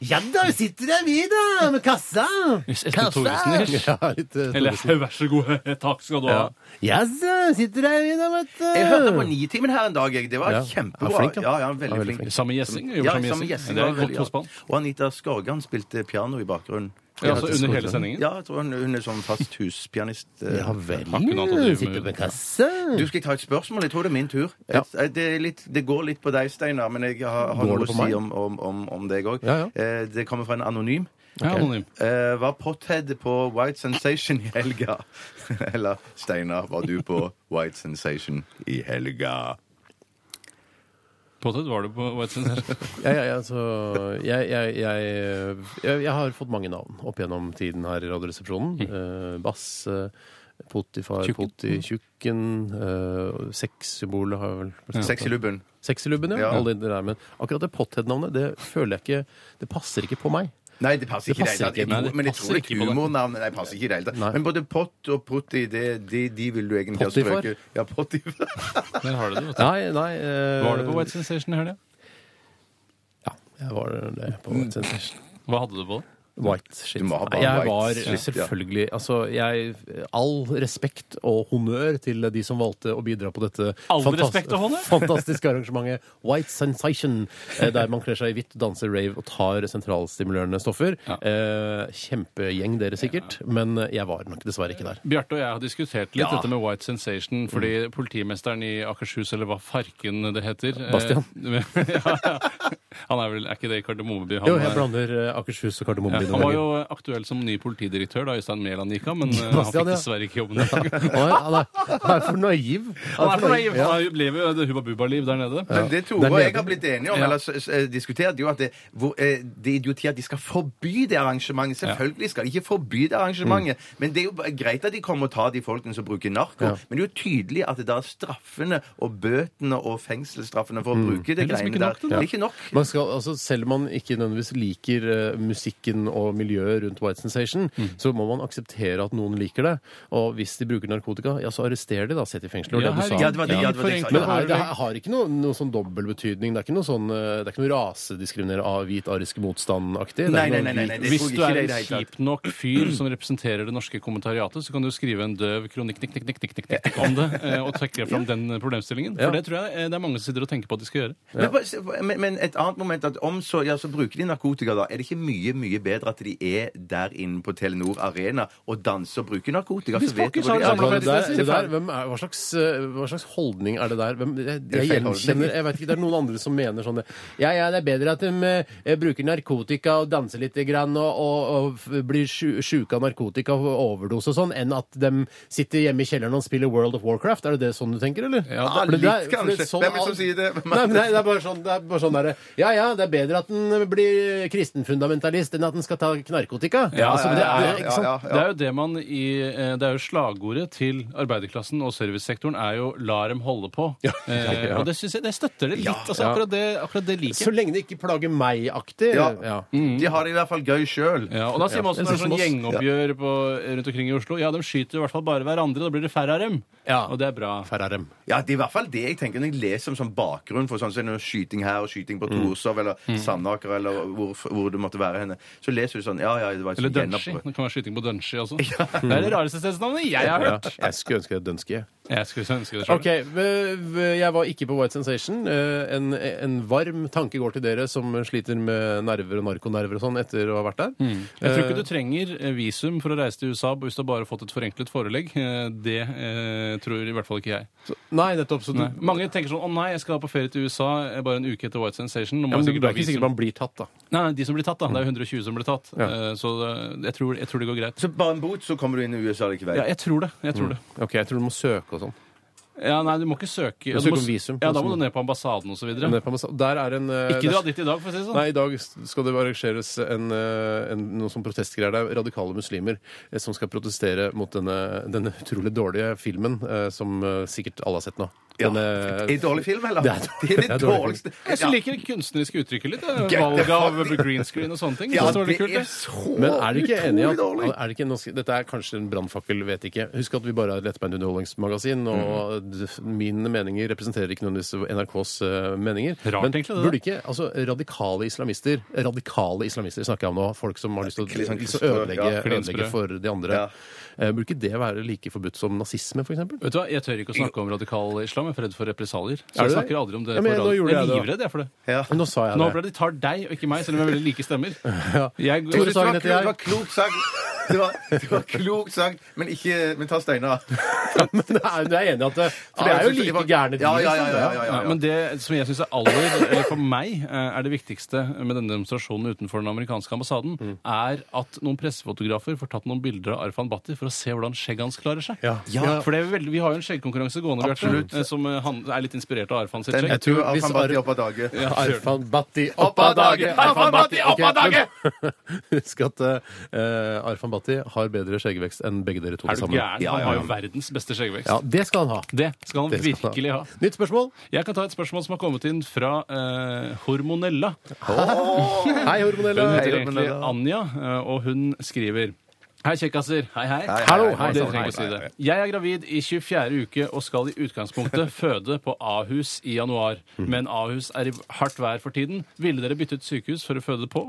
[SPEAKER 7] Ja da, sitter der vi da, med kassa!
[SPEAKER 4] Espen Thoresen.
[SPEAKER 3] Ja, litt eh,
[SPEAKER 4] Eller
[SPEAKER 3] Thoresen.
[SPEAKER 4] vær så god, takk skal du ha.
[SPEAKER 3] Ja.
[SPEAKER 7] Ja da, sitter der vi da, vet du!
[SPEAKER 5] Jeg hørte på Nitimen her en dag. Jeg. Det var
[SPEAKER 3] Ja.
[SPEAKER 5] kjempebra.
[SPEAKER 3] Ja, flink, ja.
[SPEAKER 5] ja. ja, veldig,
[SPEAKER 3] Ja, veldig
[SPEAKER 5] flink.
[SPEAKER 3] flink.
[SPEAKER 4] Samme Gjessing.
[SPEAKER 5] Ja,
[SPEAKER 4] gjorde Samme
[SPEAKER 5] samme
[SPEAKER 4] Gjessing.
[SPEAKER 5] Gjessing
[SPEAKER 4] Det
[SPEAKER 5] var
[SPEAKER 4] er godt
[SPEAKER 5] veldig-
[SPEAKER 4] hos han.
[SPEAKER 5] Og Anita Skorgan spilte piano i bakgrunnen.
[SPEAKER 4] Ja, altså under hele sendingen.
[SPEAKER 5] Ja, jeg tror hun, hun er sånn fast huspianist. eh.
[SPEAKER 7] Ja vel,
[SPEAKER 4] Har ikke noe annet å drive
[SPEAKER 7] sitter
[SPEAKER 4] med.
[SPEAKER 7] med kassa.
[SPEAKER 5] Du, skal jeg ta et spørsmål? Jeg tror det er min tur.
[SPEAKER 3] Ja.
[SPEAKER 5] Jeg- eh, Det, er litt, det går litt på deg, Steinar, men jeg har, har
[SPEAKER 3] Går
[SPEAKER 5] noe
[SPEAKER 3] det
[SPEAKER 5] å
[SPEAKER 3] på
[SPEAKER 5] si
[SPEAKER 3] meg?
[SPEAKER 5] om, om, om, om deg òg.
[SPEAKER 3] Ja, ja.
[SPEAKER 5] eh, det kommer fra en anonym.
[SPEAKER 4] Ja, anonym.
[SPEAKER 5] Eh, var Pothead på White Sensation i helga? Eller Steinar, var du på White Sensation i helga?
[SPEAKER 4] Påtatt var du på White Sensation.
[SPEAKER 3] Ja, ja, ja, så jeg, jeg, jeg, jeg, jeg har fått mange navn opp gjennom tiden her i Radioresepsjonen. Eh, Basse, Potifar,
[SPEAKER 4] Tjukken.
[SPEAKER 3] Poti, Tjukken uh, Sexsymbolet har jeg vel bestemt meg.
[SPEAKER 5] Sexy lubben.
[SPEAKER 3] Sexylubben, ja.
[SPEAKER 5] Ja.
[SPEAKER 3] Alle de der, men akkurat det Pothead-navnet, det føler jeg ikke Det passer ikke på meg.
[SPEAKER 5] Nei, det passer
[SPEAKER 3] Det
[SPEAKER 5] ikke i det hele
[SPEAKER 3] passer
[SPEAKER 5] tatt. Jeg
[SPEAKER 3] ikke.
[SPEAKER 5] tror-
[SPEAKER 4] Nei, det
[SPEAKER 5] Men jeg
[SPEAKER 4] passer
[SPEAKER 5] tror det er
[SPEAKER 4] ikke på det.
[SPEAKER 5] humornavn. Nei, det passer ikke i det hele
[SPEAKER 3] Nei.
[SPEAKER 5] tatt. Men både pott og protti, det, de, de vil du egentlig ha
[SPEAKER 3] Pottifar?
[SPEAKER 5] strøket. Ja, pottifar.
[SPEAKER 4] Der har du det, vet du.
[SPEAKER 3] Nei, nei eh,
[SPEAKER 4] Var du på White Sensation i helga?
[SPEAKER 3] Ja, jeg var det på White Sensation.
[SPEAKER 4] Hva hadde du på?
[SPEAKER 3] White shit.
[SPEAKER 5] Du må ha bare
[SPEAKER 3] Nei, jeg
[SPEAKER 5] white
[SPEAKER 3] var
[SPEAKER 5] shit, ja.
[SPEAKER 3] selvfølgelig altså, jeg, All respekt og honnør til de som valgte å bidra på dette
[SPEAKER 4] All respekt og honnør?
[SPEAKER 3] fantastiske arrangementet White Sensation, eh, der man kler seg i hvitt, danser rave og tar sentralstimulerende stoffer.
[SPEAKER 4] Ja.
[SPEAKER 3] Eh, kjempegjeng, dere sikkert, men eh, jeg var nok dessverre ikke der.
[SPEAKER 4] Bjarte og jeg har diskutert litt
[SPEAKER 3] Ja.
[SPEAKER 4] dette med White Sensation, fordi politimesteren i Akershus, eller hva farken det heter
[SPEAKER 3] Bastian.
[SPEAKER 4] Eh, ja, ja. Han er vel er ikke det i Kardemommeby? Han,
[SPEAKER 3] Jo, jeg
[SPEAKER 4] er-
[SPEAKER 3] blander eh, Akershus og
[SPEAKER 4] ja,
[SPEAKER 3] Kardemommeby.
[SPEAKER 4] han var jo aktuell som ny politidirektør da Øystein Mæland gikk av, men eh, han
[SPEAKER 3] Bastian,
[SPEAKER 4] fikk
[SPEAKER 3] ja.
[SPEAKER 4] dessverre ikke jobben. Han
[SPEAKER 3] han, er, han er- han er for naiv.
[SPEAKER 4] er for naiv. Han lever jo det hubba-bubba-liv der nede.
[SPEAKER 5] Men det Tore
[SPEAKER 3] Det er
[SPEAKER 5] og jeg
[SPEAKER 3] nede.
[SPEAKER 5] har blitt enige om,
[SPEAKER 4] Ja.
[SPEAKER 5] eller s- s- eh, diskutert, det er jo at det, hvor, eh, det er idioti at de skal forby det arrangementet. Selvfølgelig skal de ikke forby det arrangementet.
[SPEAKER 4] Mm.
[SPEAKER 5] Men det er jo b- greit at de kommer og tar de folkene som bruker narko. Men det er jo tydelig at det er straffene og bøtene og fengselsstraffene for å bruke det
[SPEAKER 4] Det er liksom
[SPEAKER 5] greiene
[SPEAKER 4] ikke
[SPEAKER 5] der.
[SPEAKER 4] nok, det,
[SPEAKER 5] Det er ikke nok.
[SPEAKER 3] Man skal, altså, selv om man ikke nødvendigvis liker eh, musikken og miljøet rundt White Sensation,
[SPEAKER 5] Mm.
[SPEAKER 3] så må man akseptere at noen liker det. Og hvis de bruker narkotika, ja, så arrester de, da. Sett i fengsel. var
[SPEAKER 4] Ja,
[SPEAKER 3] det du sa.
[SPEAKER 4] herregud.
[SPEAKER 5] Ja, det var det- ja, det var det jeg sa.
[SPEAKER 3] Men
[SPEAKER 4] Men
[SPEAKER 3] er, det her har ikke noe, noe sånn dobbeltbetydning. Det er ikke noe sånn eh, Det er ikke noe rasediskriminerende av hvit arisk motstand-aktig. Det er
[SPEAKER 5] Nei,
[SPEAKER 3] ikke
[SPEAKER 5] nei,
[SPEAKER 3] noe
[SPEAKER 5] nei, nei, nei,
[SPEAKER 3] hvit-
[SPEAKER 5] det
[SPEAKER 4] Hvis
[SPEAKER 5] tror
[SPEAKER 4] du
[SPEAKER 5] jeg ikke
[SPEAKER 4] er
[SPEAKER 5] det i
[SPEAKER 4] en
[SPEAKER 5] det hele tatt.
[SPEAKER 4] kjip nok fyr som representerer det norske kommentariatet, så kan du skrive en døv kronikk knikk, knikk, knikk, knikk, knikk, knikk, om det, eh, og trekke fram den problemstillingen.
[SPEAKER 3] Ja.
[SPEAKER 4] For det tror jeg eh, det er mange som sitter og tenker på at de skal gjøre.
[SPEAKER 5] Men, bare se- men, men et annet moment at om så, ja, så bruker de narkotika, da. Er det ikke mye mye bedre at de er der inne på Telenor Arena og danser og bruker narkotika?
[SPEAKER 4] Hvis
[SPEAKER 5] så vet
[SPEAKER 4] pokker,
[SPEAKER 5] de
[SPEAKER 4] så
[SPEAKER 5] hvor
[SPEAKER 4] har han
[SPEAKER 5] de er.
[SPEAKER 3] Ja,
[SPEAKER 4] samlet
[SPEAKER 3] det der,
[SPEAKER 4] faktisk-
[SPEAKER 3] det der, hvem er, hva, slags, eh, hva slags holdning er det der? Hvem, jeg, jeg
[SPEAKER 5] feil holdning.
[SPEAKER 3] gjenkjenner Jeg vet ikke, det er noen andre som mener sånn det. Ja, ja, det er bedre at de eh, bruker narkotika og danser litt grann og, og, og f- blir sju- sjuke av narkotika og overdose og sånn, enn at de sitter hjemme i kjelleren og spiller World of Warcraft. Er det det sånn du tenker, eller?
[SPEAKER 4] Ja, det-
[SPEAKER 3] For det
[SPEAKER 5] litt,
[SPEAKER 3] er- for det er
[SPEAKER 5] kanskje. Hvem er det som sier det? Hvem er
[SPEAKER 3] Nei,
[SPEAKER 5] det?
[SPEAKER 3] nei, det er bare sånn, det er bare sånn derre Ja, ja, det er bedre at den blir kristenfundamentalist enn at den skal ta narkotika.
[SPEAKER 4] Ja,
[SPEAKER 3] altså, det
[SPEAKER 4] ja, ja,
[SPEAKER 3] er, ikke sant?
[SPEAKER 5] Ja, ja.
[SPEAKER 4] Det er jo det man i eh, Det er jo slagordet til arbeiderklassen og servicesektoren er jo 'la dem holde på'. Eh, Og det synes jeg, det støtter det litt. Altså, akkurat det, akkurat det liker
[SPEAKER 3] Så
[SPEAKER 4] jeg.
[SPEAKER 3] lenge det ikke plager meg-aktig.
[SPEAKER 5] Ja. De har det i hvert fall gøy sjøl.
[SPEAKER 4] Ja, og da sier man også
[SPEAKER 3] Ja,
[SPEAKER 4] når det
[SPEAKER 3] sånn
[SPEAKER 4] er
[SPEAKER 3] som
[SPEAKER 4] sånn
[SPEAKER 3] oss.
[SPEAKER 4] gjengoppgjør på, eh, rundt omkring i Oslo Ja, de skyter i hvert fall bare hverandre. Da blir det færre av dem.
[SPEAKER 3] Ja.
[SPEAKER 4] Og det er bra.
[SPEAKER 3] Ferrarem.
[SPEAKER 5] Ja, det er i hvert fall det jeg tenker når jeg leser om sånn bakgrunn for sånn, så er det noe skyting her og skyting på
[SPEAKER 3] Mm.
[SPEAKER 5] Torshov eller Sandaker eller hvor, hvor det måtte være henne. Så leser du sånn Ja, ja, det var et
[SPEAKER 4] Eller
[SPEAKER 5] sånt
[SPEAKER 4] Dunshy.
[SPEAKER 5] gjenopprør.
[SPEAKER 4] Det kan være skyting på Dunshy også. Det er det rareste stedsnavnet jeg har hørt.
[SPEAKER 3] Jeg skulle ønske jeg het Dønski.
[SPEAKER 4] Jeg skulle ønske det selv.
[SPEAKER 3] Ok, v- v- jeg var ikke på White Sensation. Eh, En, en varm tanke går til dere som sliter med nerver og narkonerver og sånn etter å ha vært der.
[SPEAKER 4] Hmm. Jeg tror ikke du trenger eh, visum for å reise til USA hvis du har bare fått et forenklet forelegg. Eh, Det eh, tror i hvert fall ikke jeg.
[SPEAKER 3] Eh, Nei, nettopp. Så du,
[SPEAKER 4] Nei. Mange tenker sånn 'Å nei, jeg skal på ferie til USA eh, bare en uke etter White Sensation'. Nå
[SPEAKER 3] ja,
[SPEAKER 4] må
[SPEAKER 3] men du, du
[SPEAKER 4] jeg sikkert
[SPEAKER 3] er
[SPEAKER 4] ha
[SPEAKER 3] ikke
[SPEAKER 4] visum.
[SPEAKER 3] sikker Mm. på om man blir tatt, da.
[SPEAKER 4] Nei, nei, de som blir tatt, da. Det er 120 som blir tatt. Eh, Så det- jeg tror, jeg tror det går greit.
[SPEAKER 5] Så bare en bot, så kommer du inn i USA likevel.
[SPEAKER 4] Ja, jeg tror det. Jeg tror det.
[SPEAKER 3] Ok, Jeg tror du må søke og sånn.
[SPEAKER 4] Ja, nei, du må ikke søke. Ja,
[SPEAKER 3] søker
[SPEAKER 4] må
[SPEAKER 3] om
[SPEAKER 4] s-
[SPEAKER 3] visum.
[SPEAKER 4] Ja, da må du ned på ambassaden osv.
[SPEAKER 3] Men
[SPEAKER 4] Ikke
[SPEAKER 3] det er på ambassad- Der er en eh, det er-
[SPEAKER 4] dra dit i dag, for å si det sånn.
[SPEAKER 3] Nei, i dag skal det arrangeres en, eh, en, noen sånn protestgreier. Det er radikale muslimer eh, som skal protestere mot denne, denne utrolig dårlige filmen eh, som eh, sikkert alle har sett nå. eh, Denne-
[SPEAKER 5] Er det dårlig film, eller?
[SPEAKER 3] Det er dårlig-
[SPEAKER 5] det,
[SPEAKER 3] det er dårlig
[SPEAKER 5] dårligste
[SPEAKER 4] Jeg
[SPEAKER 5] Ja.
[SPEAKER 4] liker det kunstneriske uttrykket litt. eh,
[SPEAKER 5] Get the
[SPEAKER 4] Valget av
[SPEAKER 5] fuck-
[SPEAKER 4] green screen og sånne ting.
[SPEAKER 5] Ja,
[SPEAKER 4] Jeg synes det var litt kult,
[SPEAKER 5] det er
[SPEAKER 4] det.
[SPEAKER 5] så
[SPEAKER 3] Men er du ikke enig i at
[SPEAKER 5] utrolig dårlig.
[SPEAKER 3] er det ikke, nå skal- Dette er kanskje en brannfakkel, vet ikke. Husk at vi bare er et lettbeint underholdningsmagasin, og
[SPEAKER 5] Mhm.
[SPEAKER 3] d- mine meninger representerer ikke nødvendigvis NRKs eh, meninger.
[SPEAKER 4] Rart
[SPEAKER 3] Men
[SPEAKER 4] egentlig, det der.
[SPEAKER 3] burde ikke altså, radikale islamister Radikale islamister snakker jeg om nå. Folk som har lyst til å
[SPEAKER 5] Litt sånn
[SPEAKER 3] lyst til å
[SPEAKER 5] klistre,
[SPEAKER 3] ødelegge,
[SPEAKER 5] ja.
[SPEAKER 3] ødelegge for de andre.
[SPEAKER 5] Ja.
[SPEAKER 3] Eh, Burde ikke det være like forbudt som nazisme, f.eks.?
[SPEAKER 4] Vet du hva, Jeg tør ikke å snakke om radikal islam. Jeg er redd for represalier. Så
[SPEAKER 3] Er du
[SPEAKER 4] jeg
[SPEAKER 3] det?
[SPEAKER 4] snakker aldri om det
[SPEAKER 3] Ja, men
[SPEAKER 4] på
[SPEAKER 3] nå
[SPEAKER 4] radio.
[SPEAKER 3] gjorde jeg
[SPEAKER 4] Jeg er
[SPEAKER 3] det, da.
[SPEAKER 4] livredd jeg for det.
[SPEAKER 5] Ja.
[SPEAKER 3] Nå sa jeg
[SPEAKER 4] Nå
[SPEAKER 3] det.
[SPEAKER 4] ble det de tar deg og ikke meg, selv om vi har veldig like stemmer. Jeg,
[SPEAKER 3] Tore
[SPEAKER 5] Det var,
[SPEAKER 3] Sagen heter
[SPEAKER 5] det
[SPEAKER 3] jeg.
[SPEAKER 5] var klokt sagt. Det var, det var klokt sagt, men ikke Men ta Steinar.
[SPEAKER 3] Men det er- du er enig i at det, For det er jo like gærne de,
[SPEAKER 5] Ja, ja, ja,
[SPEAKER 3] liksom.
[SPEAKER 5] ja, ja, ja,
[SPEAKER 4] Ja,
[SPEAKER 5] ja.
[SPEAKER 4] men det som jeg syns er aller, eller for meg, eh, er det viktigste med denne demonstrasjonen utenfor den amerikanske ambassaden,
[SPEAKER 3] Mm.
[SPEAKER 4] er at noen pressefotografer får tatt noen bilder av Arfan Bhatti for å se hvordan skjegget hans klarer seg.
[SPEAKER 3] Ja.
[SPEAKER 4] For det er veldig, Vi har jo en skjeggkonkurranse gående, Bjarte,
[SPEAKER 5] Absolutt.
[SPEAKER 4] eh, som eh, han, er litt inspirert av Arfan sitt
[SPEAKER 5] Den, jeg
[SPEAKER 4] skjegg.
[SPEAKER 5] tror
[SPEAKER 3] hvis
[SPEAKER 5] Arfan Bhatti
[SPEAKER 3] Ar-
[SPEAKER 5] opp av dage.
[SPEAKER 4] Ja, kjør.
[SPEAKER 3] Arfan Bhatti opp
[SPEAKER 5] Opp
[SPEAKER 3] av
[SPEAKER 5] av
[SPEAKER 3] dage!
[SPEAKER 5] dage! Arfan Bhatti, opp av
[SPEAKER 3] Ok, men- Husk at eh, Arfan Bhatti har bedre skjeggvekst enn begge dere to
[SPEAKER 4] Er du
[SPEAKER 3] sammen.
[SPEAKER 4] gæren?
[SPEAKER 5] Ja, ja,
[SPEAKER 4] Han
[SPEAKER 5] ja.
[SPEAKER 4] har jo verdens beste skjeggvekst.
[SPEAKER 3] Ja, det skal han ha.
[SPEAKER 4] Det skal han
[SPEAKER 3] Det skal han
[SPEAKER 4] virkelig ha.
[SPEAKER 3] Nytt spørsmål.
[SPEAKER 4] Jeg kan ta et spørsmål som har kommet inn fra eh, Hormonella.
[SPEAKER 3] Hei,
[SPEAKER 4] Hun
[SPEAKER 3] hormonelle.
[SPEAKER 4] heter
[SPEAKER 5] Hei,
[SPEAKER 4] egentlig
[SPEAKER 5] Hormonella.
[SPEAKER 4] Anja, eh, og hun skriver Hei, kjekkasser. Hei, hei.
[SPEAKER 5] hei,
[SPEAKER 3] Hallo, hei,
[SPEAKER 4] Dere
[SPEAKER 3] sånn,
[SPEAKER 4] trenger
[SPEAKER 3] hei,
[SPEAKER 4] ikke å si
[SPEAKER 3] hei,
[SPEAKER 4] det. Jeg er gravid i 24. uke og skal i utgangspunktet føde på Ahus i januar. Men Ahus er i hardt vær for tiden. Ville dere byttet sykehus for å føde på?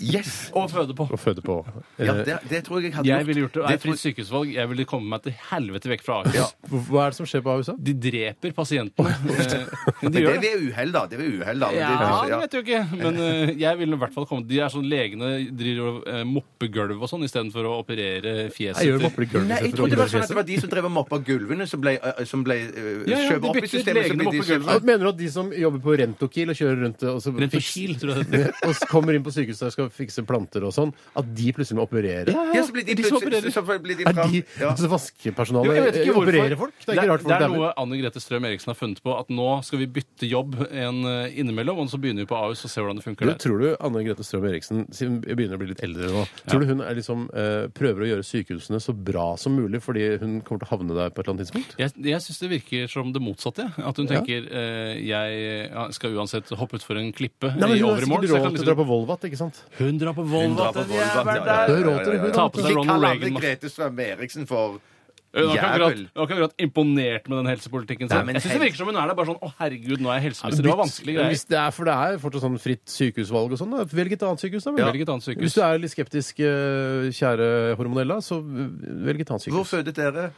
[SPEAKER 5] Yes!
[SPEAKER 4] Og føde på.
[SPEAKER 3] å føde på.
[SPEAKER 5] Ja,
[SPEAKER 3] Eh,
[SPEAKER 5] det, det tror jeg jeg hadde
[SPEAKER 4] Jeg ville gjort det. Det er
[SPEAKER 5] tror-
[SPEAKER 4] fritt sykehusvalg. Jeg ville komme meg til helvete vekk fra Aker.
[SPEAKER 3] Hva er det som skjer på Ahus? da?
[SPEAKER 4] De dreper pasientene. Eh,
[SPEAKER 5] Men
[SPEAKER 4] De gjør
[SPEAKER 5] det
[SPEAKER 4] det.
[SPEAKER 5] ved uhell, da. Det ved uhell, da. Men
[SPEAKER 4] Ja,
[SPEAKER 5] det-
[SPEAKER 4] det vet du ikke. Men eh, jeg ville i hvert fall komme De er sånn legene driver og eh, mopper gulv og sånn istedenfor å operere fjeset.
[SPEAKER 3] Jeg gjør
[SPEAKER 4] til-
[SPEAKER 3] mopper i
[SPEAKER 5] Nei, jeg
[SPEAKER 3] gulvet.
[SPEAKER 5] trodde det var sånn at det var de som drev og moppa gulvene, som ble, eh, som ble eh,
[SPEAKER 4] Ja, ja, de
[SPEAKER 5] skjøvet opp i
[SPEAKER 4] bytter
[SPEAKER 5] systemet. så
[SPEAKER 4] legene
[SPEAKER 5] ble de
[SPEAKER 4] mopper
[SPEAKER 5] skjøvet-
[SPEAKER 4] gulvene.
[SPEAKER 3] Mener du at de som jobber på Rentokil og kjører rundt og, så
[SPEAKER 4] Rent på
[SPEAKER 3] fiks-
[SPEAKER 4] Kiel, tror jeg det heter.
[SPEAKER 3] og så kommer inn på sykehuset og skal fikse planter og sånn, at de plutselig må operere?
[SPEAKER 5] Ja, så blir de
[SPEAKER 4] De som
[SPEAKER 5] plutselig-
[SPEAKER 4] opererer.
[SPEAKER 5] så blir de
[SPEAKER 3] Er
[SPEAKER 5] fram.
[SPEAKER 3] de,
[SPEAKER 5] Ja.
[SPEAKER 3] altså
[SPEAKER 4] Jo, jeg
[SPEAKER 3] Vaskepersonalet
[SPEAKER 4] vet ikke
[SPEAKER 3] eh,
[SPEAKER 4] hvorfor.
[SPEAKER 3] opererer folk? Det er ikke rart folk
[SPEAKER 4] det er
[SPEAKER 3] dauer.
[SPEAKER 4] noe Anne Grete Strøm Eriksen har funnet på, at nå skal vi bytte jobb en eh, innimellom, og så begynner vi på Ahus og ser hvordan det funker
[SPEAKER 3] Du,
[SPEAKER 4] der.
[SPEAKER 3] tror du Anne Grete Strøm Eriksen siden hun begynner å bli litt eldre nå, tror du hun er liksom, eh, prøver å gjøre sykehusene så bra som mulig fordi hun kommer til å havne der på et eller annet tidspunkt?
[SPEAKER 4] Jeg, jeg syns det virker som det motsatte. jeg. At hun tenker eh, jeg ja, skal uansett hoppe utfor en klippe
[SPEAKER 3] Nei, men
[SPEAKER 4] i
[SPEAKER 3] Hun har
[SPEAKER 4] over i
[SPEAKER 3] sikkert
[SPEAKER 4] morgen.
[SPEAKER 3] råd
[SPEAKER 4] så jeg kan
[SPEAKER 3] til å
[SPEAKER 4] liksom-
[SPEAKER 3] dra på Volvat, ikke sant?
[SPEAKER 4] Hun drar på
[SPEAKER 5] Hun drar
[SPEAKER 4] Volvat,
[SPEAKER 5] på
[SPEAKER 4] den
[SPEAKER 5] Volvat,
[SPEAKER 4] jævla
[SPEAKER 5] ja, ja,
[SPEAKER 4] der!
[SPEAKER 5] ja,
[SPEAKER 3] Hun har
[SPEAKER 5] ja,
[SPEAKER 3] råd til det,
[SPEAKER 5] ja,
[SPEAKER 3] hun, da.
[SPEAKER 5] ja.
[SPEAKER 4] Ta på seg
[SPEAKER 5] Ikke
[SPEAKER 4] Ronald
[SPEAKER 5] kall Anne
[SPEAKER 4] Reagan. da.
[SPEAKER 5] Grete Strøm Eriksen for
[SPEAKER 4] Eh, Hun har ikke akkurat-
[SPEAKER 5] Jævel.
[SPEAKER 4] hun har ikke akkurat imponert med den helsepolitikken sin.
[SPEAKER 5] Nei, men
[SPEAKER 4] jeg synes Det
[SPEAKER 5] hel-
[SPEAKER 4] virker som hun er der bare sånn Å, herregud, nå er jeg helseminister. Det var vanskelige
[SPEAKER 3] Men
[SPEAKER 4] greier.
[SPEAKER 3] Hvis det er, for det er fortsatt sånn fritt sykehusvalg og sånn. da. Velg et annet sykehus, da. vel.
[SPEAKER 4] Ja. Velg et annet sykehus.
[SPEAKER 3] Hvis du er litt skeptisk, eh, kjære hormonella, så velg et annet
[SPEAKER 5] Hvor
[SPEAKER 3] sykehus.
[SPEAKER 5] fødet dere?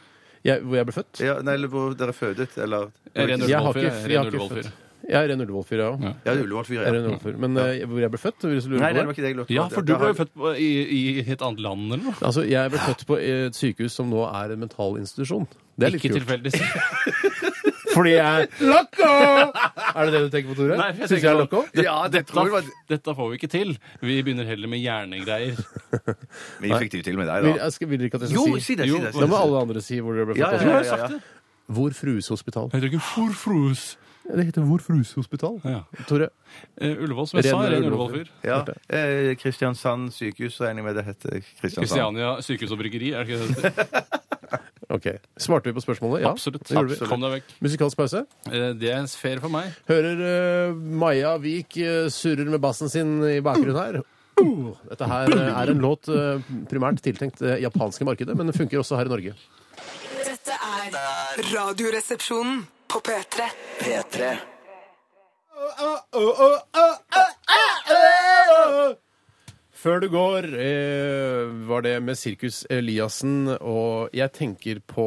[SPEAKER 3] Jeg, hvor jeg ble født?
[SPEAKER 5] Ja, nei, eller hvor dere fødet, eller
[SPEAKER 4] Jeg er ren
[SPEAKER 3] Jeg har
[SPEAKER 4] Ullevål-fyr,
[SPEAKER 3] ikke,
[SPEAKER 4] jeg er
[SPEAKER 3] jeg
[SPEAKER 4] ren
[SPEAKER 3] har ikke
[SPEAKER 4] Ullevål-fyr.
[SPEAKER 3] født. Jeg er ren Ullevål-fyr, jeg òg.
[SPEAKER 5] Ja, Ullevål 4. Ja.
[SPEAKER 3] Men eh, hvor jeg ble født? Hvis du lurer
[SPEAKER 5] Nei,
[SPEAKER 3] på
[SPEAKER 5] det var ikke det jeg lurte på.
[SPEAKER 4] Ja, for
[SPEAKER 5] Da
[SPEAKER 4] du
[SPEAKER 5] har
[SPEAKER 4] var jo
[SPEAKER 5] jeg-
[SPEAKER 4] født på- i, i et annet land, eller noe?
[SPEAKER 3] Altså, Jeg ble født på et sykehus som nå er en mental institusjon. Det er litt
[SPEAKER 4] Ikke
[SPEAKER 3] kult.
[SPEAKER 4] tilfeldig.
[SPEAKER 3] Fordi jeg Loco! Er det det du tenker på, Tore?
[SPEAKER 4] Nei, for
[SPEAKER 3] Syns
[SPEAKER 4] jeg
[SPEAKER 3] jeg er
[SPEAKER 4] tenker
[SPEAKER 3] loco?
[SPEAKER 5] Ja, det tror jeg
[SPEAKER 4] Da,
[SPEAKER 5] var
[SPEAKER 4] dette får vi ikke til. Vi begynner heller med hjernegreier.
[SPEAKER 5] Men jeg fikk det jo til med deg,
[SPEAKER 3] Vil,
[SPEAKER 5] da.
[SPEAKER 3] jeg skal, vil dere ikke at jeg
[SPEAKER 5] Jo,
[SPEAKER 3] skal
[SPEAKER 5] si det,
[SPEAKER 4] Jo,
[SPEAKER 5] si det. si
[SPEAKER 3] Da må
[SPEAKER 5] det.
[SPEAKER 3] alle andre si hvor dere ble
[SPEAKER 5] Ja,
[SPEAKER 3] født. altså.
[SPEAKER 5] ja, ja,
[SPEAKER 3] også.
[SPEAKER 5] ja, ja.
[SPEAKER 3] Vår Frues Hospital.
[SPEAKER 4] Jeg drikker forfrus.
[SPEAKER 3] Det heter Vår Frues Hospital.
[SPEAKER 4] Ja.
[SPEAKER 3] Tore,
[SPEAKER 4] Eh, Ullevål, som jeg
[SPEAKER 3] Ren
[SPEAKER 4] sa. Ren
[SPEAKER 3] Ullevål.
[SPEAKER 4] Ullevål-fyr.
[SPEAKER 5] Ja. Eh, Kristiansand sykehus, regner jeg med det heter. Kristiansand.
[SPEAKER 4] Kristiania sykehus og bryggeri, er det ikke det? det heter?
[SPEAKER 3] ok. Svarte vi på spørsmålet? Ja,
[SPEAKER 4] Absolutt.
[SPEAKER 3] det gjorde vi.
[SPEAKER 4] Absolutt. Kom deg vekk.
[SPEAKER 3] Musikalsk pause.
[SPEAKER 4] Eh, Det er fair for meg.
[SPEAKER 3] Hører eh, Maja Vik eh, surrer med bassen sin i bakgrunnen her. Uh, Dette her eh, er en låt eh, primært tiltenkt det japanske markedet, men den funker også her i Norge.
[SPEAKER 6] Dette er Radioresepsjonen på P3.
[SPEAKER 2] P3
[SPEAKER 3] Før du går, eh, var det med Sirkus Eliassen, og jeg tenker på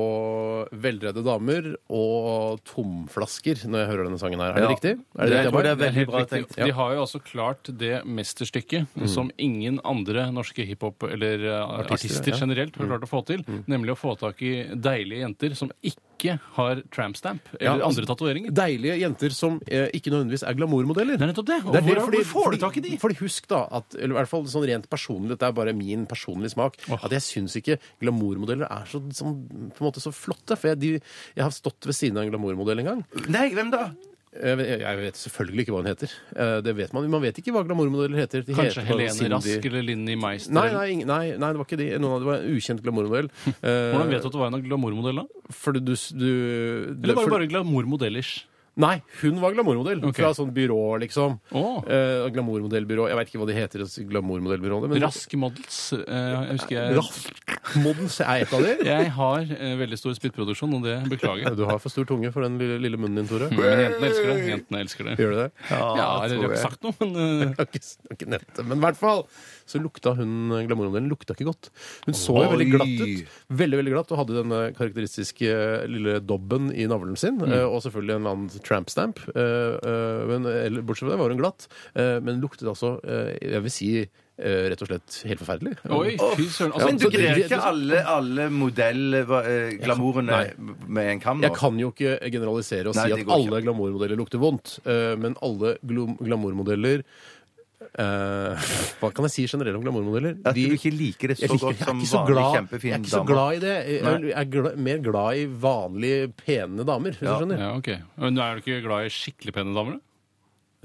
[SPEAKER 3] veldredde damer og tomflasker når jeg hører denne sangen her. Er det
[SPEAKER 5] Ja.
[SPEAKER 3] riktig? Er
[SPEAKER 5] Det
[SPEAKER 3] riktig av meg?
[SPEAKER 5] tror jeg er veldig
[SPEAKER 4] Helt
[SPEAKER 5] bra
[SPEAKER 4] riktig.
[SPEAKER 5] tenkt.
[SPEAKER 4] De har jo altså klart det mesterstykket
[SPEAKER 3] Mm.
[SPEAKER 4] som ingen andre norske hiphop- eller eh, artister,
[SPEAKER 3] ja. Mm.
[SPEAKER 4] generelt har klart å få til, nemlig å få tak i deilige jenter som ikke har trampstamp
[SPEAKER 3] Ja,
[SPEAKER 4] eller
[SPEAKER 3] altså,
[SPEAKER 4] andre tatoveringer.
[SPEAKER 3] Deilige jenter som eh, ikke nødvendigvis er glamourmodeller.
[SPEAKER 4] Det er nettopp det. Og
[SPEAKER 3] Det er det,
[SPEAKER 4] hvor,
[SPEAKER 3] fordi-
[SPEAKER 4] hvor får du tak i de?
[SPEAKER 3] fordi- Fordi husk da, at, eller i hvert fall sånn rent personlig, dette er bare min personlige smak, at jeg syns ikke glamourmodeller er så, sånn, på en måte så flotte. For jeg, de, jeg har stått ved siden av en glamourmodell en gang.
[SPEAKER 5] Nei, hvem da?
[SPEAKER 3] Jeg vet, jeg vet selvfølgelig ikke hva hun heter. Eh, Det vet man. Man vet ikke hva glamourmodeller heter. De
[SPEAKER 4] Kanskje
[SPEAKER 3] heter bare
[SPEAKER 4] Helene
[SPEAKER 3] Cindy-
[SPEAKER 4] Rask eller Linni Meister?
[SPEAKER 3] Nei,
[SPEAKER 4] eller-
[SPEAKER 3] nei, ingen- nei, nei, det var ikke de. Noen av de var en ukjent glamourmodell. Eh,
[SPEAKER 4] Hvordan vet du at det var en glamourmodell, da?
[SPEAKER 3] Fordi du, s- du
[SPEAKER 4] Eller var
[SPEAKER 3] for-
[SPEAKER 4] det bare glamourmodellers?
[SPEAKER 3] Nei, hun var glamourmodell
[SPEAKER 4] Ok.
[SPEAKER 3] fra sånn byrå, liksom.
[SPEAKER 4] Å.
[SPEAKER 3] Eh, Glamourmodellbyrå. Jeg vet ikke hva de heter. glamourmodellbyråene, men-
[SPEAKER 4] Rask Models. eh, jeg husker jeg
[SPEAKER 3] Rask Modens er et av de.
[SPEAKER 4] Jeg har eh, veldig stor spyttproduksjon, og det beklager jeg.
[SPEAKER 3] Du har for stor tunge for den lille, lille munnen din, Tore.
[SPEAKER 4] Men jentene elsker det. Jentene elsker det.
[SPEAKER 3] Gjør du det?
[SPEAKER 4] Ja, jeg har
[SPEAKER 5] jeg.
[SPEAKER 4] ikke sagt noe, men eh,
[SPEAKER 3] Jeg har ikke, jeg har ikke nettet, men i hvert fall så lukta hun glamourmodellen lukta ikke godt. Hun så jo veldig glatt ut. Veldig, veldig glatt, Og hadde denne karakteristiske eh, lille dobben i navlen sin.
[SPEAKER 5] Mm.
[SPEAKER 3] eh, Og selvfølgelig en eller annen tramp stamp. eh, eh, Men eller, bortsett fra det var hun glatt. eh, Men luktet altså, eh, jeg vil si, eh, rett og slett helt forferdelig.
[SPEAKER 4] Oi, fy søren. Altså,
[SPEAKER 5] Men du
[SPEAKER 3] så det-
[SPEAKER 5] greier
[SPEAKER 3] det-
[SPEAKER 5] ikke alle, alle modellglamourene
[SPEAKER 3] Jeg
[SPEAKER 5] med en kam nå?
[SPEAKER 3] Jeg kan jo ikke generalisere og
[SPEAKER 5] Nei,
[SPEAKER 3] si
[SPEAKER 5] det
[SPEAKER 3] at
[SPEAKER 5] går ikke.
[SPEAKER 3] alle glamourmodeller lukter vondt, eh, men alle glom- glamourmodeller eh, Hva kan jeg si generelt om glamourmodeller?
[SPEAKER 5] At
[SPEAKER 3] De-
[SPEAKER 5] du ikke liker det
[SPEAKER 3] jeg
[SPEAKER 5] så
[SPEAKER 3] liker-
[SPEAKER 5] godt
[SPEAKER 3] jeg er
[SPEAKER 5] som
[SPEAKER 3] ikke så
[SPEAKER 5] vanlig
[SPEAKER 3] glad- Jeg er
[SPEAKER 5] kjempefin
[SPEAKER 3] ikke så
[SPEAKER 5] dame?
[SPEAKER 3] glad i det. Jeg jeg er gla- mer glad i vanlige, pene damer, hvis
[SPEAKER 5] Ja.
[SPEAKER 3] du skjønner.
[SPEAKER 4] Ja, ok. Men er du ikke glad i skikkelig pene damer? da?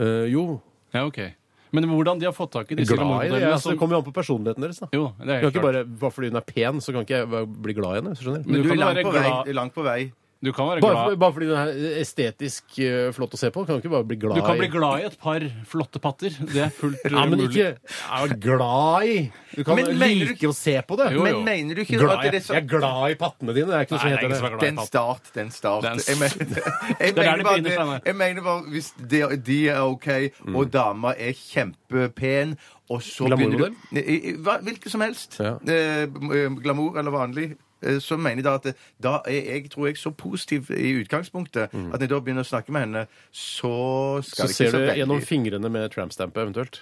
[SPEAKER 3] Eh, jo.
[SPEAKER 4] Ja, ok. Men hvordan de har fått tak i disse
[SPEAKER 3] Glad i det.
[SPEAKER 4] glamourmodellene
[SPEAKER 3] Altså, det
[SPEAKER 4] som...
[SPEAKER 3] kommer jo an på personligheten deres. da
[SPEAKER 4] sånn- Jo, det
[SPEAKER 3] jeg kan
[SPEAKER 4] er helt
[SPEAKER 3] ikke
[SPEAKER 4] klart.
[SPEAKER 3] bare, bare fordi hun er pen, så kan ikke jeg være- bli glad i henne. hvis du skjønner
[SPEAKER 4] Men
[SPEAKER 5] Du
[SPEAKER 4] du
[SPEAKER 5] er
[SPEAKER 4] kan jo
[SPEAKER 5] langt
[SPEAKER 4] være
[SPEAKER 5] på
[SPEAKER 4] glad
[SPEAKER 5] vei. Langt på vei.
[SPEAKER 4] Du kan
[SPEAKER 3] Bare,
[SPEAKER 4] være
[SPEAKER 3] for-
[SPEAKER 4] glad.
[SPEAKER 3] bare fordi den er estetisk eh, flott å se på? Kan du ikke bare bli glad
[SPEAKER 4] Du kan bli
[SPEAKER 3] i
[SPEAKER 4] glad i et par flotte patter. Det er fullt eh,
[SPEAKER 3] Ja, men
[SPEAKER 4] mulig.
[SPEAKER 3] ikke er glad i Du kan
[SPEAKER 5] Men mener du-
[SPEAKER 3] like å se på det.
[SPEAKER 4] Jo, jo.
[SPEAKER 5] Men mener du ikke
[SPEAKER 3] Glad,
[SPEAKER 5] at
[SPEAKER 3] i-
[SPEAKER 5] det er så
[SPEAKER 3] Jeg er glad i pattene dine. Det er ikke noe
[SPEAKER 4] Nei,
[SPEAKER 3] som
[SPEAKER 4] det er
[SPEAKER 3] heter
[SPEAKER 4] ingen
[SPEAKER 3] det.
[SPEAKER 4] som er glad i
[SPEAKER 5] Den
[SPEAKER 4] patter.
[SPEAKER 5] start, den start.
[SPEAKER 4] Den-
[SPEAKER 5] Jeg mener, jeg
[SPEAKER 4] Det er der
[SPEAKER 5] mener,
[SPEAKER 4] det
[SPEAKER 5] bare,
[SPEAKER 4] begynner, Steinar.
[SPEAKER 5] det- jeg mener bare hvis de, de er OK, og dama er kjempepen og så begynner du- I- i- hva- Hvilket som helst.
[SPEAKER 3] Ja.
[SPEAKER 5] Eh, m- glamour eller vanlig. eh, Så mener jeg da at det- da er jeg tror jeg så positiv i utgangspunktet at når jeg da begynner å snakke med henne, så skal
[SPEAKER 3] Så
[SPEAKER 5] det ikke
[SPEAKER 3] ser
[SPEAKER 5] så
[SPEAKER 3] du
[SPEAKER 5] veldig-
[SPEAKER 3] gjennom fingrene med tramp-stampet eventuelt.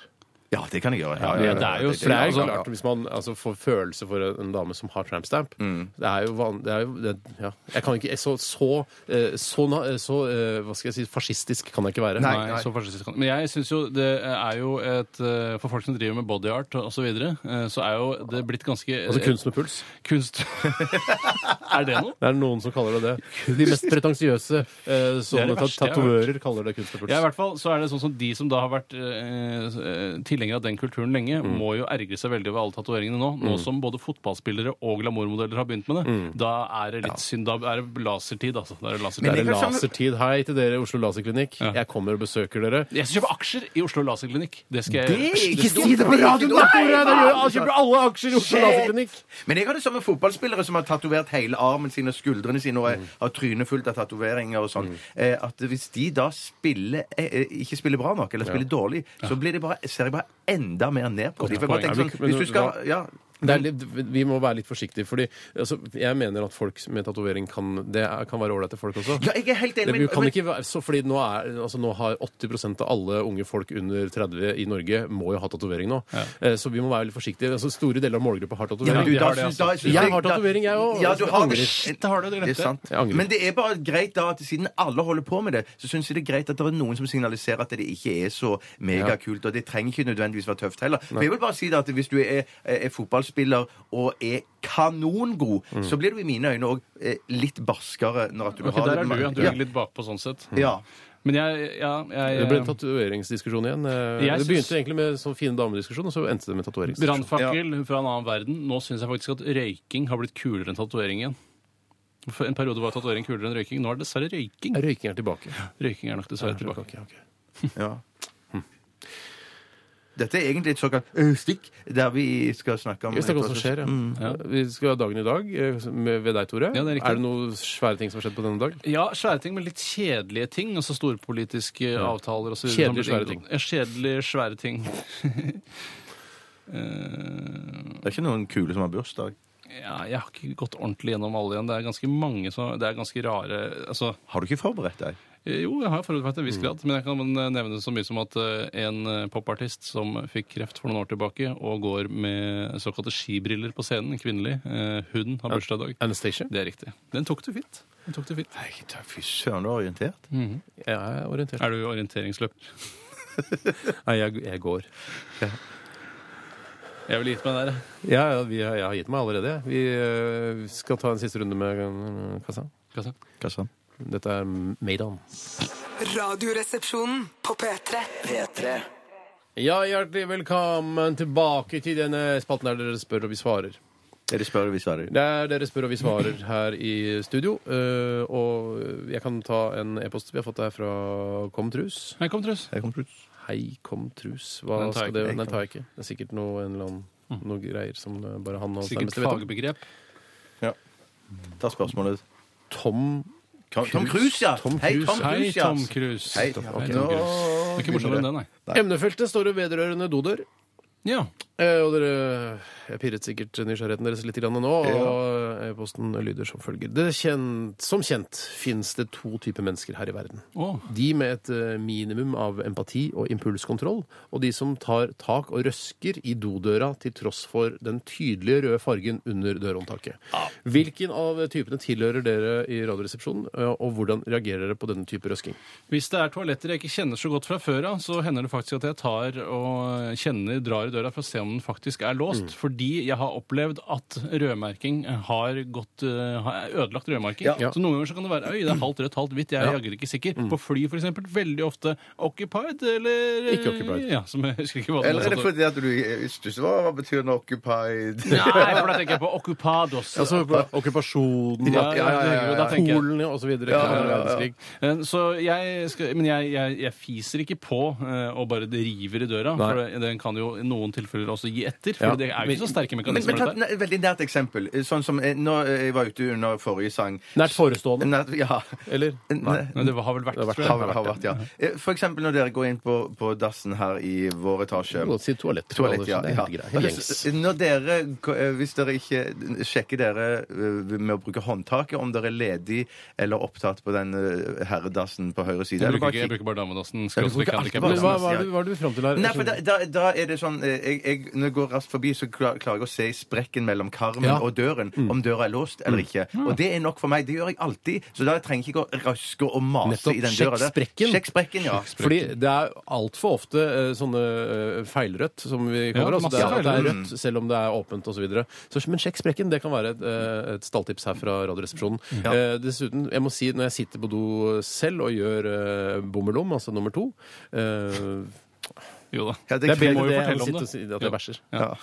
[SPEAKER 5] Ja, det kan jeg gjøre. Ja, ja,
[SPEAKER 4] det er jo-
[SPEAKER 5] det- det-
[SPEAKER 3] For det er jo
[SPEAKER 5] ja, ja.
[SPEAKER 3] klart, Hvis man altså, får følelse for en dame som har trampstamp
[SPEAKER 4] Mm.
[SPEAKER 3] Det er jo van... Det er jo, det, ja. Jeg kan ikke Så, så, eh, så, na- eh, så eh, Hva skal jeg si Fascistisk kan jeg ikke være.
[SPEAKER 5] Nei.
[SPEAKER 4] Nei, så fascistisk kan Men jeg syns jo det er jo et eh, For folk som driver med body art og osv., så, videre, eh, så er jo det blitt ganske eh,
[SPEAKER 3] Altså kunst med puls.
[SPEAKER 4] kunst. er det noe?
[SPEAKER 3] Det er noen som kaller det det. De mest pretensiøse eh, sånne ta-
[SPEAKER 4] verste jeg har
[SPEAKER 3] tatoverer kaller det kunst med puls.
[SPEAKER 4] Ja, i hvert fall så er det sånn som De som da har vært eh, eh, tilhengere av den kulturen lenge, må jo ergre seg veldig over alle tatoveringene nå. Nå som både fotballspillere og glamourmodeller har begynt med det. Da er det litt synd. Da er det lasertid, altså. Da er det
[SPEAKER 3] Det
[SPEAKER 4] lasertid.
[SPEAKER 3] er
[SPEAKER 5] jeg
[SPEAKER 3] en
[SPEAKER 5] kan skjønne-
[SPEAKER 3] lasertid. Hei til dere i Oslo Laserklinikk.
[SPEAKER 4] Ja.
[SPEAKER 3] Jeg kommer og besøker dere.
[SPEAKER 4] Jeg skal kjøpe aksjer i Oslo Laserklinikk. Det skal jeg
[SPEAKER 5] Det er
[SPEAKER 4] gjøre.
[SPEAKER 5] ikke dumt. Det er ikke dumt.
[SPEAKER 3] Jeg kjøper alle aksjer i Oslo Laserklinikk!
[SPEAKER 5] Men jeg har det samme fotballspillere som har tatovert hele armen sin og skuldrene sine og er-
[SPEAKER 3] Mm.
[SPEAKER 5] har trynet fullt av tatoveringer og sånn. Eh, at hvis de da spiller eh, eh, ikke spiller bra nok, eller spiller dårlig, så blir det bare, ser jeg bare enda mer ned på dem. For jeg bare
[SPEAKER 4] poeng.
[SPEAKER 5] tenker sånn,
[SPEAKER 3] Men-
[SPEAKER 5] hvis du skal ja,
[SPEAKER 3] Det er litt, vi må være litt forsiktige, fordi altså, jeg mener at folk med tatovering kan, det er, kan være ålreite folk også.
[SPEAKER 5] ja, jeg er helt
[SPEAKER 3] Det,
[SPEAKER 5] enig,
[SPEAKER 3] men,
[SPEAKER 5] men,
[SPEAKER 3] kan
[SPEAKER 5] men
[SPEAKER 3] ikke være, så fordi nå, er, altså, nå har 80 av alle unge folk under 30 i Norge må jo ha tatovering nå. Eh, Så vi må være litt forsiktige. Altså, store deler av målgruppa har
[SPEAKER 5] Ja,
[SPEAKER 3] tatovering.
[SPEAKER 5] men du,
[SPEAKER 3] De
[SPEAKER 5] da
[SPEAKER 3] har det,
[SPEAKER 5] synes-
[SPEAKER 3] altså.
[SPEAKER 5] da synes
[SPEAKER 3] Jeg har tatovering, jeg òg.
[SPEAKER 5] Ja, du har det.
[SPEAKER 4] Shit, det har du, det
[SPEAKER 5] Det er
[SPEAKER 4] glemte jeg.
[SPEAKER 5] sant.
[SPEAKER 3] Jeg angrer.
[SPEAKER 5] Men det er bare greit da at siden alle holder på med det, så syns jeg det er greit at det er noen som signaliserer at det ikke er så megakult, og det trenger ikke nødvendigvis være tøft heller. Men jeg vil bare si det at hvis du er, er fotballspiller og er kanongod, så blir du i mine øyne òg litt barskere når at du
[SPEAKER 4] Ok,
[SPEAKER 5] har
[SPEAKER 4] der er du, ja. Du
[SPEAKER 5] ja.
[SPEAKER 4] ligger litt bakpå sånn sett.
[SPEAKER 5] ja.
[SPEAKER 4] Men jeg, ja, jeg
[SPEAKER 3] Det ble en tatoveringsdiskusjon igjen. Eh,
[SPEAKER 4] Jeg
[SPEAKER 3] Det
[SPEAKER 4] synes-
[SPEAKER 3] begynte egentlig med sånn fine damediskusjon, og så endte det med tatoveringsdiskusjon.
[SPEAKER 4] Brannfakkel fra en annen verden. Nå syns jeg faktisk at røyking har blitt kulere enn tatovering igjen. For en periode var tatovering kulere enn røyking. Nå er det dessverre røyking.
[SPEAKER 3] Røyking er tilbake.
[SPEAKER 4] Røyking er nok dessverre tilbake.
[SPEAKER 3] Ok, ok.
[SPEAKER 5] ja. Dette er egentlig et såkalt ø, stikk, der vi skal snakke om
[SPEAKER 3] Vi snakker om hva som skjer, ja. Vi skal ha dagen i dag eh, med, ved deg, Tore.
[SPEAKER 4] Ja, det er riktig.
[SPEAKER 3] det noen svære ting som har skjedd på denne dag?
[SPEAKER 4] Ja, svære ting, men litt kjedelige ting. Altså storpolitiske avtaler osv.
[SPEAKER 3] Kjedelige, svære ting.
[SPEAKER 4] Ja, kjedelige, svære ting. Eh,
[SPEAKER 5] Det er ikke noen kule som har bursdag.
[SPEAKER 4] ja, jeg har ikke gått ordentlig gjennom alle igjen. Det er ganske mange som Det er ganske rare Altså
[SPEAKER 5] Har du ikke forberedt deg?
[SPEAKER 4] Eh, Jo, jeg har forholdt meg til en viss grad. Men jeg kan eh, nevne så mye som at eh, en eh, popartist som fikk kreft for noen år tilbake, og går med såkalte skibriller på scenen, en kvinnelig, eh, hun har bursdag i dag.
[SPEAKER 3] Anastacia?
[SPEAKER 4] Det er riktig. Den tok du fint. Den tok du fint.
[SPEAKER 5] Nei, da, fy søren, du er orientert.
[SPEAKER 3] Jeg er orientert.
[SPEAKER 4] Er du orienteringsløper?
[SPEAKER 3] Nei, jeg, jeg går.
[SPEAKER 4] Jeg ville gitt meg der. jeg.
[SPEAKER 3] Ja, ja, vi, har- jeg har gitt meg allerede. jeg. Vi eh, skal ta en siste runde med eh, kassa.
[SPEAKER 4] Hva sa jeg?
[SPEAKER 5] Hva sa han?
[SPEAKER 3] Dette er Maidon.
[SPEAKER 6] Radioresepsjonen på P3.
[SPEAKER 2] P3
[SPEAKER 3] Ja, hjertelig velkommen tilbake til denne spalten der dere spør og vi svarer.
[SPEAKER 5] Dere spør hvis det er
[SPEAKER 3] Det er dere spør og vi svarer her i studio. eh, Og jeg kan ta en e-post vi har fått her fra Komtrus.
[SPEAKER 4] Hei, kom, Truls.
[SPEAKER 5] Jeg kom til
[SPEAKER 3] Hei, Komtrus. Hva
[SPEAKER 4] Den tar jeg
[SPEAKER 3] skal det
[SPEAKER 4] ikke.
[SPEAKER 3] Nei, tar jeg ikke. Det er sikkert noe, en eller annen, noe greier som eh, bare han og hans
[SPEAKER 4] Sikkert
[SPEAKER 3] nærmeste vet om.
[SPEAKER 4] fagbegrep.
[SPEAKER 5] Ta spørsmålet.
[SPEAKER 3] Tom
[SPEAKER 5] Tom, Tom Cruise, ja.
[SPEAKER 3] Tom
[SPEAKER 5] Hei,
[SPEAKER 3] Cruise.
[SPEAKER 5] Tom
[SPEAKER 4] Hei,
[SPEAKER 5] Cruise, ja.
[SPEAKER 4] Tom Cruise.
[SPEAKER 5] Hei,
[SPEAKER 4] Tom
[SPEAKER 5] ok.
[SPEAKER 4] Cruise.
[SPEAKER 5] Nå
[SPEAKER 4] Det er ikke morsommere enn det, nei.
[SPEAKER 3] Emnefeltet står jo vedrørende dodør.
[SPEAKER 4] Ja.
[SPEAKER 3] Eh, Og dere pirret sikkert nysgjerrigheten deres litt grann nå, og eh, posten lyder som følger. Det kjent, som kjent fins det to typer mennesker her i verden.
[SPEAKER 4] Å.
[SPEAKER 3] De med et eh, minimum av empati og impulskontroll, og de som tar tak og røsker i dodøra til tross for den tydelige røde fargen under dørhåndtaket. Hvilken av typene tilhører dere i Radioresepsjonen, eh, og hvordan reagerer dere på denne type røsking?
[SPEAKER 4] Hvis det er toaletter jeg ikke kjenner så godt fra før av, så hender det faktisk at jeg tar og kjenner, drar i døra for å se om kranen faktisk er
[SPEAKER 5] Mm.
[SPEAKER 4] låst. Fordi jeg har opplevd at rødmerking har gått eh, har ødelagt rødmerking.
[SPEAKER 3] Ja.
[SPEAKER 4] Så noen ganger så kan det være Oi, det er halvt rødt, halvt hvitt. Jeg er jaggu ikke
[SPEAKER 5] Mm.
[SPEAKER 4] sikker. På fly, for eksempel, veldig ofte occupied eller eh,
[SPEAKER 3] Ikke occupied.
[SPEAKER 4] Ja, som jeg husker ikke hva det
[SPEAKER 5] Eller er det
[SPEAKER 4] var.
[SPEAKER 5] fordi at du eh, stusser over hva betyr en occupied?
[SPEAKER 4] Nei, for da tenker jeg på occupados.
[SPEAKER 3] Altså på okkupasjonen,
[SPEAKER 4] Ja, ja, ja, ja, ja. Da tenker jeg-
[SPEAKER 3] Polen og så videre. andre verdenskrig.
[SPEAKER 4] Eh, Så jeg skal, men jeg, jeg, jeg fiser ikke på eh, og bare det river i døra.
[SPEAKER 3] Nei.
[SPEAKER 4] For det- den kan jo i noen tilfeller også gi etter. For
[SPEAKER 3] Ja.
[SPEAKER 4] det er jo ikke så sterke
[SPEAKER 5] Men, men
[SPEAKER 4] mekanismer.
[SPEAKER 5] ta
[SPEAKER 4] dette her.
[SPEAKER 5] et veldig nært eksempel. Sånn som eh, nå, eh, jeg var ute under forrige sang.
[SPEAKER 3] Nært forestående,
[SPEAKER 5] Nært, ja.
[SPEAKER 3] eller?
[SPEAKER 5] Nei.
[SPEAKER 4] Nei, det har vel vært,
[SPEAKER 3] Det har vært
[SPEAKER 4] tror jeg.
[SPEAKER 5] Har, har vært, ja. Eh, For eksempel når dere går inn på, på dassen her i vår etasje.
[SPEAKER 3] Godt si toalett.
[SPEAKER 5] Toalett, ja.
[SPEAKER 3] Det er
[SPEAKER 5] ja.
[SPEAKER 3] helt greit, helt gjengs.
[SPEAKER 5] Når dere, eh, hvis dere ikke sjekker dere eh, med å bruke håndtaket om dere er ledig eller opptatt på den eh, herredassen på høyre side
[SPEAKER 4] Jeg
[SPEAKER 5] eller
[SPEAKER 4] bruker,
[SPEAKER 5] bare
[SPEAKER 4] ikke, jeg
[SPEAKER 5] kikk-
[SPEAKER 4] bruker bare damedassen.
[SPEAKER 3] Ja, du får ikke alt- Men Hva
[SPEAKER 4] Skal
[SPEAKER 3] hva er det- hva er det du fram til her? Sånn
[SPEAKER 5] Nei, for da, da, da er det sånn eh, jeg, jeg, Når jeg går raskt forbi, så klar, klarer jeg å se i sprekken mellom karmen
[SPEAKER 3] Ja. Mm.
[SPEAKER 5] og døren om døra er låst eller ikke. Og det er nok for meg. Det gjør jeg alltid. Så da trenger jeg ikke å raske og mase
[SPEAKER 3] Nettopp.
[SPEAKER 5] i den
[SPEAKER 3] Sjekk
[SPEAKER 5] døra. der.
[SPEAKER 3] sprekken.
[SPEAKER 5] Sjekk sprekken, ja.
[SPEAKER 3] Fordi det er altfor ofte eh, sånne eh, feilrødt som vi kaller det.
[SPEAKER 4] masse
[SPEAKER 3] Altså, det, er, at det er
[SPEAKER 4] feilrødt.
[SPEAKER 3] rødt selv om det er åpent osv. Men sjekk sprekken. Det kan være et, eh, et stalltips her fra Radioresepsjonen. Eh, dessuten, jeg må si når jeg sitter på do selv og gjør eh, bommelom, altså nummer to eh,
[SPEAKER 4] Jo da.
[SPEAKER 5] Ja,
[SPEAKER 3] Det er
[SPEAKER 4] må
[SPEAKER 3] bedre
[SPEAKER 4] jo
[SPEAKER 3] det enn
[SPEAKER 4] fortelle
[SPEAKER 3] å
[SPEAKER 4] om
[SPEAKER 3] sitte
[SPEAKER 4] det.
[SPEAKER 3] og si at jeg
[SPEAKER 4] Ja.
[SPEAKER 3] bæsjer.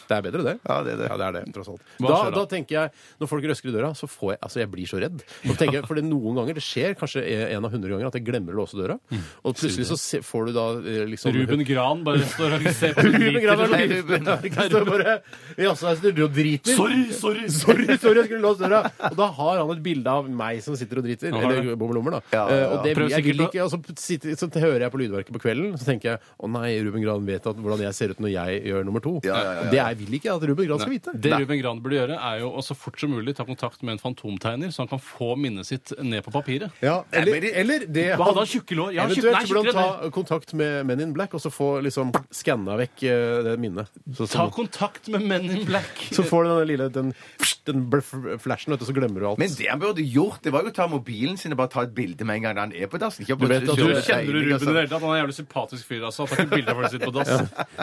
[SPEAKER 3] Det er bedre, det.
[SPEAKER 5] Ja, det er det.
[SPEAKER 3] Ja, det er det, tross alt.
[SPEAKER 4] Hva
[SPEAKER 3] Da,
[SPEAKER 4] skjer da?
[SPEAKER 3] da tenker jeg, når folk røsker i døra, så får jeg Altså, jeg blir så redd. Nå tenker jeg, for det er noen ganger, det skjer kanskje en av hundre ganger, at jeg glemmer å låse døra.
[SPEAKER 4] Mm.
[SPEAKER 3] Og plutselig så se- får du da eh, liksom
[SPEAKER 4] Ruben Gran bare står og ser på det
[SPEAKER 3] Ruben Gran sånn. er
[SPEAKER 4] driter.
[SPEAKER 5] Hei, Ruben.
[SPEAKER 3] Han står bare Jaså, jeg står og driter.
[SPEAKER 4] Sorry, sorry!
[SPEAKER 3] Sorry, sorry, jeg skulle låst døra! Og da har han et bilde av meg som sitter og driter.
[SPEAKER 4] har det.
[SPEAKER 3] Eller bommelommer, da.
[SPEAKER 5] Ja, ja, ja.
[SPEAKER 3] Eh, Og det
[SPEAKER 4] Prøv
[SPEAKER 3] jeg vil
[SPEAKER 4] sikkert å-
[SPEAKER 3] ikke, og så, sitter, så hører jeg på lydverket på kvelden, så tenker jeg å nei, Ruben Gran vet at, hvordan jeg ser ut når jeg gjør nummer to.
[SPEAKER 5] Ja, ja, ja, ja.
[SPEAKER 3] Det jeg vil ikke at Ruben Gran skal vite.
[SPEAKER 4] Det Ruben Gran burde gjøre, er jo å så fort som mulig ta kontakt med en fantomtegner, så han kan få minnet sitt ned på papiret.
[SPEAKER 3] Ja,
[SPEAKER 5] Nei,
[SPEAKER 3] eller,
[SPEAKER 5] men det-
[SPEAKER 3] eller det
[SPEAKER 4] Hva hadde han tjukke lår? Ja,
[SPEAKER 3] Eventuelt
[SPEAKER 4] tjukke, nei,
[SPEAKER 3] burde
[SPEAKER 4] tjukkere
[SPEAKER 3] han
[SPEAKER 4] enn
[SPEAKER 3] ta
[SPEAKER 4] det.
[SPEAKER 3] kontakt med Men in Black og så få liksom skanna vekk eh, det minnet. Så,
[SPEAKER 4] Ta
[SPEAKER 3] så,
[SPEAKER 4] kontakt med Men in Black.
[SPEAKER 3] så får du den lille den, den blf- flashen, vet du, så glemmer du alt.
[SPEAKER 5] Men det han burde gjort, det var jo å ta mobilen sin og bare ta et bilde med en gang han er på dassen. Ikke
[SPEAKER 3] Du altså. vet at Jo,
[SPEAKER 4] Du kjenner du Ruben i
[SPEAKER 5] altså.
[SPEAKER 4] det hele tatt? Han er en jævlig sympatisk fyr. altså. Han tar ikke bilder av folk som sitter på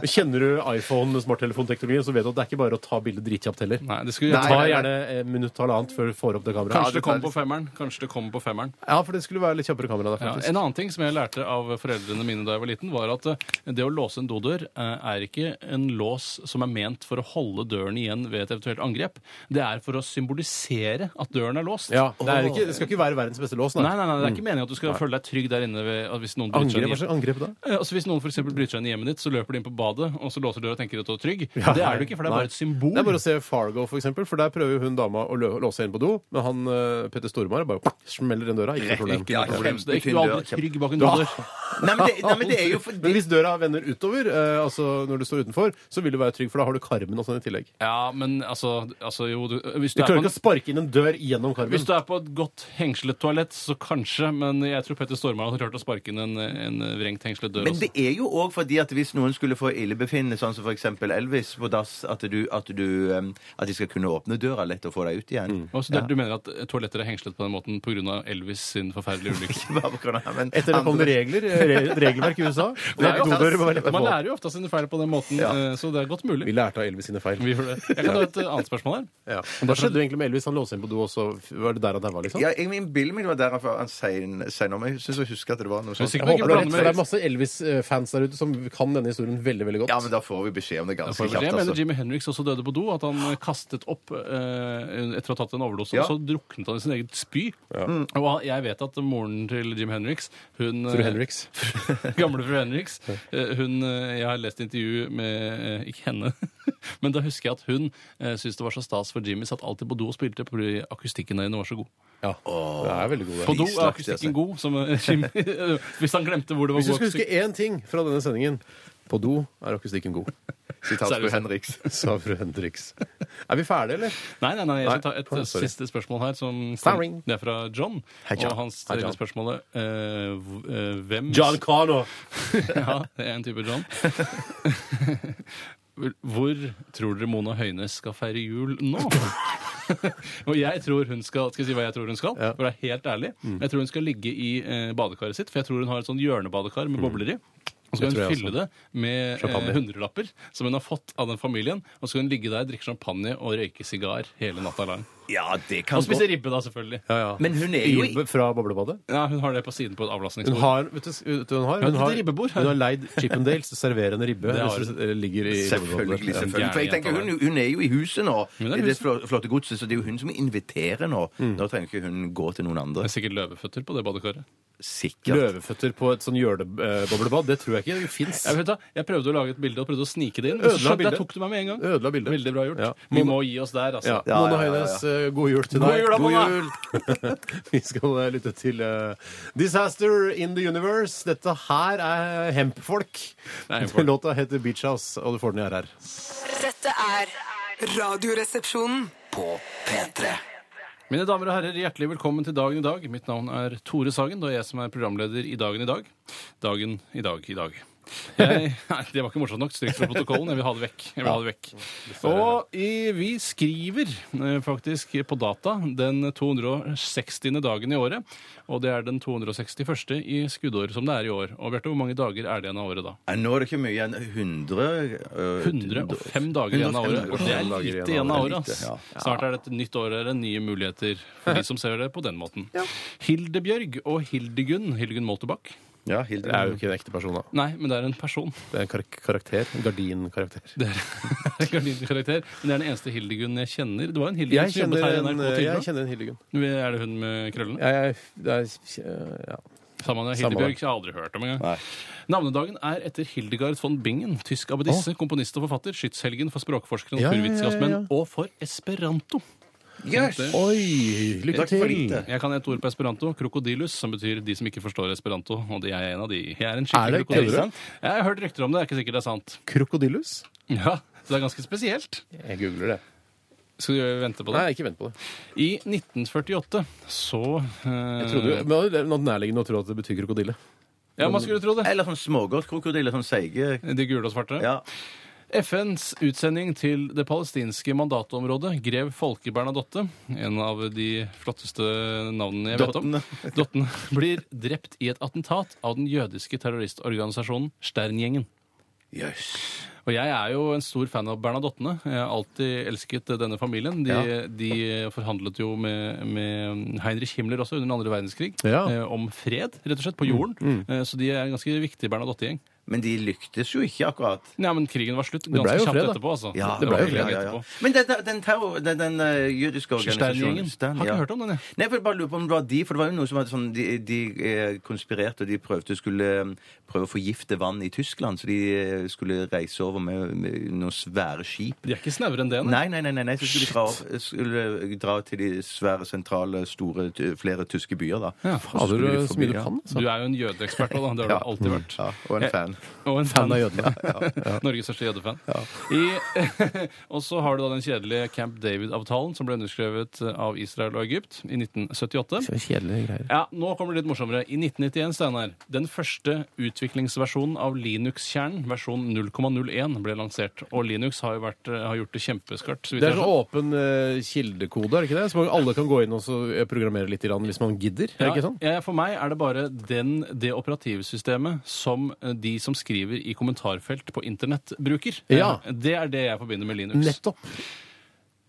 [SPEAKER 4] dass.
[SPEAKER 3] Kjenner du iPhone, smarttelefonteknologien, så vet du at det er ikke bare å ta bildet dritkjapt heller.
[SPEAKER 4] Nei, det skulle
[SPEAKER 5] Nei,
[SPEAKER 3] Ta
[SPEAKER 5] nei, nei.
[SPEAKER 3] gjerne et minutt eller annet før du får opp det kameraet.
[SPEAKER 4] Kanskje det kommer på femmeren. Kanskje det kommer på femmeren.
[SPEAKER 3] Ja, for det skulle være litt kjappere kamera der,
[SPEAKER 4] Ja,
[SPEAKER 3] faktisk.
[SPEAKER 4] en annen ting som jeg lærte av foreldrene mine da jeg var liten, var at eh, det å låse en dodør eh, er ikke en lås som er ment for å holde døren igjen ved et eventuelt angrep. Det er for å symbolisere at døren er låst.
[SPEAKER 3] Ja, det, er ikke, det skal ikke være verdens beste lås,
[SPEAKER 4] Nei, nei, nei, det er ikke meningen at du skal føle deg trygg der inne ved, at hvis noen bryter seg
[SPEAKER 3] Angrep,
[SPEAKER 4] inn
[SPEAKER 3] hva
[SPEAKER 4] i-
[SPEAKER 3] slags angrep da?
[SPEAKER 4] Eh, Altså Hvis noen for eksempel bryter seg inn i hjemmet ditt, så løper de inn på badet, og så låser døra og tenker at du er trygg. Det er du ikke, for det er
[SPEAKER 3] Nei.
[SPEAKER 4] bare et symbol.
[SPEAKER 3] Det er bare å se Fargo, for eksempel, for der prøver jo hun dama å lø- låse inn på do, men han eh, Petter Stormare bare smeller den døra. Ikke noe problem.
[SPEAKER 4] Ikke noe problem. Så det er ikke
[SPEAKER 5] Kjempetynn
[SPEAKER 4] du er aldri
[SPEAKER 5] dør,
[SPEAKER 4] trygg bak en dodør.
[SPEAKER 5] Nei, men det, nei, men det er jo for,
[SPEAKER 3] Men hvis døra vender utover, eh, altså når du står utenfor, så vil du være trygg, for da har du karmen og sånn i tillegg.
[SPEAKER 4] Ja, men altså, altså jo du, hvis, du
[SPEAKER 3] Du
[SPEAKER 4] er på
[SPEAKER 3] klarer
[SPEAKER 4] en,
[SPEAKER 3] ikke å sparke inn en dør gjennom karmen.
[SPEAKER 4] hvis du er på et godt hengslet toalett, så kanskje, men jeg tror Petter Stormare hadde klart å sparke inn en, en vrengt hengslet dør
[SPEAKER 5] Men
[SPEAKER 4] også.
[SPEAKER 5] det er jo òg fordi at hvis noen skulle få illebefinnende, sånn som f.eks. Elvis på dass, at, du, at, du, em, at de skal kunne åpne døra lett og få deg ut igjen.
[SPEAKER 4] Og så det, Du mener at toaletter er hengslet på den måten pga. Elvis sin forferdelige ulykke?
[SPEAKER 5] Bare på grunn av- men-
[SPEAKER 3] Etter det kom det regler, eh, re- regelverk i USA.
[SPEAKER 4] Det er jo-
[SPEAKER 3] Dodører må være lette
[SPEAKER 4] Man
[SPEAKER 3] på.
[SPEAKER 4] lærer jo ofte av sine feil på den måten, eh, så det er godt mulig.
[SPEAKER 3] Vi lærte av Elvis sine feil.
[SPEAKER 4] Vi gjør det. Jeg kan ta et eh, annet spørsmål her.
[SPEAKER 3] Ja. Hva skjedde egentlig med Elvis? Han låste inn på do, og så var det der han daua, liksom?
[SPEAKER 5] Ja, jeg innbiller meg det var der han for- han sier sier noe, men jeg syns jeg husker at det var noe
[SPEAKER 4] Jeg er sikker på-
[SPEAKER 5] sånt.
[SPEAKER 3] Jeg håper du har rett, for
[SPEAKER 4] blander med-
[SPEAKER 3] det er masse Elvis-fans der ute som kan denne historien veldig veldig godt.
[SPEAKER 5] Ja, men da får vi beskjed om det
[SPEAKER 4] Jeg
[SPEAKER 5] ganske
[SPEAKER 4] får beskjed.
[SPEAKER 5] kjapt,
[SPEAKER 4] Jeg mener
[SPEAKER 5] altså.
[SPEAKER 4] Jimmy Henriks også døde på do. At han kastet opp eh, etter å ha tatt en overdose.
[SPEAKER 5] Ja.
[SPEAKER 4] Og så druknet han i sin eget spy. Og jeg vet at moren til Jim Henriks hun, eh,
[SPEAKER 3] Fru Henriks.
[SPEAKER 4] Gamle fru Henriks. eh, Hun, eh, jeg har lest intervju med eh, ikke henne, men da husker jeg at hun eh, syntes det var så stas for Jimmy satt alltid på do og spilte fordi akustikken der inne var så god.
[SPEAKER 3] Ja. Det er veldig god.
[SPEAKER 4] På
[SPEAKER 3] det.
[SPEAKER 4] do er
[SPEAKER 5] slags,
[SPEAKER 4] akustikken
[SPEAKER 3] altså.
[SPEAKER 4] god, som eh, Jimmy Hvis han glemte hvor det var
[SPEAKER 3] Hvis du
[SPEAKER 4] god
[SPEAKER 3] skulle huske
[SPEAKER 4] akustikk.
[SPEAKER 3] én ting fra denne sendingen På do er akustikken god,
[SPEAKER 5] Sitat
[SPEAKER 4] Seriøst.
[SPEAKER 5] fru Henriks.
[SPEAKER 3] sa fru Henriks. Er vi ferdige, eller?
[SPEAKER 4] Nei, nei, nei, jeg skal
[SPEAKER 3] Nei,
[SPEAKER 4] ta et
[SPEAKER 3] sorry.
[SPEAKER 4] eh, siste spørsmål her. Som,
[SPEAKER 3] Starring.
[SPEAKER 4] det er fra John.
[SPEAKER 3] Hei, John.
[SPEAKER 4] Og han
[SPEAKER 3] Hei,
[SPEAKER 4] stiller
[SPEAKER 3] John.
[SPEAKER 4] spørsmålet eh, hv- eh, Hvem
[SPEAKER 3] Connor.
[SPEAKER 4] Ja, det er en type John. Hvor tror dere Mona Høines skal feire jul nå? og jeg tror hun skal Skal jeg si hva jeg tror hun skal? For å
[SPEAKER 3] Mm.
[SPEAKER 4] være helt ærlig Jeg tror hun skal ligge i eh, badekaret sitt, for jeg tror hun har et sånn hjørnebadekar med bobler i. Og så
[SPEAKER 3] Mm. Det
[SPEAKER 4] skal
[SPEAKER 3] tror
[SPEAKER 4] hun
[SPEAKER 3] jeg
[SPEAKER 4] fylle
[SPEAKER 3] også.
[SPEAKER 4] det med
[SPEAKER 3] Champagne.
[SPEAKER 4] eh, hundrelapper som hun har fått av den familien. Og så skal hun ligge der, drikke champagne og røyke sigar hele natta lang.
[SPEAKER 5] Ja, det
[SPEAKER 4] Og
[SPEAKER 5] kan
[SPEAKER 4] spise ribbe, da, selvfølgelig.
[SPEAKER 3] Ja, ja.
[SPEAKER 5] Men hun er jo
[SPEAKER 3] I- Fra boblebadet?
[SPEAKER 4] Ja, Hun har det på siden på et
[SPEAKER 3] Hun
[SPEAKER 4] avlastningsbord.
[SPEAKER 3] har, vet du, vet du hva hun har?
[SPEAKER 4] Ja,
[SPEAKER 3] Hun
[SPEAKER 4] det er
[SPEAKER 3] har,
[SPEAKER 4] ribbebord her.
[SPEAKER 3] hun har leid Chippendales serverende ribbe.
[SPEAKER 4] Det har
[SPEAKER 3] hvis
[SPEAKER 4] hun.
[SPEAKER 3] det ligger i
[SPEAKER 5] Selvfølgelig.
[SPEAKER 3] ribbebåndet.
[SPEAKER 5] selvfølgelig. For jeg
[SPEAKER 4] Gæren
[SPEAKER 5] tenker
[SPEAKER 4] jenta
[SPEAKER 5] hun, hun er jo i huset nå,
[SPEAKER 4] Hun er i
[SPEAKER 5] i det
[SPEAKER 4] huset.
[SPEAKER 5] flå- flotte godset, så det er jo hun som inviterer nå.
[SPEAKER 3] Mm.
[SPEAKER 5] Da trenger ikke hun gå til noen andre.
[SPEAKER 4] Det er sikkert løveføtter på det badekaret.
[SPEAKER 5] Sikkert.
[SPEAKER 3] Løveføtter på et sånn hjørneboblebad, det tror jeg ikke fins.
[SPEAKER 4] Jeg, vet da, jeg prøvde å lage et bilde og prøvde å snike det inn. men så
[SPEAKER 3] Ødela
[SPEAKER 4] skjønte jeg-
[SPEAKER 3] bildet.
[SPEAKER 4] tok du meg med en gang.
[SPEAKER 3] Ødela bildet.
[SPEAKER 4] Veldig bra gjort.
[SPEAKER 3] Ja.
[SPEAKER 4] Vi må gi oss der, altså.
[SPEAKER 3] Ja.
[SPEAKER 5] Ja,
[SPEAKER 3] Mona
[SPEAKER 5] ja, ja, ja.
[SPEAKER 3] Høines, eh, god jul til
[SPEAKER 4] God
[SPEAKER 3] deg.
[SPEAKER 4] jul, da, Mona.
[SPEAKER 3] Vi skal eh, lytte til eh, Disaster in the Universe. Dette her er Hempfolk.
[SPEAKER 4] Det er Hempfolk.
[SPEAKER 3] Låta heter Beach House, og du får den i RR.
[SPEAKER 6] Dette er Radioresepsjonen.
[SPEAKER 2] På P3
[SPEAKER 4] Mine damer og herrer, hjertelig velkommen til Dagen i dag. Mitt navn er Tore Sagen, og jeg som er programleder i Dagen i dag. Dagen i dag i dag. Jeg, nei, det var ikke morsomt nok. Stryk fra protokollen. Jeg vil ha det vekk. Jeg vil ha det vekk. Og i, vi skriver eh, faktisk på data den 260. dagen i året. Og det er den 261. i skuddåret som det er i år. Og Bjarte, hvor mange dager er det igjen av året da?
[SPEAKER 5] Nei, Nå er det ikke mye igjen. 100 øh,
[SPEAKER 4] 105 dager igjen av
[SPEAKER 5] 105
[SPEAKER 4] året. Og det er
[SPEAKER 5] dager.
[SPEAKER 4] lite
[SPEAKER 3] igjen av
[SPEAKER 4] igjen av
[SPEAKER 5] året.
[SPEAKER 4] året. ass.
[SPEAKER 5] Lite,
[SPEAKER 4] Snart er det et nytt år eller nye muligheter for de som ser det på den måten. Hildebjørg og Hildegunn Hildegunn Moltebakk.
[SPEAKER 5] Ja,
[SPEAKER 3] Det er jo
[SPEAKER 5] Hilde.
[SPEAKER 3] ikke en ekte person, da.
[SPEAKER 4] Nei, men det er en person.
[SPEAKER 3] Det er en kar karakter. En gardinkarakter.
[SPEAKER 4] Det er en karakter. Men det er den eneste Hildegunn jeg kjenner. Det var en Hildegunn
[SPEAKER 3] Jeg
[SPEAKER 4] som jobbet
[SPEAKER 3] kjenner
[SPEAKER 4] her i
[SPEAKER 3] en,
[SPEAKER 4] NRK
[SPEAKER 3] eh, jeg
[SPEAKER 4] tidligere.
[SPEAKER 3] kjenner en Hildegunn.
[SPEAKER 4] Er det hun med krøllene?
[SPEAKER 3] Jeg, jeg, det er, eh, ja.
[SPEAKER 4] Samme det.
[SPEAKER 3] Samme
[SPEAKER 4] Hildebjørg
[SPEAKER 3] det.
[SPEAKER 4] jeg har aldri hørt om engang. Navnedagen er etter Hildegard von Bingen, tysk abbedisse, komponist og forfatter, skytshelgen for språkforskere,
[SPEAKER 3] Ja, ja, ja, ja,
[SPEAKER 4] naturvitenskapsmenn
[SPEAKER 3] ja.
[SPEAKER 4] og for esperanto.
[SPEAKER 5] Yes.
[SPEAKER 3] Oi! Lykke
[SPEAKER 5] for
[SPEAKER 3] til!
[SPEAKER 5] lite.
[SPEAKER 4] Jeg kan et ord på esperanto. Krokodilus, som betyr de som ikke forstår esperanto. Og de er en av de. Jeg er en
[SPEAKER 3] Er
[SPEAKER 4] skikkelig
[SPEAKER 3] det?
[SPEAKER 4] krokodille.
[SPEAKER 3] Kødder
[SPEAKER 4] Jeg har hørt rykter om det. Det er ikke sikkert det er sant.
[SPEAKER 3] Krokodillus?
[SPEAKER 4] Ja, Så det er ganske spesielt.
[SPEAKER 3] Jeg googler det.
[SPEAKER 4] Skal du vente på det?
[SPEAKER 3] Nei, ikke vent på det.
[SPEAKER 4] I 1948 så eh,
[SPEAKER 3] Jeg trodde jo, men det er noe nærliggende å tro at det betyr krokodille.
[SPEAKER 4] Ja, man skulle tro det.
[SPEAKER 5] Eller sånn smågodtkrokodille, sånn seige
[SPEAKER 4] De gule og svarte.
[SPEAKER 5] ja.
[SPEAKER 4] FNs utsending til det palestinske mandatområdet, grev Folke Bernadotte, en av de flotteste navnene jeg vet om, Dotten blir drept i et attentat av den jødiske terroristorganisasjonen Sterngjengen. Og jeg er jo en stor fan av Bernadottene. Jeg har alltid elsket denne familien. De, de forhandlet jo med, med Heinrich Himmler også under den andre verdenskrig
[SPEAKER 3] Ja.
[SPEAKER 4] eh, om fred, rett og slett, på jorden. Eh, så de er en ganske viktig Bernadotte-gjeng.
[SPEAKER 5] Men de lyktes jo ikke akkurat.
[SPEAKER 4] Nei, men krigen var slutt
[SPEAKER 3] ble
[SPEAKER 4] ganske
[SPEAKER 3] jo
[SPEAKER 4] kjapt
[SPEAKER 3] fred, da.
[SPEAKER 4] etterpå, altså.
[SPEAKER 5] Ja,
[SPEAKER 4] det ble jo
[SPEAKER 3] ble
[SPEAKER 4] fred
[SPEAKER 5] ja, ja, ja.
[SPEAKER 4] etterpå.
[SPEAKER 5] Men den, den, terror, den, den øh, jødiske organisasjonen
[SPEAKER 4] Stern-gjengen. Har ikke hørt om den, jeg.
[SPEAKER 5] Nei, for jeg bare lurer på om det var de, for det var jo noe som hadde sånn, de, de eh, konspirerte, og de prøvde skulle eh, prøve å forgifte vann i Tyskland, så de eh, skulle reise over med, med noen svære skip.
[SPEAKER 4] De er ikke snauere enn det. nei.
[SPEAKER 5] Nei, nei, nei, nei, nei så skulle de dra, opp- skulle eh, dra til de svære, sentrale, store, t- flere tyske byer, da.
[SPEAKER 4] Ja. eh,
[SPEAKER 5] Så
[SPEAKER 3] Hadde du
[SPEAKER 5] skulle de
[SPEAKER 3] så mye altså? du
[SPEAKER 5] forbi-
[SPEAKER 3] kan?
[SPEAKER 4] Du er jo en jødeekspert òg, da. Det har du alltid vært.
[SPEAKER 5] Ja, og en fan.
[SPEAKER 4] Og en
[SPEAKER 3] Fan av jødene.
[SPEAKER 4] Norges største jødefan. I, og så har du da den kjedelige Camp David-avtalen som ble underskrevet av Israel og Egypt i 1978.
[SPEAKER 3] Kjedelige greier.
[SPEAKER 4] Ja, Nå kommer det litt morsommere. I 1991, Steinar, den første utviklingsversjonen av Linux-kjernen, versjon 0,01, ble lansert. Og Linux har jo vært, har gjort det kjempeskarpt. så vidt
[SPEAKER 3] Det
[SPEAKER 4] jeg
[SPEAKER 3] er
[SPEAKER 4] har
[SPEAKER 3] sånn åpen eh, kildekode, er det ikke det? Så alle kan gå inn og så eh, programmere litt grann hvis man gidder? Er det ikke sånn?
[SPEAKER 4] Ja, for meg er det bare den, det operativsystemet som eh, de som skriver i kommentarfelt på internett, bruker.
[SPEAKER 3] Ja.
[SPEAKER 4] Eh, Det er det jeg forbinder med Linux.
[SPEAKER 3] Nettopp.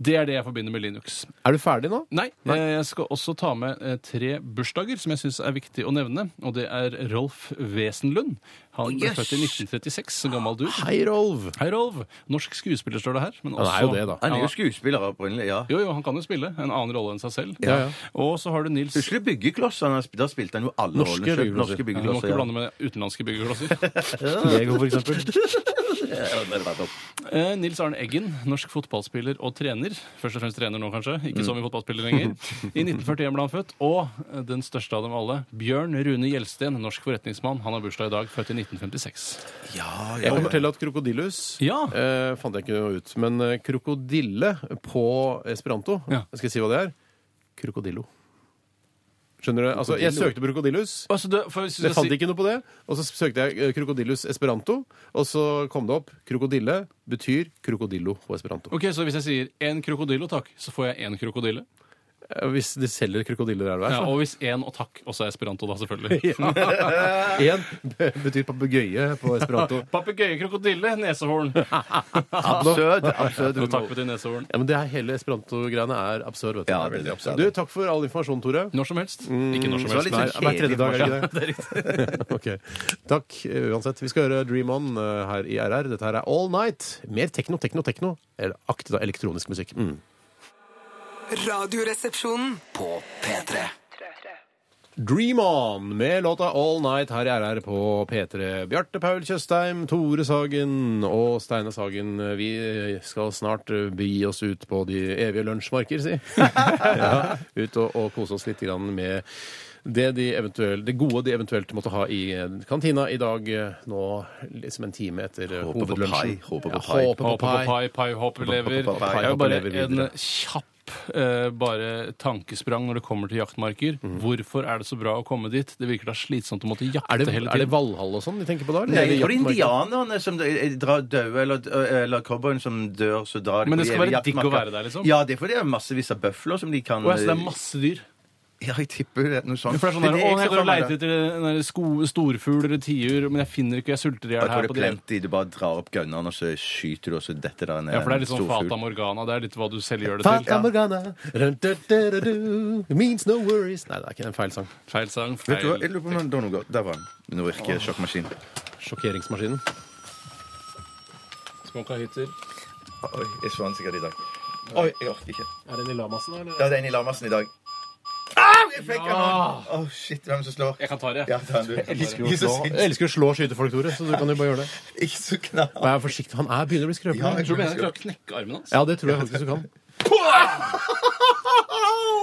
[SPEAKER 4] Det er det jeg forbinder med Linux.
[SPEAKER 3] Er du ferdig nå?
[SPEAKER 4] Nei, eh, jeg skal også ta med eh, tre bursdager som jeg syns er viktig å nevne. Og det er Rolf Wesenlund. Han ble
[SPEAKER 5] yes.
[SPEAKER 4] født i 1936, så gammel du.
[SPEAKER 3] Hei, Rolv!
[SPEAKER 4] Hei, Rolf. Norsk skuespiller står det her. Men
[SPEAKER 3] Han
[SPEAKER 4] også,
[SPEAKER 3] er jo det, da.
[SPEAKER 5] Han er
[SPEAKER 4] Ja,
[SPEAKER 5] jo skuespiller opprinnelig, ja.
[SPEAKER 4] jo, jo, han kan jo spille en annen rolle enn seg selv.
[SPEAKER 3] Ja, ja.
[SPEAKER 4] Og så har du Nils
[SPEAKER 5] Husker du byggeklossene? Da spilte han jo alle
[SPEAKER 3] Norske
[SPEAKER 5] rollene. selv.
[SPEAKER 3] byggeklosser.
[SPEAKER 4] Du må ikke
[SPEAKER 5] Norske byggeklosser. Ja,
[SPEAKER 4] blande med utenlandske byggeklosser.
[SPEAKER 3] Lego, for eksempel.
[SPEAKER 4] Eh, Nils Arne Eggen, norsk fotballspiller og trener. Først og fremst trener nå, kanskje. Ikke
[SPEAKER 3] Mm.
[SPEAKER 4] så mye fotballspiller lenger. I 1941 ble han født. Og eh, den største av dem alle, Bjørn Rune Gjelsten, norsk forretningsmann. Han har bursdag i dag, født i 1956.
[SPEAKER 5] ja,
[SPEAKER 3] Jeg
[SPEAKER 5] ja.
[SPEAKER 3] kan fortelle at krokodillus
[SPEAKER 4] Ja.
[SPEAKER 3] eh, fant jeg ikke noe ut. Men eh, krokodille på esperanto
[SPEAKER 4] Ja.
[SPEAKER 3] Skal jeg si hva det er? Krokodillo. Skjønner du? Altså, jeg søkte på krokodillus.
[SPEAKER 4] Altså, du, for, hvis du
[SPEAKER 3] Jeg
[SPEAKER 4] skal
[SPEAKER 3] fant ikke noe på det. Og så søkte jeg eh, krokodillus esperanto, og så kom det opp krokodille betyr krokodillo på esperanto.
[SPEAKER 4] Ok, Så hvis jeg sier én krokodillo, takk, så får jeg én krokodille?
[SPEAKER 3] eh, hvis de selger krokodiller her og
[SPEAKER 4] Ja,
[SPEAKER 3] der.
[SPEAKER 4] og hvis én og takk også er esperanto, da, selvfølgelig.
[SPEAKER 3] så.
[SPEAKER 4] Mm.
[SPEAKER 3] Én b- betyr papegøye på esperanto.
[SPEAKER 4] Papegøye, krokodille, nesehorn.
[SPEAKER 5] Absurd. absurd
[SPEAKER 4] Og takk
[SPEAKER 5] humor.
[SPEAKER 4] betyr nesehorn.
[SPEAKER 3] Ja, men det her hele esperanto-greiene er absurd. vet du.
[SPEAKER 5] Ja,
[SPEAKER 3] Det er
[SPEAKER 5] veldig absurd.
[SPEAKER 3] Du, Takk for all informasjon, Tore.
[SPEAKER 4] Når som helst.
[SPEAKER 3] Mm,
[SPEAKER 4] Ikke når som
[SPEAKER 5] så
[SPEAKER 4] helst.
[SPEAKER 5] litt
[SPEAKER 3] Nei,
[SPEAKER 5] sånn
[SPEAKER 3] hver tredje dag, er det
[SPEAKER 5] kjedelig
[SPEAKER 3] ikke det? ok. Takk eh, uansett. Vi skal høre Dream On eh, her i RR. Dette her er All Night. Mer tekno, tekno, tekno. Eller akte da elektronisk musikk. Mm.
[SPEAKER 6] Radioresepsjonen.
[SPEAKER 2] På P3.
[SPEAKER 3] Dream On med låta All Night her i RR på P3. Bjarte Paul Tjøstheim, Tore Sagen og Steine Sagen. Vi skal snart begi oss ut på de evige lunsjmarker, si. ja, ut og, og kose oss litt grann med det, de eventuell- det gode de eventuelt måtte ha i kantina i dag, nå liksom en time etter
[SPEAKER 5] Håper på
[SPEAKER 3] hovedlunsjen.
[SPEAKER 5] pai, håper på
[SPEAKER 3] Ja,
[SPEAKER 5] pai.
[SPEAKER 3] håper på
[SPEAKER 4] Håper på
[SPEAKER 3] pai.
[SPEAKER 4] pai, pai, håper lever.
[SPEAKER 3] Håper på pai,
[SPEAKER 4] Jeg har
[SPEAKER 3] håper
[SPEAKER 4] bare
[SPEAKER 3] lever
[SPEAKER 4] en
[SPEAKER 3] videre.
[SPEAKER 4] kjapp eh, bare tankesprang når det kommer til jaktmarker. Hvorfor er det så bra å komme dit? Det virker da slitsomt å måtte jakte
[SPEAKER 3] Er det,
[SPEAKER 4] hele
[SPEAKER 3] er det
[SPEAKER 4] tiden.
[SPEAKER 3] Valhall og sånn de tenker på da? eller?
[SPEAKER 5] Nei,
[SPEAKER 3] Eller
[SPEAKER 5] for
[SPEAKER 3] jaktmarker?
[SPEAKER 5] indianerne som dø- drar døde, eller, eh, eller cowboyen som dør, så drar de
[SPEAKER 4] Men
[SPEAKER 5] på
[SPEAKER 4] det
[SPEAKER 5] de
[SPEAKER 4] skal være
[SPEAKER 5] evige
[SPEAKER 4] digg å
[SPEAKER 5] jaktmarker.
[SPEAKER 4] være der, liksom?
[SPEAKER 5] Ja, det er fordi det er massevis av bøfler som de kan eh,
[SPEAKER 4] Å, ja, så det er masse dyr.
[SPEAKER 5] Ja, jeg tipper det er noe sånt.
[SPEAKER 4] For det er sånn
[SPEAKER 5] Men
[SPEAKER 4] der,
[SPEAKER 5] det er
[SPEAKER 4] å,
[SPEAKER 5] ikke
[SPEAKER 4] jeg
[SPEAKER 5] så
[SPEAKER 4] går og
[SPEAKER 5] gammel,
[SPEAKER 4] leter
[SPEAKER 5] da.
[SPEAKER 4] etter en der sko- storfugl eller tiur, men jeg finner ikke, jeg sulter i
[SPEAKER 5] Da
[SPEAKER 4] hjel
[SPEAKER 5] tror
[SPEAKER 4] her.
[SPEAKER 5] jeg
[SPEAKER 4] på
[SPEAKER 5] det er
[SPEAKER 4] det.
[SPEAKER 5] plenty. Du bare drar opp gunneren, og så skyter du, og så detter det en
[SPEAKER 4] Ja, for det er
[SPEAKER 5] en
[SPEAKER 4] litt sånn
[SPEAKER 5] stor
[SPEAKER 4] Fata
[SPEAKER 5] fugl.
[SPEAKER 4] Morgana. Det er litt hva du selv gjør det til.
[SPEAKER 3] Fata Morgana run-da-da-da-du, Means no worries Nei, det er ikke en feil sang.
[SPEAKER 4] Feil sang,
[SPEAKER 5] Vet du hva,
[SPEAKER 4] feil
[SPEAKER 5] jeg lurer på om det var noe godt. Der var den. Nå virker sjokkmaskinen.
[SPEAKER 3] Sjokkeringsmaskinen.
[SPEAKER 4] Små kahytter.
[SPEAKER 5] Oi, jeg så den sikkert i dag. Oi, jeg orker ikke.
[SPEAKER 3] Er den i lamasen, eller?
[SPEAKER 5] Ja, det er en i Larmassen i dag. Au, jeg fikk den! Å, shit, hvem som slår?
[SPEAKER 4] Jeg kan ta det.
[SPEAKER 5] Ja, ta den, du. Ikke så
[SPEAKER 3] Jeg
[SPEAKER 5] sint.
[SPEAKER 3] elsker å slå og skyte folk, Tore, så du kan jo bare gjøre det.
[SPEAKER 5] Ikke så knapp.
[SPEAKER 3] Vær forsiktig, han er begynner å bli
[SPEAKER 5] Ja,
[SPEAKER 3] skrøpelig.
[SPEAKER 5] jeg
[SPEAKER 4] Tror du
[SPEAKER 5] tror
[SPEAKER 4] mener
[SPEAKER 5] jeg
[SPEAKER 4] jeg klarer å knekke armen hans?
[SPEAKER 3] Ja, det tror jeg faktisk du kan.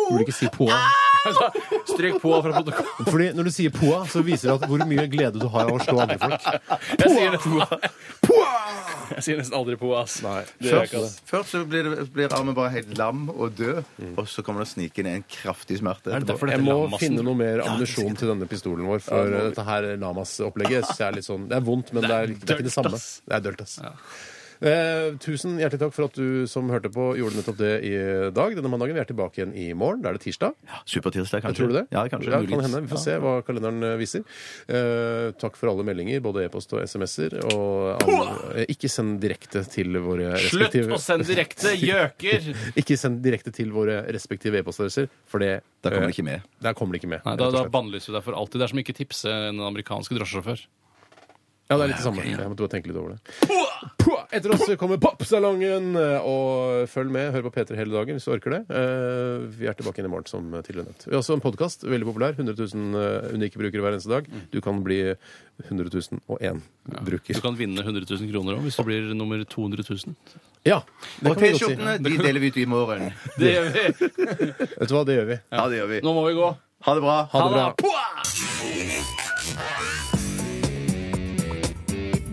[SPEAKER 3] Burde ikke si poa.
[SPEAKER 4] Strek på fra protokollen.
[SPEAKER 3] Fordi når du sier poa, så viser det at hvor mye glede du har av å slå andre folk.
[SPEAKER 4] Jeg sier nesten, jeg sier nesten aldri på, ass. Nei, det gjør jeg ikke, ass.
[SPEAKER 5] Først, først så blir, det, blir armen bare helt lam og død,
[SPEAKER 3] Mm.
[SPEAKER 5] og så kommer det snikende en kraftig smerte.
[SPEAKER 4] Er det derfor
[SPEAKER 5] etterpå.
[SPEAKER 4] det
[SPEAKER 3] Jeg må
[SPEAKER 4] heter Lamassen?
[SPEAKER 3] finne noe mer ammunisjon til denne pistolen vår, for eh, dette her lamas-opplegget synes jeg er litt sånn Det er vondt, men det er, det er ikke det
[SPEAKER 4] dølt,
[SPEAKER 3] samme.
[SPEAKER 4] ass.
[SPEAKER 3] Det er dølt, ass. Eh, tusen hjertelig takk for at du som hørte på, gjorde nettopp det i dag. Denne mandagen. Vi er tilbake igjen i morgen. Da er det tirsdag.
[SPEAKER 5] Supertirsdag, kanskje?
[SPEAKER 3] Tror du det?
[SPEAKER 5] Ja, kanskje.
[SPEAKER 3] Ja, det kan hende. Vi får se hva kalenderen eh, viser. Eh, takk for alle meldinger, både e-post og SMS-er. Og andre- eh, ikke send direkte til våre
[SPEAKER 4] Slutt
[SPEAKER 3] respektive
[SPEAKER 4] å sende direkte gjøker!
[SPEAKER 3] Ikke send direkte til våre respektive e-postadresser, for det
[SPEAKER 5] Da kommer
[SPEAKER 3] eh,
[SPEAKER 5] det ikke med.
[SPEAKER 3] Der kommer det ikke med.
[SPEAKER 4] Nei, da,
[SPEAKER 3] rett og
[SPEAKER 4] da
[SPEAKER 3] slett.
[SPEAKER 4] bannlyser vi deg for alltid. Det er som ikke tipse en amerikansk drosjesjåfør.
[SPEAKER 3] Ja, det er litt det samme. Jeg måtte bare tenke litt over det. Pua! Etter oss kommer Popsalongen! Og følg med. Hør på P3 hele dagen hvis du orker det. Eh, Vi er tilbake igjen i morgen, som tidligere nevnt. Vi har også en podkast. Veldig populær. 100 000 unike brukere hver eneste dag. Du kan bli 100 001
[SPEAKER 4] Du
[SPEAKER 3] bruker.
[SPEAKER 4] kan vinne 100 000 kroner òg hvis du blir nummer 200 000.
[SPEAKER 3] Ja! Det
[SPEAKER 5] Og
[SPEAKER 3] kan vi godt si.
[SPEAKER 5] T-skjortene de deler vi ut i morgen.
[SPEAKER 4] Det gjør vi!
[SPEAKER 3] Vet du hva, det gjør vi.
[SPEAKER 5] Ja, det gjør vi.
[SPEAKER 4] Nå må vi gå.
[SPEAKER 5] Ha det bra.
[SPEAKER 3] Ha det bra.